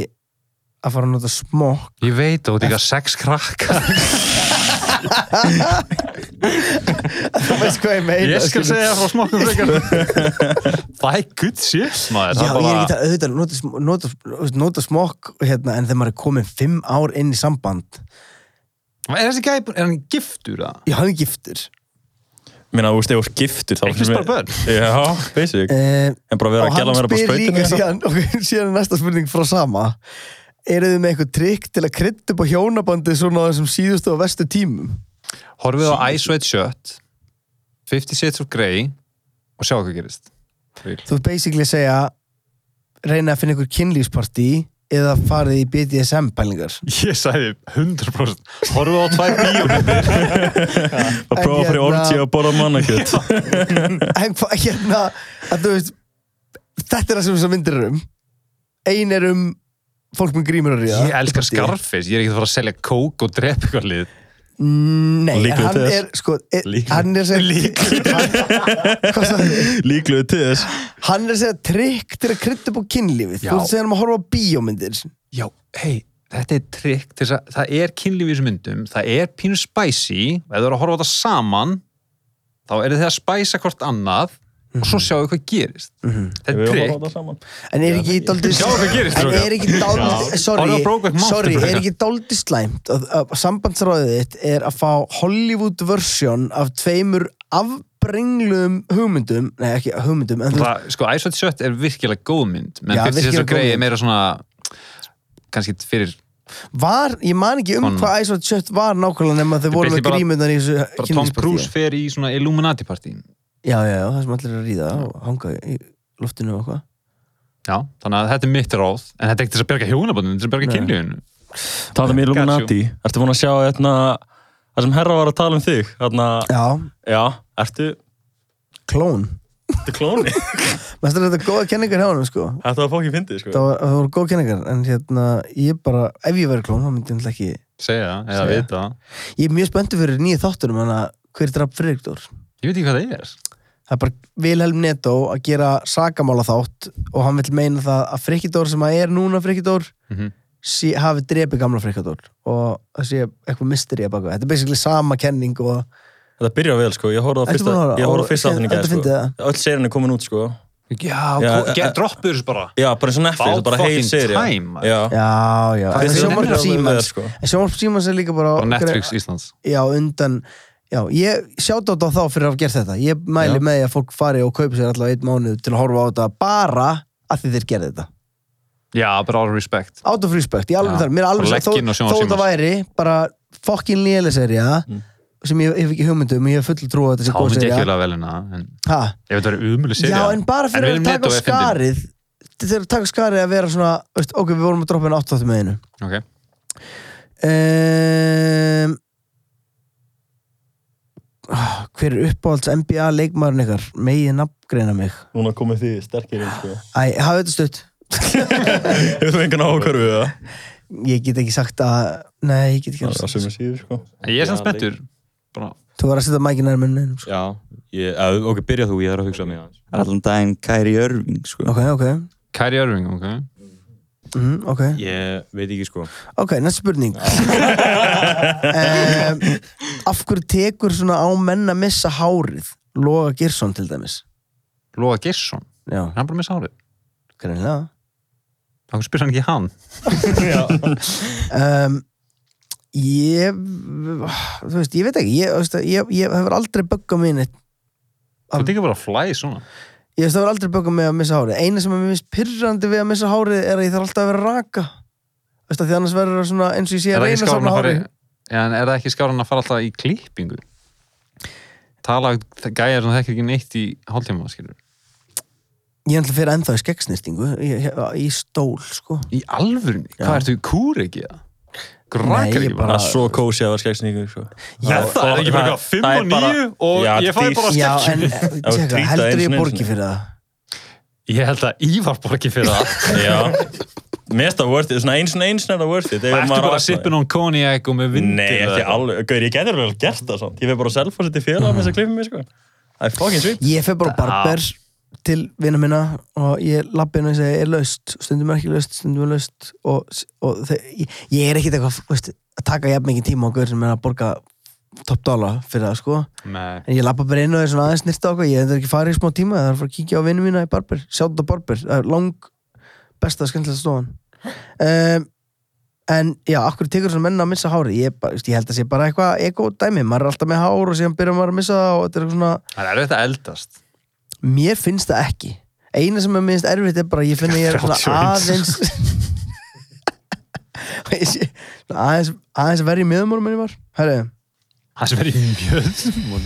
Speaker 1: að fara að nota smokk
Speaker 2: Ég veit, og þetta er sex krakkar
Speaker 1: þú veist hvað ég meina
Speaker 2: Ég skal
Speaker 1: skilur.
Speaker 2: segja frá smokkum frekar Það er guttsett,
Speaker 1: Já, ég
Speaker 2: maður það
Speaker 1: er
Speaker 2: bara-
Speaker 1: ekki að auðvitað nota, sm- nota, nota, nota smokk hérna, en þegar maður er komin fimm ár inn í samband
Speaker 2: Er þessi gæi, búinn- er hann giftur að?
Speaker 1: ég hafði giftur
Speaker 3: Mér þú veist, ef þú ert giftur, þá...
Speaker 2: Eignast bara börn.
Speaker 3: Já, basic.
Speaker 1: e,
Speaker 3: En bara vera
Speaker 1: og
Speaker 3: að
Speaker 1: hann
Speaker 3: gæla mér upp á hérna
Speaker 1: spyr líka
Speaker 3: sprautinu.
Speaker 1: síðan, ok, síðan er næsta spurning frá sama eru þið með eitthvað trikk til að krydda upp á hjónabandi svona á þessum síðustu og vestu tímum
Speaker 2: Horfið á Ice White Shirt Fifty Shades of Grey og sjá hvað gerist
Speaker 1: þú ert basically að segja reyna að finna ykkur kynlífspartí eða farið í BDSM pælingar
Speaker 2: Ég sagði 100% Horfið á tvær bíómyndir
Speaker 3: Að prófa að fara í
Speaker 1: En hérna-
Speaker 3: orgi og borða mannakjöt.
Speaker 1: en hva- hérna að þú veist þetta er það sem þessar myndir eru um ein er um fólk með grímur að ríða
Speaker 2: Ég elskar
Speaker 1: Partí.
Speaker 2: Scarface, ég er ekki að fara að selja kók og drepa eitthvað lið
Speaker 1: nei, en
Speaker 3: Líklegur
Speaker 1: hann
Speaker 3: til þess.
Speaker 1: er sko, er,
Speaker 5: Líklegur.
Speaker 1: hann er sem hvað sagði þið?
Speaker 3: Líkluðu til þess.
Speaker 1: Hann er að segja trikk til að krydda upp á kynlífið
Speaker 2: Já.
Speaker 1: Þú ert að segja hann um að horfa á bíómyndir
Speaker 2: Já, hei, þetta er trikk til þess að það er kynlíf í þessum myndum, það er pínu spicy, ef þú eru að horfa á þetta saman þá eru þið að spæsa hvort annað og svo sjáu hvað gerist Þetta er
Speaker 3: Við horfum á
Speaker 2: trikk
Speaker 3: þetta saman.
Speaker 1: En er ekki dálítið
Speaker 2: Sjá hvað gerist,
Speaker 1: En
Speaker 2: strákar.
Speaker 1: er ekki dálítið
Speaker 2: Horfa á
Speaker 1: Sorry,
Speaker 2: Brokeback Mountain,
Speaker 1: sorry
Speaker 2: strákar.
Speaker 1: er ekki dálítið slæmt að, að sambandsráðið þitt er að fá Hollywood version af tveimur afbrengluðum hugmyndum Nei, ekki hugmyndum en þú veist,
Speaker 2: það, sko, Ice White Shut er virkilega góð mynd menn
Speaker 1: Já,
Speaker 2: fyrir þess
Speaker 1: virkilega
Speaker 2: að greið
Speaker 1: góð
Speaker 2: er meira svona kannski fyrir
Speaker 1: Var, ég man ekki um
Speaker 2: Honum.
Speaker 1: hvað Ice White Shut var nákvæmlega nema þau voru
Speaker 2: basically
Speaker 1: með
Speaker 2: bara-
Speaker 1: grímyndan í þessu
Speaker 2: bara Tom Cruise
Speaker 1: kynlífspartíi
Speaker 2: fer í svona Illuminati partí
Speaker 1: Já, já, já, það sem allir er að ríða og hanga í loftinu og eitthvað
Speaker 2: Já, þannig að þetta er mitt ráð en þetta er ekki til þess að berga hjónabandinu, þetta er til þess að berga
Speaker 1: Nei.
Speaker 2: kynlífinu
Speaker 3: Tala um Illuminati, ertu búin að sjá hérna, það sem herra var að tala um þig hérna,
Speaker 1: Já,
Speaker 3: já, ertu,
Speaker 1: klón
Speaker 3: ertu klóni
Speaker 1: Mestar þetta er góða kenningar hjá honum sko
Speaker 3: Þetta var fókin fyndið, sko
Speaker 1: Það, var, það voru góða kenningar en hérna ég bara, ef ég væri klón þá myndi ég náttúrulega ekki
Speaker 2: segja það, eða
Speaker 1: Segja.
Speaker 2: vita það
Speaker 1: Ég er mjög spenntur fyrir nýju þáttunum hann að hver draf Friðrikdór
Speaker 2: ég veit ekki hvað það er
Speaker 1: Það er bara Vilhelm Netto að gera sakamála þátt og hann vill meina það að Friðrikdór sem að er núna Friðrikdór
Speaker 2: Mhm.
Speaker 1: sí, hafi drepið gamla Friðrikdór og það sé eitthvað mystery að baka Þetta er basically sama kenning og
Speaker 3: Þetta byrjar vel, sko, ég horfði á
Speaker 1: Ertu
Speaker 3: fyrsta,
Speaker 1: búin að horfa?
Speaker 3: ég
Speaker 1: Ó,
Speaker 3: horfði á fyrsta þáttin í
Speaker 1: þetta
Speaker 3: gæð,
Speaker 1: fyndið
Speaker 3: sko
Speaker 1: það.
Speaker 3: Öll serien er komin út, sko
Speaker 2: já,
Speaker 3: Já,
Speaker 2: ko-
Speaker 3: eh,
Speaker 2: ge-
Speaker 3: eh,
Speaker 2: droppur þessu bara
Speaker 3: Já, bara eins og Netflix,
Speaker 2: About
Speaker 3: það er bara heil
Speaker 2: fucking
Speaker 3: serja
Speaker 2: time, maður.
Speaker 3: Já,
Speaker 1: Já, já, en
Speaker 3: Hvað finnst þér
Speaker 1: sjónvarp
Speaker 3: nefnilega
Speaker 1: Símans
Speaker 3: við það, sko?
Speaker 1: en sjónvarp Símans er líka bara,
Speaker 2: á Netflix Íslands
Speaker 1: Já, undan Já, ég sjátt á þá fyrir að hafa gert þetta Ég mæli
Speaker 3: Já.
Speaker 1: með því að fólk fari og kaupi sér allavega einn mánuð til að horfa á þetta bara að því þeir gerði þetta
Speaker 2: já, bara all respect
Speaker 1: Out of respect, ég alveg
Speaker 2: Já.
Speaker 1: þar, mér er alveg
Speaker 2: Og
Speaker 1: sagt,
Speaker 2: legginn og
Speaker 1: þó,
Speaker 2: sjónvarp
Speaker 1: þó þetta
Speaker 2: Símans. Mm.
Speaker 1: væri bara fokkin léle serja sem ég hef ekki hugmyndum, ég hef full trú að þetta sé
Speaker 2: þá
Speaker 1: góð
Speaker 2: myndi ég ekki
Speaker 1: serja
Speaker 2: vel að velina en
Speaker 1: Ha?
Speaker 2: ég veit að það er umulig serja
Speaker 1: Já, en bara fyrir
Speaker 2: Willem
Speaker 1: að taka á
Speaker 2: Dafoe er fyndinn.
Speaker 1: skarið þegar að taka á skarið að vera svona veist, ok, við vorum að droppa henni 8 þáttum með einu
Speaker 2: Ok.
Speaker 1: um, ah, Hver er uppáhalds NBA leikmaðurinn ykkar? Megið nafngreina mig
Speaker 3: núna komið þið sterkir inn, sko
Speaker 1: Æ, hafa þetta stutt
Speaker 3: Hefur þú engan áhverfið við það?
Speaker 1: Ég get ekki sagt að Nei, ég get ekki
Speaker 3: Það
Speaker 1: sagt
Speaker 3: er sem ég síður, sko
Speaker 2: En ég er sem
Speaker 5: Já,
Speaker 2: spenntur bara
Speaker 1: Þú var að setja mækinn nær munnin sko.
Speaker 5: Já, ég, að, ok, byrja þú, ég þarf að hugsa mig aðeins.
Speaker 4: Það er allan daginn Kæri Örving, sko.
Speaker 1: Ok, ok
Speaker 2: Kæri Örving, ok
Speaker 1: Mm, ok,
Speaker 5: Ég veit ekki sko.
Speaker 1: ok, næsta spurning um, Af hverju tekur svona á menn að missa hárið? Loga Gersson til dæmis
Speaker 2: Lóa Gesson,
Speaker 1: Já,
Speaker 2: hann er bara með sárið
Speaker 1: greinilega
Speaker 2: þá spyr hann ekki hann
Speaker 1: um, ég þú veist, ég veit ekki ég, þú veist, ég, ég hefur aldrei böggað mig neitt
Speaker 2: þú tekur bara flæ svona
Speaker 1: ég veist, það hefur aldrei böggað mig að missa hárið eina sem er mér finnst pyrrandi við að missa hárið er að ég þarf alltaf að vera að raka Þú veist, að því annars verður það svona eins og ég sé
Speaker 2: er
Speaker 1: að
Speaker 2: það ekki
Speaker 1: reyna að
Speaker 2: skáran
Speaker 1: safna
Speaker 2: að fara
Speaker 1: hárið
Speaker 2: í- Já, en er það ekki skáran að fara alltaf í klippingu tala gæjar sem þekkir ekki neitt í hálftíma skilur
Speaker 1: ég ætla að fyrir ennþá í skeggsnýstingu í, í stól, sko
Speaker 2: í alvörunni, hvað ertu kúr ekki það grækar
Speaker 1: Nei, ég
Speaker 2: ekki bara
Speaker 3: Það er svo kósi að vera skeggsningu, sko
Speaker 2: Já, það er ekki bara 5
Speaker 3: það er
Speaker 2: og 9 og
Speaker 3: Já,
Speaker 2: ég fæ bara
Speaker 1: já, en
Speaker 3: þú
Speaker 1: tjekka,
Speaker 3: trýta
Speaker 1: heldur
Speaker 3: einu
Speaker 1: ég
Speaker 3: sinni,
Speaker 1: borgi
Speaker 3: einu sinni.
Speaker 1: fyrir það
Speaker 2: ég held að Ívar borgi fyrir það
Speaker 3: Já, mér er það worth it, svona eins og eins er það worth it
Speaker 2: Ertu bara að sippa nón koniak og með vindil
Speaker 3: Nei,
Speaker 2: eða
Speaker 3: ekki
Speaker 2: eitthvað?
Speaker 3: alveg, gauður, ég getur vel gert það samt Ég veit bara að selfa sér til félag með þess að klippa mig, sko Það er fucking sweet
Speaker 1: Ég fer bara á barber til vina minna og ég lappi henni og segja er laust, stundum er ekki laust, stundum er laust og, og þe- ég, ég er ekkit eitthvað veist, að taka jafn mikið tíma á gaur sem er að borga top dollar fyrir það sko
Speaker 2: Nei.
Speaker 1: en ég lappa bara inn og er svona aðeins nýrta okkur ég er ekki farið í smá tíma, það er að fara að kíkja á vinu mína í barber, sjátt á barber, það er lang besta skemmtilega stofan um, en já, akkur tekur svona menna að missa hári ég, bara, veist, ég held að sé bara eitthvað ego dæmi maður er alltaf með hár og síðan byrjar maður að missa það og þetta er eitthvað svona
Speaker 2: það er auðvitað eldast
Speaker 1: Mér finnst það ekki Eina sem er minnst erfitt er bara að Ég finn að ég er svona
Speaker 2: 31.
Speaker 1: aðeins Og ég sé- svona aðeins, aðeins verri í miðumónum en ég var Herri
Speaker 2: það sem er í mjög
Speaker 1: um,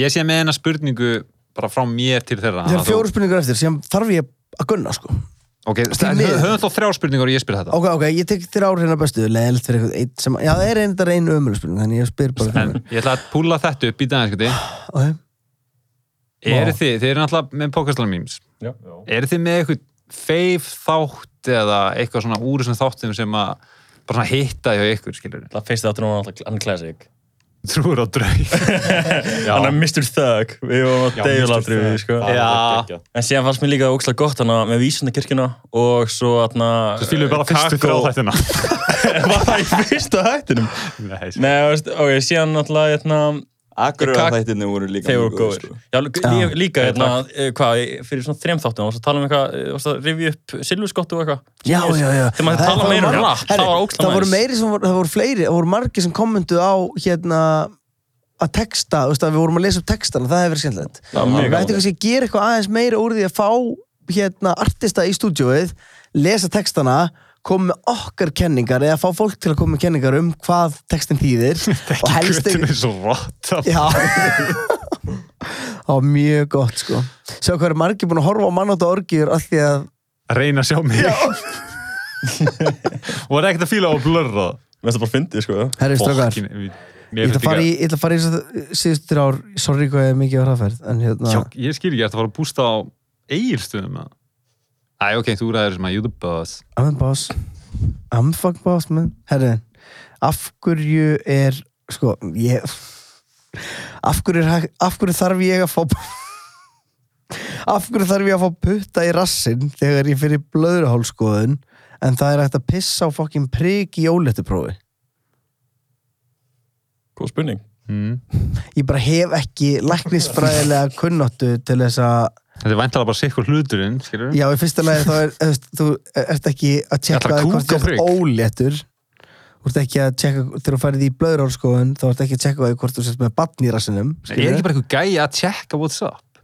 Speaker 2: Ég sé með eina spurningu bara frá mér til þeirra
Speaker 1: Þegar
Speaker 2: Að Ah, þú-
Speaker 1: fjóru spurningur eftir Síðan þarf ég að gunna sko
Speaker 2: Ok,
Speaker 1: Því
Speaker 2: sta-
Speaker 1: miður.
Speaker 2: höfum þá þrjá spurningar og ég spyr þetta
Speaker 1: Ok, ok, ég tek þér ár hérna bestu Leðilegt fyrir eitthvað eitt sem Já, það er einnig einu ömuleg spurning Þannig ég spyr bara
Speaker 2: En
Speaker 1: fyrir
Speaker 2: ég ætla að púla þetta upp í daginn
Speaker 1: okay.
Speaker 2: Eru þið, þið eru náttúrulega með pókastlega memes
Speaker 3: Já.
Speaker 2: Eru þið með eitthvað feif þátt eða eitthvað svona úr þessum þáttum sem að bara svona hitta hjá ykkur, skilur
Speaker 3: Það fyrst þáttur núna alltaf, hann er classic
Speaker 2: Trúur á draug
Speaker 3: Hann er Mr. Thug, við varum á
Speaker 5: Já, Mr.
Speaker 3: degilatri við,
Speaker 5: Thug.
Speaker 3: sko
Speaker 5: Það er
Speaker 2: Já.
Speaker 5: geggjað.
Speaker 3: En síðan fannst mér líka ógslag gott hana með vísundakirkjuna og svo hana
Speaker 2: Þú stíluðu bara fyrstu þrjá þættina
Speaker 3: Var það í fyrsta hættinum?
Speaker 2: Nei, sko.
Speaker 3: Nei, þú veist, ok, síðan náttúrulega, hérna,
Speaker 4: Akureyra
Speaker 3: Kak-
Speaker 4: þættinni voru líka
Speaker 3: Þeir
Speaker 4: mjög
Speaker 3: voru góðir.
Speaker 4: sko.
Speaker 3: Já, lí-
Speaker 1: Já.
Speaker 3: líka, hérna, eh, hvað, fyrir svona þrem þáttum, varst að tala um eitthvað, eh, varst að rifja upp silfurskottu og eitthvað.
Speaker 1: Já, já, já
Speaker 3: Þegar maður tala meira um rap, það var ógstlega
Speaker 1: Það voru meiri sem voru, það voru fleiri, það voru margir sem kommentu á hérna að texta, þú veist að við vorum að lesa upp textana, það hefur verið skemmtilegt.
Speaker 3: Það var mjög
Speaker 1: Við
Speaker 3: gaman.
Speaker 1: ættum kannski að gera eitthvað aðeins meira úr því að fá hérna artista í stúdíóið, lesa textana, koma með okkar kenningar eða fá fólk til að koma með kenningar um hvað textin þýðir og helst
Speaker 2: Götun
Speaker 1: ekki...
Speaker 2: er svo rotta
Speaker 1: Já. Það var mjög gott sko. Sjá hvað er margir búin að horfa á mann átt og orgjur að því að
Speaker 2: Að Reyna að sjá mig og er ekkert að fíla á að blurra
Speaker 3: Mér finnst það bara fyndið, sko.
Speaker 1: Herri, strákar,
Speaker 2: Fokkin- ég-
Speaker 1: ég
Speaker 2: ég
Speaker 1: ætla
Speaker 2: veit
Speaker 1: að fara
Speaker 2: ekki
Speaker 1: í, ég ætla að fara í svo- síðustu þrjár ár, sorry hvað ég er mikið á hraðferð, en hérna,
Speaker 2: að- Já, ég skil ekki, ég ætla að fara að bústa á eigilstöðum eða? Æ, ok, þú ræður sem að you're the boss
Speaker 1: I'm a boss, I'm a fuck boss, man. Herri, af hverju er, sko, ég, af hverju, er, hægt- af hverju þarf ég að fá, af hverju þarf ég að fá putta í rassinn þegar ég fyrir blöðruhálskoðun, en það er hægt að pissa á fokkin prik í óléttuprófi?
Speaker 3: Góð spurning.
Speaker 2: mm.
Speaker 1: ég bara hef ekki læknisfræðilega kunnáttu til þess að
Speaker 2: Þetta er væntalega bara sikkur hluturinn, skilur
Speaker 1: já, í fyrsta lagi þá er þú veist, þú ert ekki að
Speaker 2: Ætlar
Speaker 1: tjekka
Speaker 2: að
Speaker 1: hvort
Speaker 2: kúka
Speaker 1: þú ert
Speaker 2: prik?
Speaker 1: óléttur þú ert ekki að tjekka þegar þú færið í blöðurálskoðun þá ert ekki að tjekka því hvort þú sért með batn í rassinum
Speaker 2: Ég er ekki bara eitthvað gæi að tjekka what's up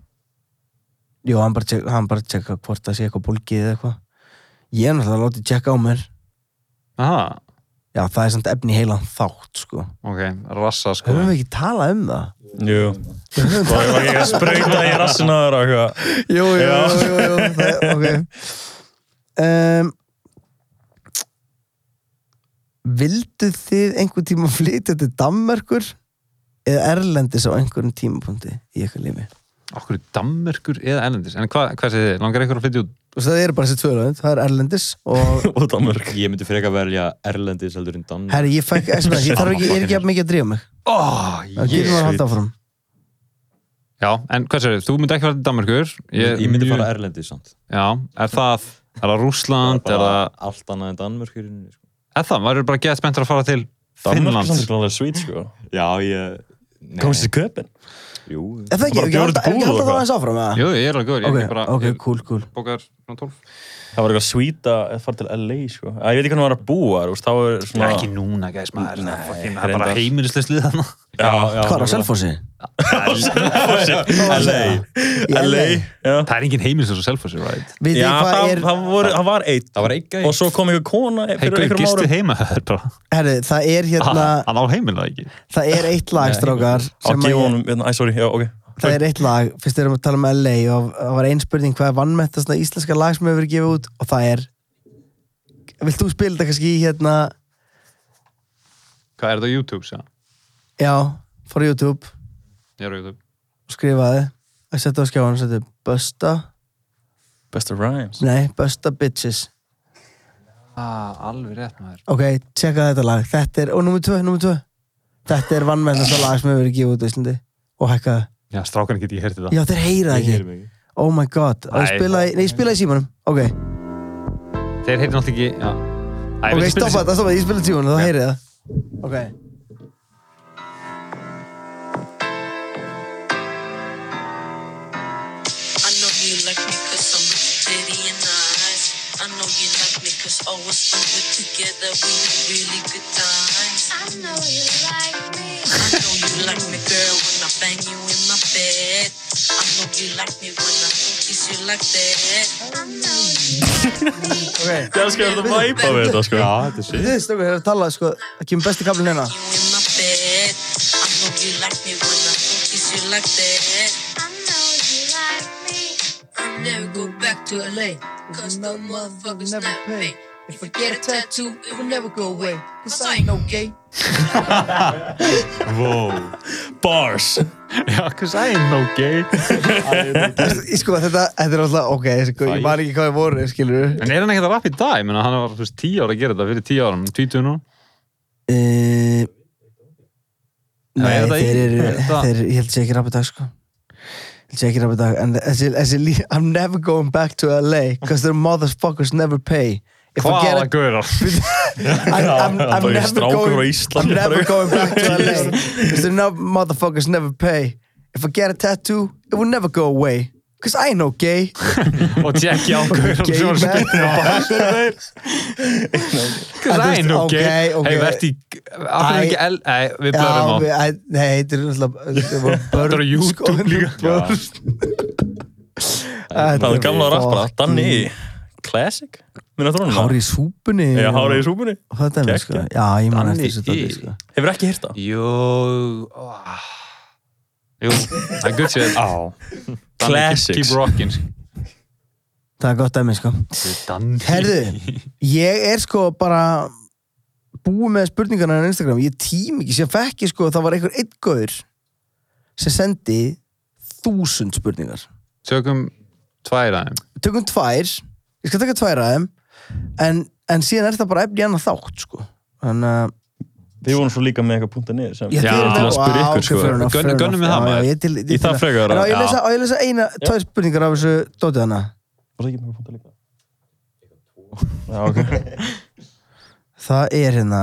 Speaker 1: jú, hann bara, tjekka, hann bara tjekka hvort það sé eitthvað bólgið eða eitthvað ég er náttúrulega að láta tjekka á mér
Speaker 2: Aha,
Speaker 1: já, það er samt efni í heilan þátt sko.
Speaker 2: ok, rassa sko
Speaker 1: höfum við ekki talað um það?
Speaker 3: Jú. Það var ekki að sprauta í rassina þar og eitthvað.
Speaker 1: jú, jú,
Speaker 3: Já.
Speaker 1: jú, jú, jú það, ok um, Vilduð þið einhvern tíma flytja til Danmerkur eða Erlendis á einhverjum tímapunkti í eitthvað lífi?
Speaker 2: Okkur í Danmörkur eða Erlendis En hvað hva segir þið? Langar eitthvað að flytja út?
Speaker 1: Þú veist það eru bara þessi tvö lönd, það er Erlendis og
Speaker 3: Og Danmörk.
Speaker 5: Ég myndi frekar velja Erlendis heldur en Dan
Speaker 1: herri, ég fæk SMS, ég þarf ekki, ég er ekki að mikið að drífa mig
Speaker 2: Ó,
Speaker 1: það getur maður að halda áfram
Speaker 2: Já, en hvað segir þið? Þú myndi ekki fara til Danmörkur
Speaker 5: Ég, ég myndi fara Erlendis samt
Speaker 2: Já, er það, er það Rússland, er
Speaker 5: bara
Speaker 2: það
Speaker 5: allt annað en Danmörkur sko.
Speaker 2: Er það, maður er bara gett spenntur að fara til
Speaker 3: Danmörk er
Speaker 2: Finnland
Speaker 3: samt ekki alveg svít, sko.
Speaker 5: Já, ég Nei,
Speaker 3: Komst í köpinn.
Speaker 5: Jú
Speaker 1: Er það ekki, ef
Speaker 3: Bara
Speaker 1: ekki
Speaker 3: bjór
Speaker 1: halda ef
Speaker 3: til
Speaker 1: ekki
Speaker 3: búð
Speaker 1: halda
Speaker 3: og
Speaker 1: það
Speaker 3: hvað?
Speaker 1: aðeins áfram eða?
Speaker 2: Jú, ég er alveg góður, ég er
Speaker 1: Ok,
Speaker 2: ekki bara
Speaker 1: ok,
Speaker 2: ég
Speaker 1: cool, cool
Speaker 2: Bókar svona 12
Speaker 3: Það var eitthvað svít að fara til LA, sko. Æ, ég veit ekki hvernig maður var að búa, þú veist, þá er
Speaker 2: Það
Speaker 3: svona...
Speaker 2: er ekki núna, gæs maður Nei, fucking, það er bara
Speaker 3: reyndar.
Speaker 2: heimilisleyslið þarna
Speaker 3: Já, já.
Speaker 1: Hvað er á Selfossi?
Speaker 3: LA.
Speaker 1: Í
Speaker 3: LA, já.
Speaker 2: Það er engin heimilisleys á Selfossi, right?
Speaker 1: Vitið
Speaker 3: Já,
Speaker 1: þið hvað
Speaker 3: það,
Speaker 1: er
Speaker 3: það, voru, það var eitt.
Speaker 5: Það var eitthvað
Speaker 3: Og svo kom einhver kona fyrir
Speaker 2: Heikur
Speaker 3: einhverjum
Speaker 2: gistu
Speaker 3: árum.
Speaker 2: heima það er bara
Speaker 1: Herri, það er hérna,
Speaker 2: Ha, Hann á heimilið ekki
Speaker 1: það er eitt lag strákar
Speaker 3: Á
Speaker 1: sem að ég-
Speaker 3: gefunum, æ, sorry, já, ok.
Speaker 1: það er eitt lag, fyrst erum við að tala um LA og það var ein spurning hvað er vannmettast íslenska lag sem hefur verið gefið út og það er vilt þú spila þetta kannski í hérna
Speaker 2: Hvað er þetta á YouTube, segja?
Speaker 1: já, fór á YouTube og
Speaker 2: Ég er á YouTube
Speaker 1: skrifaði að setja á skjáðan og setja Busta,
Speaker 3: Best of Rhymes.
Speaker 1: nei, Busta Bitches
Speaker 2: Ah, alveg rétt maður
Speaker 1: ok, tjekka þetta lag, þetta er og nummer 2, nummer 2 þetta er vannmettast lag sem hefur verið gefið út á Íslandi og hækkaði,
Speaker 2: Já, strákan get ég heyrti það
Speaker 1: já þeir heyra það ekki oh my god, og ég
Speaker 2: Nei.
Speaker 1: spilaði, nei, ég spilaði í símanum ok,
Speaker 2: Þeir heyrti náttúrulega ekki, já Æ,
Speaker 1: ok, stoppa
Speaker 2: viltu spila þessi-
Speaker 1: þetta, stoppa þetta, ég spilaði í símanum þá heyrið það ok
Speaker 6: I know you like me cause I'm rich, titty and eyes. I know you like me cause always when we're together we have really good times. I know you like me. I know you like me, girl, when I bang you in my bed. I know you like me when I kiss you like that. I know you
Speaker 1: Ok,
Speaker 3: Það skal verða væpa við þetta, sko.
Speaker 5: þetta er
Speaker 1: þið
Speaker 5: sér
Speaker 1: stökkur hefur talað sko, það kemur besti kaflin hérna
Speaker 6: like me in my bed. I know you like me when I kiss you like that. I know you like me. I never go back to LA cause no motherfuckers
Speaker 1: never
Speaker 6: never
Speaker 1: pay.
Speaker 6: pay. If I get a tattoo, it will never go away. Cause I ain't no gay.
Speaker 3: Bars.
Speaker 2: Já, cause I ain't no gay
Speaker 1: Ég sko þetta, þetta er alltaf, ok, sko, ég man ekki hvað ég voru, skilur
Speaker 2: En er hann ekkert að rappa í dag? Ég meina, hann var, þú veist, tíu ára að gera þetta fyrir tíu árum Tvítu nú
Speaker 1: uh,
Speaker 2: Já,
Speaker 1: Nei,
Speaker 2: er þetta í-
Speaker 1: þeir eru,
Speaker 2: er þetta-
Speaker 1: þeir, ég held sé ekki rappið dag sko Ég held sé ekki rappið dag En þessi, þessi lí, I'm never going back to LA Cause their motherfuckers never pay If I get
Speaker 2: Hvaða
Speaker 1: a
Speaker 2: gaurar?
Speaker 1: I'm, I'm, I'm,
Speaker 3: Bara
Speaker 1: never
Speaker 3: strákur á
Speaker 1: going, I'm
Speaker 3: Íslandi
Speaker 1: never
Speaker 3: bara.
Speaker 1: going back to LA because the no motherfuckers never pay. If I get a tattoo, it will never go away. Because I ain't no gay.
Speaker 2: Og tjekki á gaurar
Speaker 1: Gay
Speaker 2: sem
Speaker 1: man.
Speaker 2: var spynnið á bakið þeir Cause
Speaker 1: En þú
Speaker 2: I ain't no
Speaker 1: veist,
Speaker 2: gay
Speaker 1: ok, ok.
Speaker 2: Hei, verði í Af
Speaker 1: Æ.
Speaker 2: hverju ekki el Nei, við
Speaker 1: Já,
Speaker 2: blöðum á
Speaker 1: við- æ, Nei, þetta er náttúrulega þetta voru börn,
Speaker 2: Þetta er á YouTube
Speaker 1: sko,
Speaker 2: líka.
Speaker 1: börn.
Speaker 3: Það
Speaker 1: Þetta
Speaker 3: er gamla
Speaker 1: voru
Speaker 3: rappara,
Speaker 1: fucking-
Speaker 3: Danny Classic, minna þrónuna
Speaker 1: Hári í súpunni
Speaker 3: Já, Hári í súpunni
Speaker 1: og þetta er mér sko
Speaker 3: Kekja.
Speaker 1: Já, ég man
Speaker 2: Danni
Speaker 1: eftir þessu
Speaker 2: í.
Speaker 1: dæti sko
Speaker 3: Hefur ekki hýrt það?
Speaker 2: Jú ah. Jú, það er good shit
Speaker 5: Á
Speaker 2: Danni, keep-
Speaker 3: Classics.
Speaker 2: Keep rockin'
Speaker 1: það er gott dæmi sko Herðu, ég er sko bara búið með spurningarna á Instagram, ég tím ekki, sem fekk ég sko það var einhver einn gaur sem sendi þúsund spurningar
Speaker 2: Tökum tvær aðeim
Speaker 1: tökum tvær, ég skal taka tvær af þeim en, en síðan er það bara efni í annað þátt sko þannig að
Speaker 3: Við vorum svo líka með eitthvað punktar niður sem
Speaker 1: Ég
Speaker 2: Já,
Speaker 1: þið eru
Speaker 3: til
Speaker 1: með-
Speaker 3: að spyrja
Speaker 1: Vá,
Speaker 3: ykkur
Speaker 1: ok,
Speaker 3: sko.
Speaker 1: fair enough,
Speaker 2: Gönnum-
Speaker 1: fair
Speaker 2: gönnum við
Speaker 1: enough.
Speaker 2: það,
Speaker 1: Já,
Speaker 2: maður.
Speaker 1: já, ég til-
Speaker 3: Í
Speaker 1: ég
Speaker 3: það
Speaker 1: til-
Speaker 3: frekar,
Speaker 1: Já, ég
Speaker 3: já.
Speaker 1: lesa, á, ég lesa eina, tvær spurningar af þessu dótið hana
Speaker 3: Var það ekki með punktar líka? Já, ok.
Speaker 1: Það er hérna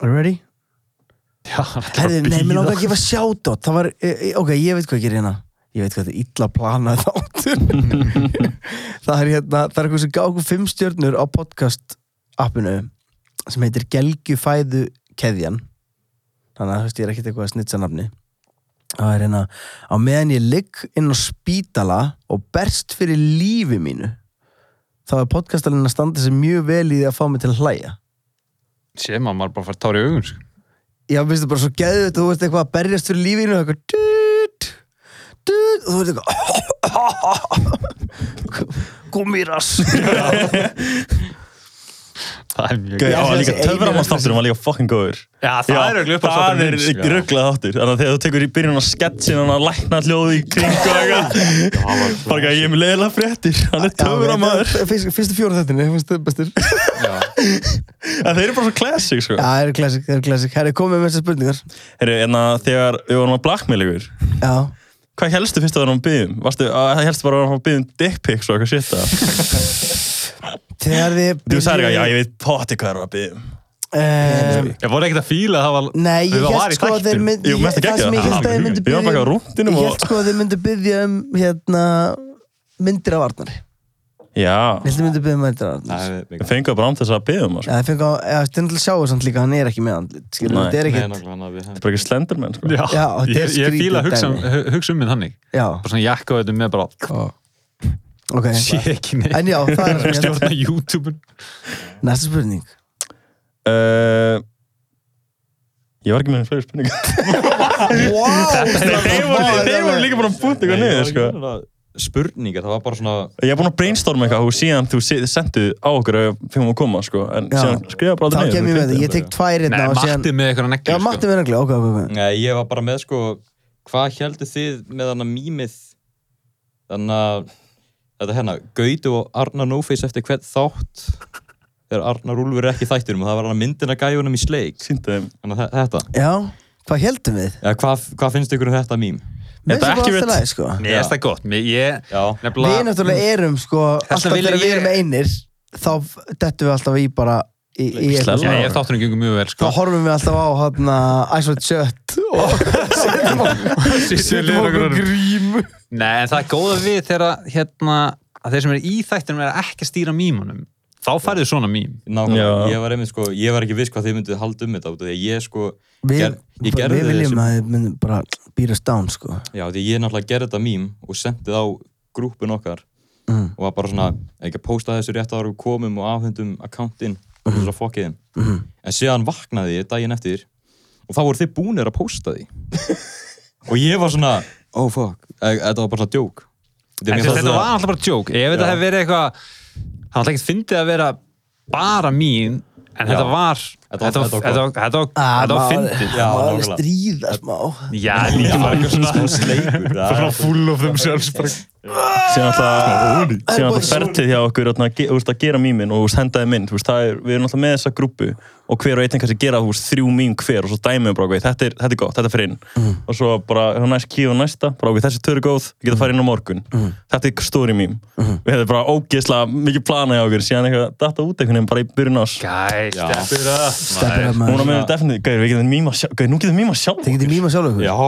Speaker 1: Are you ready? Herði, nei, mér langar að gefa shoutout Það var, e, e, ok, ég veit hvað ég gerir hérna Ég veit hvað þetta er illa planað þáttur Það er hérna Það er eitthvað sem gaf okkur fimm stjörnur á podcast appinu sem heitir Gelgjufæðu keðjan Þannig að þú veist, ég er ekkert eitthvað að snitsa nafni Það er hérna Á meðan ég ligg inn á spítala og berst fyrir lífi mínu þá er podcastalinn að standa sér mjög vel í því að fá mig til að hlæja
Speaker 2: Sér maður maður bara fær tár í augun sko.
Speaker 1: Já, mér finnst það bara svo geðið þú veist eitthvað að berjast fyrir lífinu og eitthvað dut, dut, og þú veist eitthvað kom í rass
Speaker 2: Það er mjög
Speaker 3: Já,
Speaker 1: ætla að
Speaker 3: líka
Speaker 1: segja einu
Speaker 3: töframannstátturinn var líka fucking góður.
Speaker 2: Já, það er örugglega uppáhaldsþátturinn
Speaker 3: uppástátturinn.
Speaker 2: minn,
Speaker 3: Það
Speaker 2: sko.
Speaker 3: er rugglað þáttur. Þannig að þegar þú tekur í byrjun á sketsin og hann lækna hljóði í kring og eitthvað. Bara ekki að ég er með leiðilega fréttir. Hann er töframann.
Speaker 1: Fyrstu fjóra þettinni, finnst það bestir Já,
Speaker 3: En þeir eru bara svo classic sko.
Speaker 1: það eru klassik, það eru klassik Herri, komið með þessar spurningar
Speaker 3: Herru, en að þegar við vorum að blackmail ykkur,
Speaker 1: Já,
Speaker 3: hvað helstu fyrst að við vorum að biðjum? Varstu, að helstu bara að við vorum að biðjum dick pics og eitthvað shit það?
Speaker 1: þegar þið
Speaker 3: Þú sagði eitthvað, já, ég veit potti hvað það var að biðjum.
Speaker 1: Um,
Speaker 2: Ég voru ekkert að fíla að það var
Speaker 1: nei, ég
Speaker 2: það var
Speaker 1: held
Speaker 2: í
Speaker 1: sko að þeir
Speaker 2: þættinum.
Speaker 1: mynd-
Speaker 3: Jú,
Speaker 1: ég-
Speaker 3: mest að
Speaker 1: það
Speaker 3: gegja
Speaker 1: sem ég held að þeir myndu
Speaker 3: Ég var bara
Speaker 1: biðja
Speaker 3: á
Speaker 1: um-
Speaker 3: rúndinum
Speaker 1: Ég
Speaker 3: og...
Speaker 1: held sko að þeir myndu byggja um hérna, myndir af Arnari
Speaker 3: Já,
Speaker 1: Ég held að þeir myndu byggja um myndir af Arnari
Speaker 3: við fengum bara án þess að biðjum sko.
Speaker 1: Já, það fengi á, já, þetta er náttúrulega sjáu samt líka, hann er ekki með andlit, skilur,
Speaker 3: Nei.
Speaker 1: þetta er ekkert,
Speaker 3: Þetta er bara ekki slendermenn sko.
Speaker 2: Já,
Speaker 1: Já, þetta er
Speaker 2: ég, ég fíla
Speaker 1: skrítið
Speaker 2: að hugsa, um-
Speaker 1: dæmi.
Speaker 2: hu- hugsa um minn þannig
Speaker 1: já,
Speaker 2: Bara svona jakka á þetta með bara
Speaker 1: ok,
Speaker 2: Sé ekki neitt
Speaker 1: en já, það er sem ég held.
Speaker 2: Stjórna YouTube-un
Speaker 1: Næsta spurning,
Speaker 3: uh, Ég var ekki með henni fleiri spurningar
Speaker 1: wow,
Speaker 3: Þeir voru- þeir voru líka bara að búta eitthvað niður sko.
Speaker 5: Spurningar, það var bara svona
Speaker 3: Ég er búin að brainstorma eitthvað og síðan þú sendu á okkur að fengum að koma sko. en
Speaker 1: Já.
Speaker 3: síðan skrifa bara
Speaker 1: þá
Speaker 3: aldrei
Speaker 1: kem ég með
Speaker 3: niður
Speaker 1: það, ég tek tvær
Speaker 2: Nei,
Speaker 1: hérna og síðan,
Speaker 2: Matti með sko. eitthvað
Speaker 1: já,
Speaker 2: nekkir
Speaker 1: Matti með nöglega, ok, ok, ok,
Speaker 5: Nei, ég var bara með sko Hvað heldur þið með hana mýmið Þannig að Þetta hérna, Gautu og Arna Nófeis eftir hvern þátt Þegar Arnar Úlfur er ekki í þættinum og það var hann myndina gæjunum í sleik
Speaker 3: Sýndu þeim
Speaker 5: Þannig að þe- þetta
Speaker 1: já, hvað heldum við?
Speaker 5: Eða, hvað, hvað finnst ykkur um þetta mím?
Speaker 1: Mér
Speaker 3: Þetta
Speaker 1: finnst bara
Speaker 3: ekki
Speaker 1: allt í
Speaker 3: verið-
Speaker 1: lagi, sko,
Speaker 2: Mér finnst það gott Mér, ég,
Speaker 5: Já,
Speaker 1: við
Speaker 2: nefnilega
Speaker 1: náttúrulega erum, sko, alltaf
Speaker 2: vil
Speaker 1: þegar við
Speaker 2: ég-
Speaker 1: erum einir, þá dettum við alltaf í bara, í, í,
Speaker 3: Slella.
Speaker 1: eitthvað
Speaker 2: Já,
Speaker 1: svona.
Speaker 2: ég þáttunum gengur mjög vel
Speaker 1: þá
Speaker 2: sko
Speaker 1: horfum við alltaf á, hérna, Ice White Shut og setjum á- setjum á okkur grímu.
Speaker 2: Nei, en það er góða við þegar að, hérna, að þeir sem eru í þættinum er ekki að stýra mímunum Þá færðu svona mím
Speaker 5: nákvæmlega,
Speaker 3: Já.
Speaker 5: ég var einmitt sko Ég var ekki viss hvað þið mynduð halda um þetta út af Því að ég sko
Speaker 1: Við,
Speaker 5: ger, Ég gerði
Speaker 1: við viljum
Speaker 5: þessum
Speaker 1: að þið myndum bara býra stán sko
Speaker 5: Já, því ég náttúrulega gerði þetta mím og sendið á grúpun okkar
Speaker 1: Mm.
Speaker 5: og var bara svona, ekki að posta þessu rétt ára við komum og afhendum akkantinn og þess að fokkið þeim. En síðan vaknaði ég daginn eftir og þá voru þið búnir að posta því. og ég var svona, oh fuck, e- þetta var bara svona djók.
Speaker 2: En þess, þetta var alltaf bara joke Ég veit að það hefði verið eitthvað Það var ekkert fyndið að vera bara mín En þetta
Speaker 5: Já.
Speaker 2: var
Speaker 5: Þetta
Speaker 2: Þetta
Speaker 5: var-
Speaker 2: var-
Speaker 5: þetta var
Speaker 2: þetta var- þetta var-
Speaker 1: Ah,
Speaker 2: þetta var fyndið
Speaker 5: Já,
Speaker 1: Það var alveg
Speaker 5: nákvæmlega.
Speaker 1: stríða smá
Speaker 2: Já, líka bara eitthvað svona
Speaker 5: sleikur. Það var
Speaker 2: full of themselves bara
Speaker 3: síðan alltaf síðan alltaf
Speaker 1: Sorry.
Speaker 3: ferlið hjá okkur þarna, ge- þú veist, að gera mýmin og þú veist, hendaði mynd þú veist, það er, við erum alltaf með þessa grúpu og hver og einn kannski gera þú veist, þrjú mým hver og svo dæmið við bara okkur, þetta er, þetta er gott, þetta er fyrir inn og svo bara, þá næst kífa næsta bara okkur, þessi törur góð, við getum að fara inn á morgun þetta er stóri mým við hefðum bara ógeðslega mikið planað hjá okkur síðan eitthvað, þetta út einhvern veginn bara í byrjun ás
Speaker 2: Gæ, steppur
Speaker 1: Steppir
Speaker 2: að
Speaker 1: að
Speaker 3: núna
Speaker 1: maður
Speaker 3: með definitið, gauður, við getum mýma sjálf gauður, nú getum mýma sjálf
Speaker 1: Þið getið mýma sjálf ykkur
Speaker 5: Já,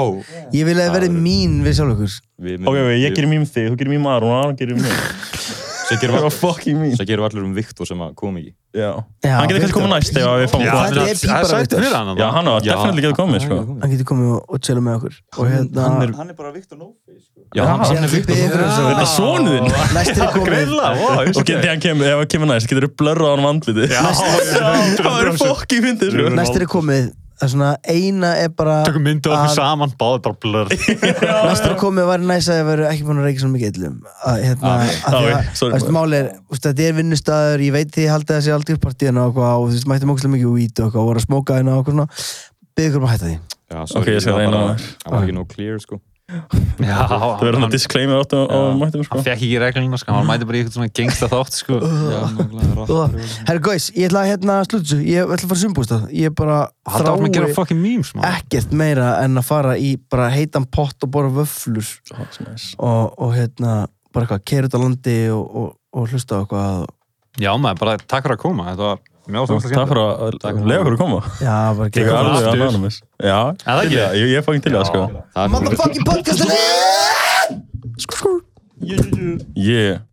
Speaker 1: Ég vil að þið verði mín við sjálf ykkur
Speaker 5: við
Speaker 3: ok, ok, ég gerir mým þig, þú gerir mým Aron og Aron gerir mým
Speaker 5: Svo gerum
Speaker 3: það
Speaker 5: við
Speaker 3: var fucking mým
Speaker 5: Svo gerum við allir um Viktor sem að kom ekki.
Speaker 3: já,
Speaker 1: Já,
Speaker 3: hann getur kannski
Speaker 1: Viktor.
Speaker 3: komið næst ef að við fáum
Speaker 2: Já,
Speaker 1: Þetta er
Speaker 2: það er sætti
Speaker 1: píparautur.
Speaker 2: fyrir hann
Speaker 3: Já, hann var
Speaker 5: Já.
Speaker 3: definitílega ekki að koma sko.
Speaker 1: Hann getið komið og- og tjela með okkur Og hérna
Speaker 5: hann er-
Speaker 4: Hann er bara Viktor Nófi sko.
Speaker 5: Já,
Speaker 3: Já.
Speaker 5: hann,
Speaker 1: Síðan þið byggðið ykkur um
Speaker 3: Er
Speaker 1: þessu
Speaker 3: það sonuðinn?
Speaker 1: Næstir er komið
Speaker 2: Grilla, ó,
Speaker 3: Og get- þegar hann kemur, ef hann kemur næst, getur þú blörrað á hann vandliti Já, það verður fokk í fyndi sko.
Speaker 1: Næstir er komið það er svona eina er bara
Speaker 2: Tökum myndið okkur saman, báðið bara blur
Speaker 1: næstur að komið væri næs að ég væri ekki búin að reyka svona mikið illum að hérna, að því
Speaker 3: já,
Speaker 1: að,
Speaker 3: sorry,
Speaker 1: þú veist,
Speaker 3: maður.
Speaker 1: máli er, þú veist, þetta er vinnustæður ég veit því að halda þessi aldrei partíðan og eitthvað og þú veist, mættum ógæslega mikið út og eitthvað og voru að smóka hérna og eitthvað svona byggðu ykkur bara að hætta því
Speaker 5: Já,
Speaker 3: Ok, ég skal
Speaker 5: var
Speaker 3: reyna
Speaker 5: bara-
Speaker 3: það.
Speaker 5: Það var ekki nóg clear, sko
Speaker 2: Já,
Speaker 3: Það verður hann að disclaimer áttu á
Speaker 5: Já.
Speaker 3: mættum, sko.
Speaker 2: Hann fekk ekki reglina, sko, hann mæti bara í eitthvað svona gengsta þátt, sko
Speaker 5: Já, nákvæmlega, rapp
Speaker 1: Ugh.
Speaker 5: röðum.
Speaker 1: Herra Gauis, ég ætla að hérna slúta þessu ég ætla að fara sumbústað, ég bara
Speaker 2: Haldi áfram að gera fucking memes, maður
Speaker 1: ekkert meira en að fara í bara heitan pott og borða vöflur
Speaker 3: Já, svo næs.
Speaker 1: og, og hérna bara eitthvað, keira út á landi og, og, og hlusta á eitthvað og,
Speaker 2: Já, maður, bara takk fyrir að koma, þetta var mjög
Speaker 3: Takk
Speaker 2: óþjóðslega
Speaker 3: fyrir að
Speaker 2: Takk fyrir.
Speaker 3: lega okkur að koma.
Speaker 1: já, bara
Speaker 3: Ég er
Speaker 1: gera
Speaker 3: alveg
Speaker 2: aftur.
Speaker 3: anonymous. Já,
Speaker 2: það
Speaker 3: til
Speaker 2: ekki?
Speaker 3: í það. Ég- Ég er fangin til í það, sko.
Speaker 5: Það er
Speaker 1: motherfucking podcastin
Speaker 3: Yeah.